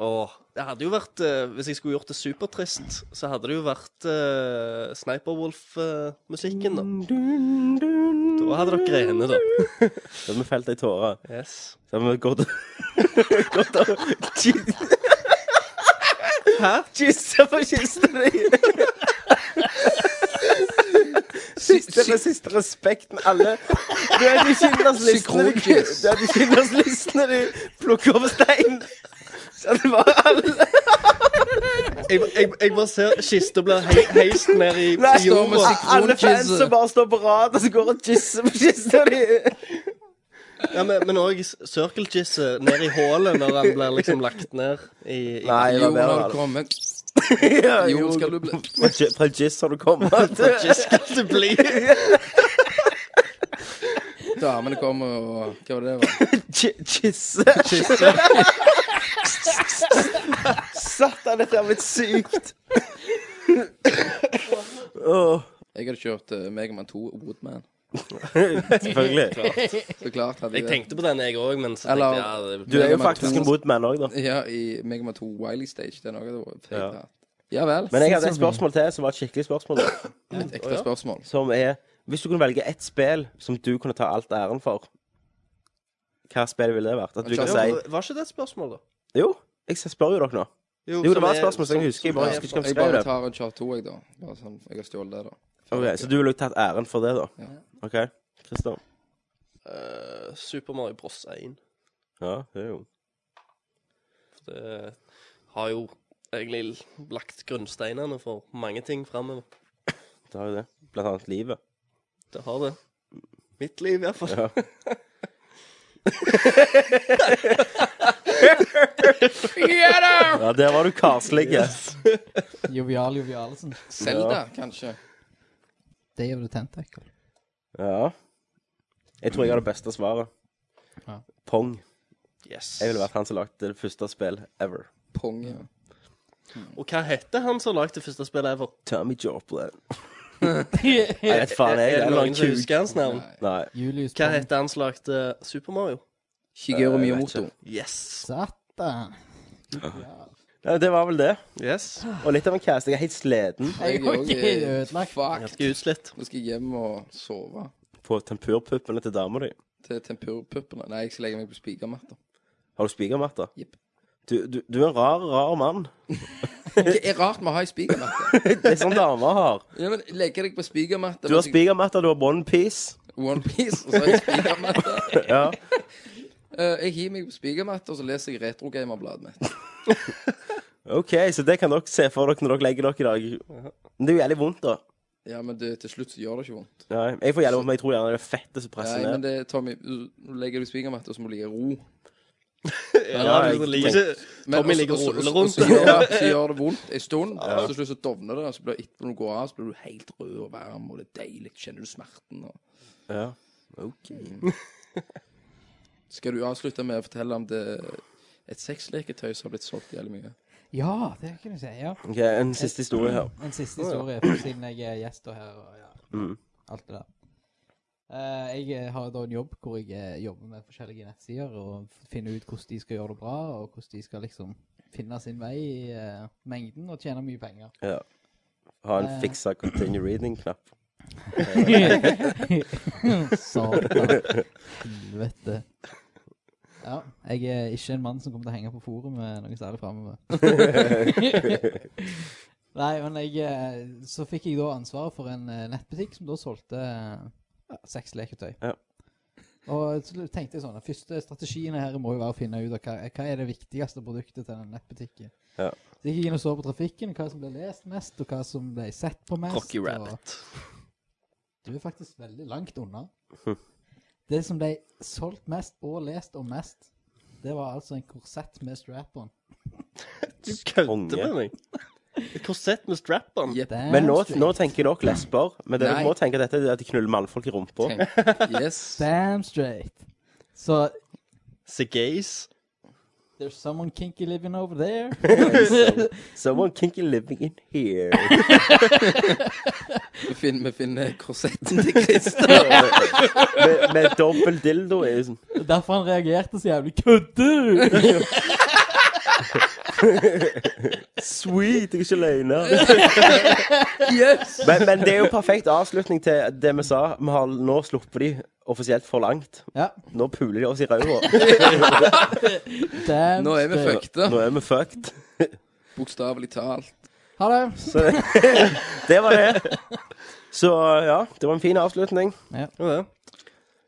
Speaker 10: Åh, det hadde jo vært eh, Hvis jeg skulle gjort det supertrist, så hadde det jo vært eh, Sniperwolf-musikken, da. Da hadde dere grenet, da.
Speaker 8: Da har vi felt ei tåre.
Speaker 10: Yes.
Speaker 8: Så har vi gått Gått og Hæ? Kyssa på kista di. Siste, den siste respekten alle Du er de Schindlers-listene de-
Speaker 9: Psykologisk.
Speaker 8: Du er de Schindlers-listene de plukker opp stein. Så det var alle
Speaker 10: Jeg, jeg, jeg bare ser kista blir hei- heist ned i i
Speaker 8: Nei,
Speaker 9: står med
Speaker 10: jorda.
Speaker 9: sikron-
Speaker 8: Alle fans
Speaker 9: kysse.
Speaker 8: som bare står på rad og så går og kysser på kista di.
Speaker 10: Ja, men- men òg circle-jizze ned i hullet når han blir liksom lagt ned i, i
Speaker 8: Nei, det var
Speaker 9: Jo,
Speaker 8: bedre.
Speaker 9: når du kommer
Speaker 8: Ja,
Speaker 9: Jo, skal du bli
Speaker 8: Fra Gi- Fra Jizz har du kommet.
Speaker 10: Ikke skal det bli
Speaker 9: Damene kommer og Hva var det det var?
Speaker 8: Jizz. Satan, dette har blitt sykt. Åh,
Speaker 9: Jeg hadde kjørt uh, Megaman 2 og Woodman.
Speaker 8: Selvfølgelig.
Speaker 9: Så klart hadde jeg
Speaker 10: Jeg
Speaker 9: det.
Speaker 10: tenkte på den, jeg òg, men så
Speaker 9: Eller-
Speaker 10: tenkte jeg ja, det-
Speaker 8: Du er jo
Speaker 9: Megaman
Speaker 8: faktisk
Speaker 9: 2.
Speaker 8: en woodman òg, da.
Speaker 9: Ja, i Megaman 2 Wiley Stage. Det er noe det var feit
Speaker 8: Ja.
Speaker 9: hatt. Ja vel.
Speaker 8: Men jeg hadde et spørsmål til som var et skikkelig spørsmål. da,
Speaker 9: Et ekte spørsmål.
Speaker 8: Som er Hvis du kunne velge ett spill som du kunne ta alt æren for, hva spill ville det vært? At du kan
Speaker 10: Ja,
Speaker 8: si
Speaker 10: var- Var ikke det et spørmål, da?
Speaker 8: Jo, jeg spør jo dere nå. Jo, det
Speaker 10: som
Speaker 8: var et
Speaker 10: er-
Speaker 8: spørsmål som jeg
Speaker 10: som-
Speaker 8: husker. Jeg
Speaker 10: som
Speaker 8: bare
Speaker 10: er-
Speaker 8: husker ikke hva
Speaker 9: Jeg
Speaker 8: jeg skrev
Speaker 9: bare
Speaker 8: det.
Speaker 9: tar en Chart 2, jeg, da. Bare sånn, jeg har stjålet det, da.
Speaker 8: Ok, Så du ville jo tatt æren for det, da?
Speaker 9: Ja.
Speaker 8: OK, Christer.
Speaker 10: Eh, Super Mario Bros. 1.
Speaker 8: Ja, det er jo
Speaker 10: Det har jo egentlig lagt grunnsteinene for mange ting framover.
Speaker 8: Det har jo det. Blant annet livet.
Speaker 10: Det har det. Mitt liv, i hvert fall.
Speaker 8: Ja. ja, der var du karslig.
Speaker 1: Jovial Jovialesen.
Speaker 9: Selda, kanskje.
Speaker 1: Det gjør du tentacle.
Speaker 8: Ja. Jeg tror jeg har det beste svaret.
Speaker 1: Ja.
Speaker 8: Pong.
Speaker 10: Yes.
Speaker 8: Jeg ville vært han som lagde det første spill ever.
Speaker 9: Pong,
Speaker 8: Eh,
Speaker 9: ja.
Speaker 10: Og hva heter han som lagde det første spillet ever?
Speaker 8: Tommy Joplin. Jeg vet faen, jeg.
Speaker 10: Er
Speaker 8: jeg
Speaker 10: det noen som
Speaker 8: lagde-
Speaker 10: husker hans navn?
Speaker 8: Nei.
Speaker 1: Julius
Speaker 10: Hva
Speaker 1: Pong.
Speaker 10: heter han som lagde Super Mario?
Speaker 9: Shigeru
Speaker 8: Eh, jeg vet
Speaker 9: Miyamoto.
Speaker 10: Yes.
Speaker 1: Satan.
Speaker 8: Nei, Det var vel det.
Speaker 10: yes.
Speaker 8: Og litt av en cast. Jeg er helt sliten
Speaker 1: Jeg er
Speaker 9: òg
Speaker 1: også helt ødelagt.
Speaker 9: fucked.
Speaker 10: Ganske utslitt.
Speaker 9: Nå skal jeg hjem og sove
Speaker 8: på tempurpuppene til dama di.
Speaker 9: til tempurpuppene. Nei, jeg skal legge meg på spikermatta.
Speaker 8: Har du spikermatta?
Speaker 9: Jepp.
Speaker 8: Du, du, du er en rar, rar mann.
Speaker 9: Det er rart vi har ei spikermatte.
Speaker 8: Det er sånn damer har.
Speaker 9: Ja, men legge deg på
Speaker 8: Du
Speaker 9: spikermatte
Speaker 8: har
Speaker 9: mens jeg-
Speaker 8: spikermatta, du har onepiece.
Speaker 9: One Piece, og så har jeg spikermatte.
Speaker 8: Ja.
Speaker 9: Eh, jeg hiver meg på spikermatta, og så leser jeg Retrogamerbladet mitt.
Speaker 8: OK, så det kan dere se for dere når dere legger dere i dag. Men det er jo jævlig vondt, da.
Speaker 9: Ja, men det, til slutt så gjør det ikke vondt.
Speaker 8: Nei, jeg får jævlig vondt, men jeg tror gjerne det er fettet som presser
Speaker 9: Nei, men
Speaker 8: ned.
Speaker 9: det, Tommy, du du legger deg på spikermatte, og så må du ligge i ro.
Speaker 10: Ja,
Speaker 8: jeg-
Speaker 10: det ligger ikke
Speaker 9: Men
Speaker 10: Tommy
Speaker 9: også-
Speaker 10: ligger og
Speaker 9: også-
Speaker 10: ruller
Speaker 9: også-
Speaker 10: rundt.
Speaker 9: Så gjør, så gjør det vondt en stund, og så slutter det å dovne det. Og så blir det etterpå når du går av, så blir du helt rød og varm, og det er deilig. Kjenner du smerten? Og...
Speaker 8: Ja. OK.
Speaker 9: Skal du avslutte med å fortelle om det et sexleketøy som har blitt solgt jævlig mye?
Speaker 1: Ja, det kan du si. Ja.
Speaker 8: Ok, En siste historie her.
Speaker 1: En siste historie, for siden jeg er gjest og her og ja,
Speaker 8: Mm.
Speaker 1: alt det der. Eh, jeg eh, har da en jobb hvor jeg eh, jobber med forskjellige nettsider og f- finner ut hvordan de skal gjøre det bra, og hvordan de skal liksom finne sin vei i eh, mengden og tjene mye penger. Eh,
Speaker 8: Ja. Ha en fiksa continue reading-knapp.
Speaker 1: Satan. Helvete. Ja, jeg er ikke en mann som kommer til å henge på forum med noe særlig framover. Nei, men jeg eh, Så fikk jeg da ansvaret for en eh, nettbutikk som da solgte eh, ja, seks leketøy.
Speaker 8: Ja.
Speaker 1: Og så tenkte jeg sånn Den første strategien her må jo være å finne ut av hva, hva er det viktigste produktet til den nettbutikken.
Speaker 8: Ja.
Speaker 1: Så jeg gikk inn og så på trafikken, hva som ble lest mest, og hva som ble sett på mest.
Speaker 10: Rocky
Speaker 1: og-
Speaker 10: Rabbit.
Speaker 1: du er faktisk veldig langt unna. Det som ble solgt mest og lest om mest, det var altså en korsett med strap-on.
Speaker 10: Du kødder
Speaker 8: Konge.
Speaker 10: med meg. Et korsett med strap-on.
Speaker 9: Jepp.
Speaker 1: Damn
Speaker 8: Men nå,
Speaker 1: straight.
Speaker 8: nå tenker dere lesber. Men det
Speaker 9: Nei.
Speaker 8: dere må tenke dette er at de knuller mannfolk i rumpa.
Speaker 9: Tenk. Yes.
Speaker 1: Damn straight. Så
Speaker 10: The gays.
Speaker 1: There's someone kinky living over there.
Speaker 8: Someone kinky living in here.
Speaker 9: Vi finner, vi finner korsetten til Christer.
Speaker 8: med, med dobbel dildo i. Liksom.
Speaker 1: Derfor han reagerte så jævlig. Kødder du?!
Speaker 8: Sweet, jeg er ikke løgner.
Speaker 9: Yes!
Speaker 8: men, men det er jo perfekt avslutning til det vi sa. Vi har nå sluppet de offisielt for langt.
Speaker 1: Ja,
Speaker 8: Nå puler de oss i ræva.
Speaker 1: damn
Speaker 9: Nå er vi
Speaker 1: straight.
Speaker 9: fucked,
Speaker 8: Nå er vi fucked.
Speaker 9: bokstavelig talt.
Speaker 1: Ha det.
Speaker 8: Så det var det. Så ja, det var en fin avslutning.
Speaker 10: Ja, det.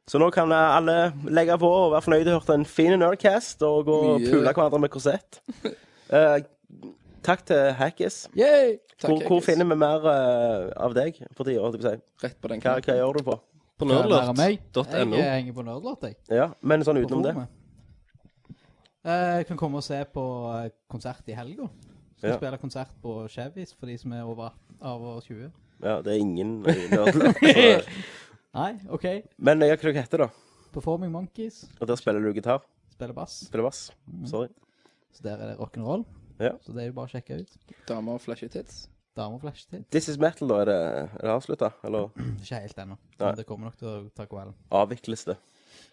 Speaker 8: Så nå kan alle legge på og være fornøyde og hørt en fin Nerdcast og gå og
Speaker 9: Mye.
Speaker 8: pule hverandre med korsett. Eh, takk til Hackis.
Speaker 1: Yay!
Speaker 9: Takk,
Speaker 8: Hvor, hvor
Speaker 9: Chris.
Speaker 8: finner vi mer eh, av deg for tida? holdt jeg på å si?
Speaker 9: Rett på den
Speaker 8: Hva, hva
Speaker 9: knappen.
Speaker 8: gjør du på?
Speaker 10: På
Speaker 1: Skal jeg lære meg?
Speaker 10: nerdlort.no.
Speaker 1: Jeg eh, henger på Nerdlort, jeg.
Speaker 8: Ja, Men sånn
Speaker 1: På
Speaker 8: utenom det.
Speaker 1: forumet. Eh, kan komme og se på eh, konsert i helga. Skal
Speaker 8: Ja.
Speaker 1: spille konsert på Chevys for de som er over, over 20.
Speaker 8: Ja, det er ingen nerdler.
Speaker 1: Nei, OK.
Speaker 8: Men ja, hva heter det, da?
Speaker 1: Performing Monkeys.
Speaker 8: Og der spiller du gitar?
Speaker 1: Spiller bass.
Speaker 8: Spiller bass? Sorry.
Speaker 1: Så der er det rock'n'roll.
Speaker 8: Ja.
Speaker 1: Så det er jo bare å sjekke ut.
Speaker 9: Damer og flashy tits.
Speaker 1: Damer flasher til.
Speaker 8: This is metal, da? Er det, er det avslutta? Eller
Speaker 1: Ikke helt ennå.
Speaker 8: Nei.
Speaker 1: Men det kommer nok til å ta kvelden.
Speaker 8: avvikles det?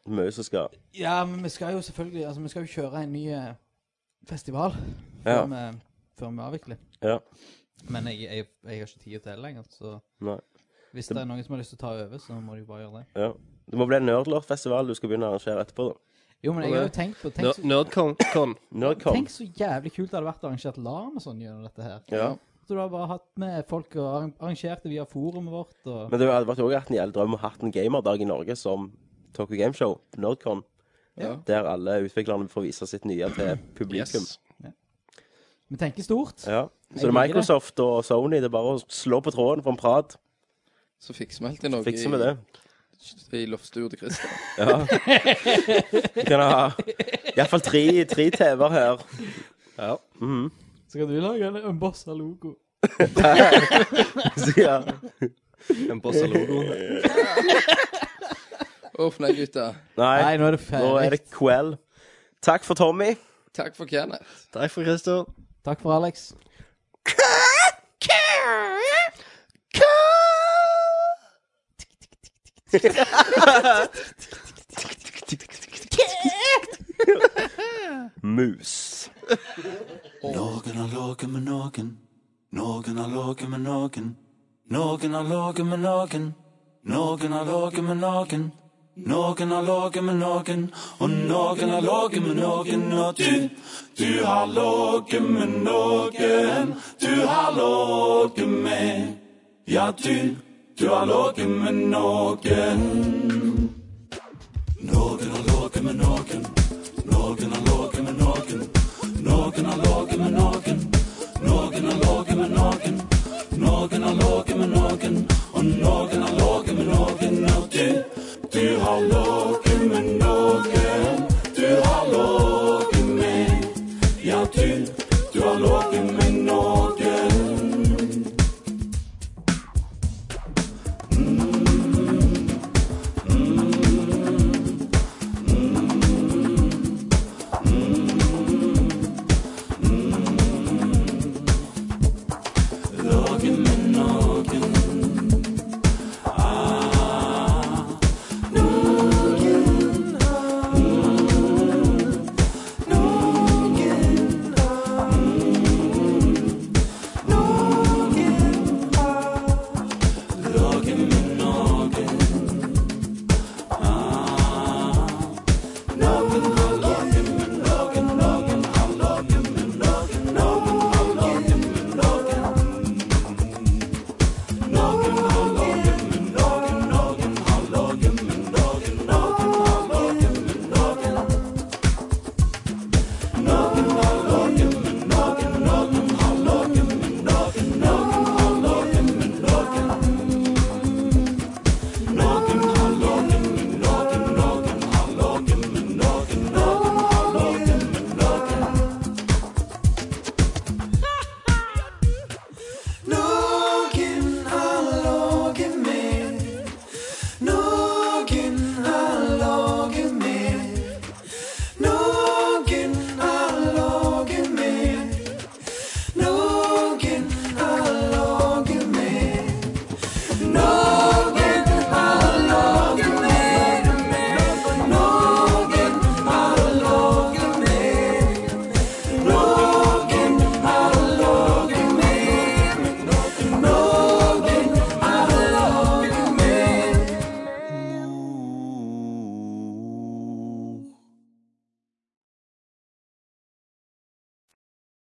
Speaker 8: Mye som skal
Speaker 1: Ja, men vi skal jo selvfølgelig Altså, vi skal jo kjøre en ny eh, festival før,
Speaker 8: Ja.
Speaker 1: vi, før vi avvikler.
Speaker 8: Ja.
Speaker 1: Men jeg, jeg, jeg har ikke tid til det lenger, så
Speaker 8: Nei.
Speaker 1: hvis det er noen som har lyst til å ta over, så må de jo bare gjøre det.
Speaker 8: ja. Det må bli en nerdlerfestival du skal begynne å arrangere etterpå, da.
Speaker 1: Jo, men jeg har jo tenkt på Tenk
Speaker 10: Ner-
Speaker 1: så,
Speaker 10: Nerdcon. con.
Speaker 8: Nerdcom.
Speaker 1: tenk så jævlig kult det hadde vært å arrangere et LAN og sånn gjennom dette her.
Speaker 8: Ja.
Speaker 1: Så du har bare hatt med folk og arran- arrangert det via forumet vårt og
Speaker 8: Men det hadde vært også vært en jævlig drøm å ha hatt en gamerdag i Norge som Tokyo Gameshow, Nerdcon,
Speaker 9: Ja.
Speaker 8: der alle utviklerne får vise sitt nye til publikum.
Speaker 10: Yes.
Speaker 1: Vi tenker stort.
Speaker 8: Ja.
Speaker 1: Jeg
Speaker 8: Så det er
Speaker 1: liker
Speaker 8: Microsoft og Sony. Det er bare å slå på tråden for en prat.
Speaker 9: Så fikser vi alltid noe
Speaker 8: Fikser vi det.
Speaker 9: i, i loftstua til Christer.
Speaker 8: Vi kan ha iallfall tre, tre TV-er her. Mhm.
Speaker 1: Så kan du lage en unbossa logo.
Speaker 8: Så, ja.
Speaker 10: En bossa logo.
Speaker 9: Uff, nei, gutta.
Speaker 8: Nei,
Speaker 1: Nei, nå er det
Speaker 8: nå
Speaker 1: ferdig.
Speaker 8: er det kveld. Takk for Tommy.
Speaker 12: Takk for Kenneth.
Speaker 10: Takk for Christer.
Speaker 1: Takk for Alex.
Speaker 8: Mus.
Speaker 9: Noen har ligget med noen. Noen har ligget med noen. Noen har ligget med noen. Noen har ligget med noen. Noen har ligget med noen. Og noen har ligget med noen. Og du, du har ligget med noen. Du har ligget med Ja, du, du har ligget med noen. Noen har ligget med noen. Noen har ligget med noen. Noen har ligget med noen, noen har ligget med noen. Noen har ligget med noen, og noen har ligget med noen. Og du, du har ligget med noen. Du har ligget med Ja, du, du har ligget med noen.